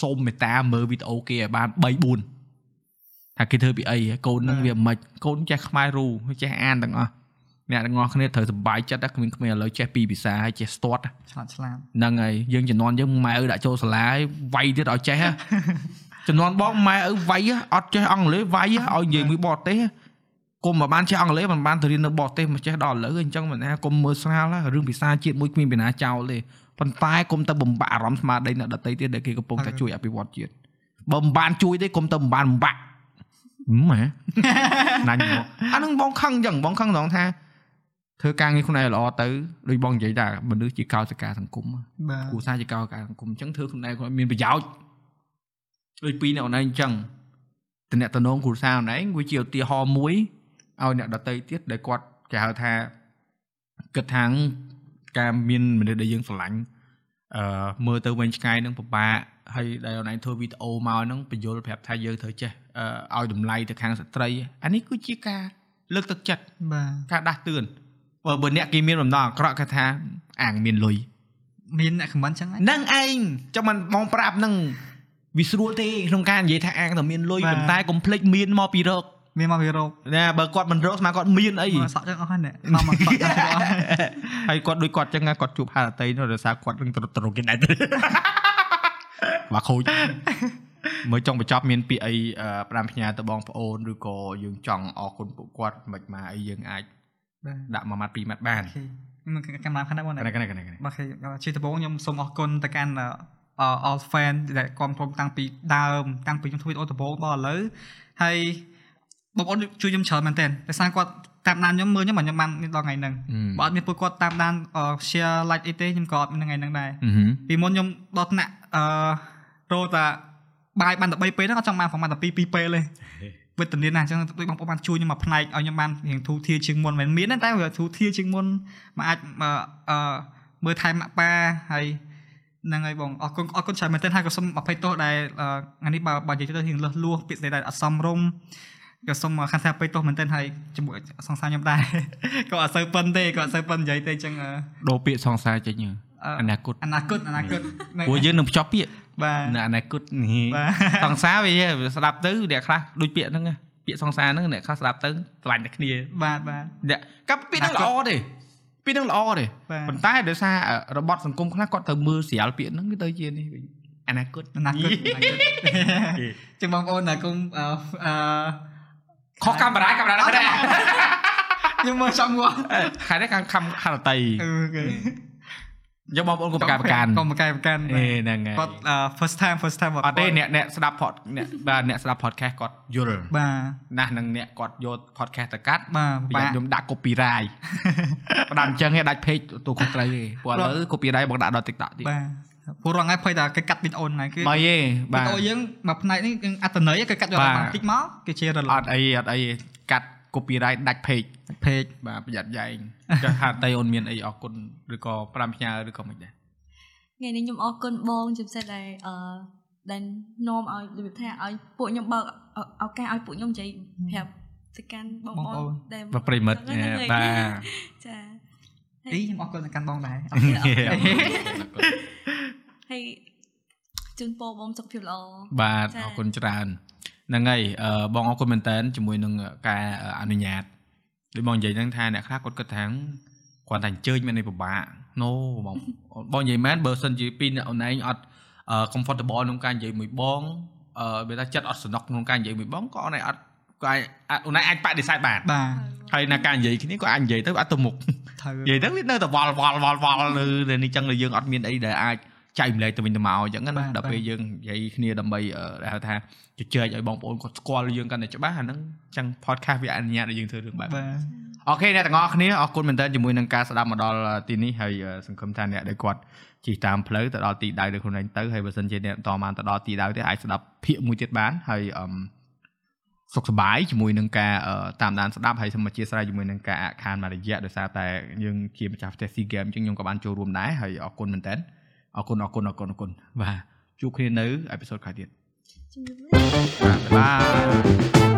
S1: សូមមេត្តាមើលវីដេអូគេឲ្យបាន3 4ថាគេធ្វើពីអីហ៎កូននឹងវាមិនខ្មិចកូនចេះខ្មែររូចេះអានទាំងអស់អ្នកទាំងអស់គ្នាត្រូវសប្បាយចិត្តណាគ្មានគ្មានឥឡូវចេះពីរភាសាហើយចេះស្ទាត់ណា
S2: ឆ្លាតឆ្លាត
S1: ហ្នឹងហើយយើងជំនាន់យើងម៉ែឪដាក់ចូលសាលាហើយវាយទៀតឲ្យចេះហ៎ ជំនាន់បងម៉ែឪវាយហ៎អត់ចេះអង់គ្លេសវាយហ៎ឲ្យនិយាយមួយបរទេសហ៎គុំមិនបានចេះអង់គ្លេសមិនបានទៅរៀននៅបរទេសមកចេះដល់ឥឡូវអញ្ចឹងមិនថាគុំមើលស្រាលហ៎រឿងភាសាជាតិមួយគ្មានពីណាចោលទេប៉ុន្តែគុំទៅបំបាក់អារម្មណ៍ស្មារតីអ្នកដទៃទៀតដែលគេកំពុងតែជួយអភិវឌ្ឍជាតិបើមិនបានជួយទេគុំទៅមិនបានបំបាក់ហ្ម ង
S8: ណាញ់មក
S1: អានឹងបងខឹងអញ្ចឹងបងខឹងត្រង់ថាធ្វើការងារខ្លួនឯងល្អទៅដូចបងនិយាយថាមនុស្សជាកោសិកាសង្គមហ៎
S2: បាទ
S1: គ្រួសារជាកោការសង្គមអញ្ចឹងធ្វើខ្លួនឯងគាត់មានប្រយោជន៍ដូចពីអ្នកណៃអញ្ចឹងតំណតំណងគ្រួសារណៃវាជាឧទាហរណ៍មួយឲ្យអ្នកដតីទៀតដែលគាត់គេហៅថាគិតថាការមានមនុស្សដែលយើងស្រឡាញ់អឺមើលទៅវិញឆ្ងាយនឹងពិបាកហើយដែលអនឡាញធ្វើវីដេអូមកហ្នឹងបញ្យល់ប្រាប់ថាយើងត្រូវចេះអឺឲ្យតម្លៃទៅខាងស្ត្រីអានេះគឺជាការលើកទឹកចិត្ត
S2: បាទ
S1: ការដាស់តឿនបើបើអ្នកគេមានបំណងអាក្រក់គេថាអាងមានលុយ
S2: មានអ្នកខមមិនចឹងហ្នឹង
S1: ហ្នឹងឯងចាំមិនបងប្រាប់ហ្នឹងវាស្រួលទេក្នុងការនិយាយថាអាងតែមានលុយ
S2: បាទ
S1: ប៉ុន្តែកុំភ្លេចមានមកពីរក
S2: មានមកវារោគ
S1: ណាបើគាត់មិនរកស្មើគាត់មានអី
S2: មកសក់ចឹងអស់ហ្នឹងមកមកសក់ចឹងអស់
S1: ហើយគាត់ដូចគាត់ចឹងណាគាត់ជួបហារតីនោះដោយសារគាត់នឹងត្រូវត្រូវគេដែរទេមកខូចមើលចង់បញ្ចប់មានពាក្យអីអឺផ្ដាំផ្ញើទៅបងប្អូនឬក៏យើងចង់អរគុណពួកគាត់មិនមកអីយើងអាច
S2: បាទ
S1: ដាក់មួយម៉ាត់ពីរម៉ាត់បាន
S2: អូខេមកកាមេរ៉ាខាងហ្នឹងបងណា
S1: កណែកណែកណែកណែ
S2: បាទខ្ញុំជាដំបូងខ្ញុំសូមអរគុណទៅកាន់អឺ all fan ដែលគ្រប់គ្រងតាំងពីដើមតាំងពីខ្ញុំធ្វើវីដេអូដំបូងដល់ឥឡូវហើយបងប្អូនជួយខ្ញុំច្រើនមែនទែនតែសារគាត់តាមដានខ្ញុំមើលខ្ញុំបាទខ្ញុំបានមានដល់ថ្ងៃហ្នឹងបើអត់មានពួកគាត់តាមដានអឺ share like អីទេខ្ញុំក៏អត់មានថ្ងៃហ្នឹងដែរ
S1: អឺហឹម
S2: ពីមុនខ្ញុំដល់ថ្នាក់អឺរោតាបាយបានតែ3ពេលហ្នឹងអត់ចង់បានប្រហែលតែ2 2ពេលទេវេទនាណាស់អញ្ចឹងដូចបងប្អូនបានជួយខ្ញុំមកផ្នែកឲ្យខ្ញុំបានរៀងធូរធារជាងមុនមិនមែនមានទេតែវាធូរធារជាងមុនមកអាចអឺអឺ មើលថែម៉ាក់ប៉ាហើយហ្នឹងហើយបងអរគុណអរគុណច្រើនមែនទែនហើយក៏សូមអភ័យទោសដែលអឺថ្ងៃនេះបើបើនិយាយទៅរៀងលឹះលួសពាក្យស្ដីដែលអត់សមរម្យក៏សូមអរខាន់ថាអភ័យទោសមែនទែនហើយជាមួយសង្សារខ្ញុំដែរ ក៏អត់សូវប៉ិនទេក៏អត់សូវប៉ិននិយាយទេអញ្ចឹងអឺ
S1: ដោពាក្យសង្សារចេញអ
S2: អឺ
S1: អនាគត
S2: អនាគតអនាគតហ្នឹង
S1: ព្រោះយើងនឹងភ្ជាប់ពាក្យ
S2: បាទ
S1: នៅអនាគតនេះ
S2: បាទ
S1: សង្សារវាស្ដាប់ទៅអ្នកខ្លះដូចពាក្យហ្នឹងណាពាក្យសង្សារហ្នឹងអ្នកខ្លះស្ដាប់ទៅឆ្លាញ់តែគ្នា
S2: បាទបាទ
S1: អ្នកកាប់ពាក្យហ្នឹងល្អទេពាក្យហ្នឹងល្អទេ
S2: បាទ
S1: ប៉ុន្តែដោយសាររបត់សង្គមខ្លះគាត់ទៅមើលស្រាលពាក្យហ្នឹងគឺទៅជានេះវិញអនាគត
S2: អនាគតអនាគត ចឹងបងប្អូនណាគុំអឺអឺ
S1: ខុសកាមេរ៉ាកាមេរ៉ាដែរ
S2: ខ្ញុំមើលចង់ ងាប់
S1: ខែនេះខាងខំហារតី
S2: អូខេ
S1: យកបងប្អូនកុំប្រកាសប្រកាន់
S2: កុំប្រកែប្រកាន់
S1: អេហ្នឹងហើ
S2: គាត់អឺ first time first time
S1: យអត់ទេអ្នកអ្នកស្ដាប់ pod អ្នកបាទអ្នកស្ដាប់ podcast គាត់យល់
S2: បាទ
S1: ណាស់នឹងអ្នកគាត់យក podcast ទៅកាត់
S2: បាទ
S1: ប្រ
S2: បា
S1: យ័ត្ន
S2: ក់
S1: ខ្ញុំដាក់ copyright ផ្ដាំអញ្ចឹងឯងដាច់ page ទូខុសត្រូវទេព្រោះឥឡូវ copyright បងដាក់ដល់ TikTok ទៀត
S2: បាទពូរងហើយភ័យតែគេកាត់វីដេអូហ្នឹងគឺវី
S1: បើយេបា
S2: ដេ
S1: ទ
S2: អូយើងមកផ្នែកនេះយើងអត្តន័យគេកាត់យក
S1: បាទ
S2: បានតិចមកគេជារ
S1: អ
S2: លត់
S1: ត់អីអត់អីកាត់ copyright ដាច់ page
S2: ភេក
S1: បាទប្រយ័ត្នយ៉ែង ចុះហាតៃអូនមានអីអរគុណឬក៏ប្រាំផ្ញើឬក៏មិនដែរ
S3: ថ្ងៃនេះខ្ញុំអរគុណបងជាពិសេសដែលអឺដែលនាំឲ្យរបៀបថាឲ្យពួកខ្ញុំបើកឱឱកាសឲ្យពួកខ្ញុំនិយាយប្រាប់ទៅកាន់បងប្អូនដែល
S1: បាទប្រិមិត្ត
S3: ហ្នឹងហើយ
S1: បាទ
S3: ចា
S2: អីខ្ញុំអរគុណទៅកាន់បងដែរ
S3: ហើយជូនពរបងសុខភាពល្អ
S1: បាទ
S3: ចា៎
S1: អរគុណច្រើនហ្នឹងហើយអឺបងអរគុណមែនតើជាមួយនឹងការអនុញ្ញាតដូចបងនិយាយហ្នឹងថាអ្នកខ្លះគាត់គិតថាគាត់តែអញ្ជើញមែនឯងពិបាកណូបងបងនិយាយមែនបើសិនជាពីរអ្នកអនឡាញអត់អឺ comfortable ក្នុងការនិយាយមួយបងអឺបើថាចិត្តអត់សំណុកក្នុងការនិយាយមួយបងក៏អនឡាញអត់ ក៏អាចអាចអូនឯងអាចបដិសេធបាន
S2: បាទ
S1: ហើយណាការនិយាយគ្នាក៏អាចនិយាយទៅអត់ទៅមុខ
S2: ត្រូវ
S1: និយាយទៅវានៅតែវល់វល់វល់វល់នៅនៅនេះចឹងដែលយើងអត់មានអីដែលអាចចែកម្លែកទៅវិញទៅមកអញ្ចឹងណាដល់ពេលយើងនិយាយគ្នាដើម្បីអឺដែលហៅថាជជែកឲ្យបងប្អូនគាត់ស្គាល់យើងកាន់តែច្បាស់អាហ្នឹងចឹង podcast វាអនុញ្ញាតឲ្យយើងធ្វើរឿងបែបហ្នឹង
S2: បាទ
S1: អូខេអ្នកទាំងអស់គ្នាអរគុណមែនទែនជាមួយនឹងការស្ដាប់មកដល់ទីនេះហើយអឺសង្ឃឹមថាអ្នកដែលគាត់ជិះតាមផ្លូវទៅដល់ទីដៅដោយខ្លួនឯងទៅហើយបើសិនជាអ្នកបន្តបានទៅដល់ទីដៅទេអាចស្ដាប់ភាគមួយទៀតបានហើយអឹមសុខសប្បាយជាមួយនឹងការអឺតាមដានស្ដាប់ហើយសូមអធិស្ឋានជាមួយនឹងការអាក់ខានមួយរយៈដោយសារតែយើងជាម្ចាស់ផ្ទះ SEA Games អញ្ចឹងខ្ញុំក៏បានចូលរួមដែរហើយអរគុណមែនទែនអរគុណអរគុណអរគុណអរគុណបាទជួបគ្នានៅអេពីសូតក្រោយទៀត
S3: ជំរាបលា
S1: បាទបាយបាយ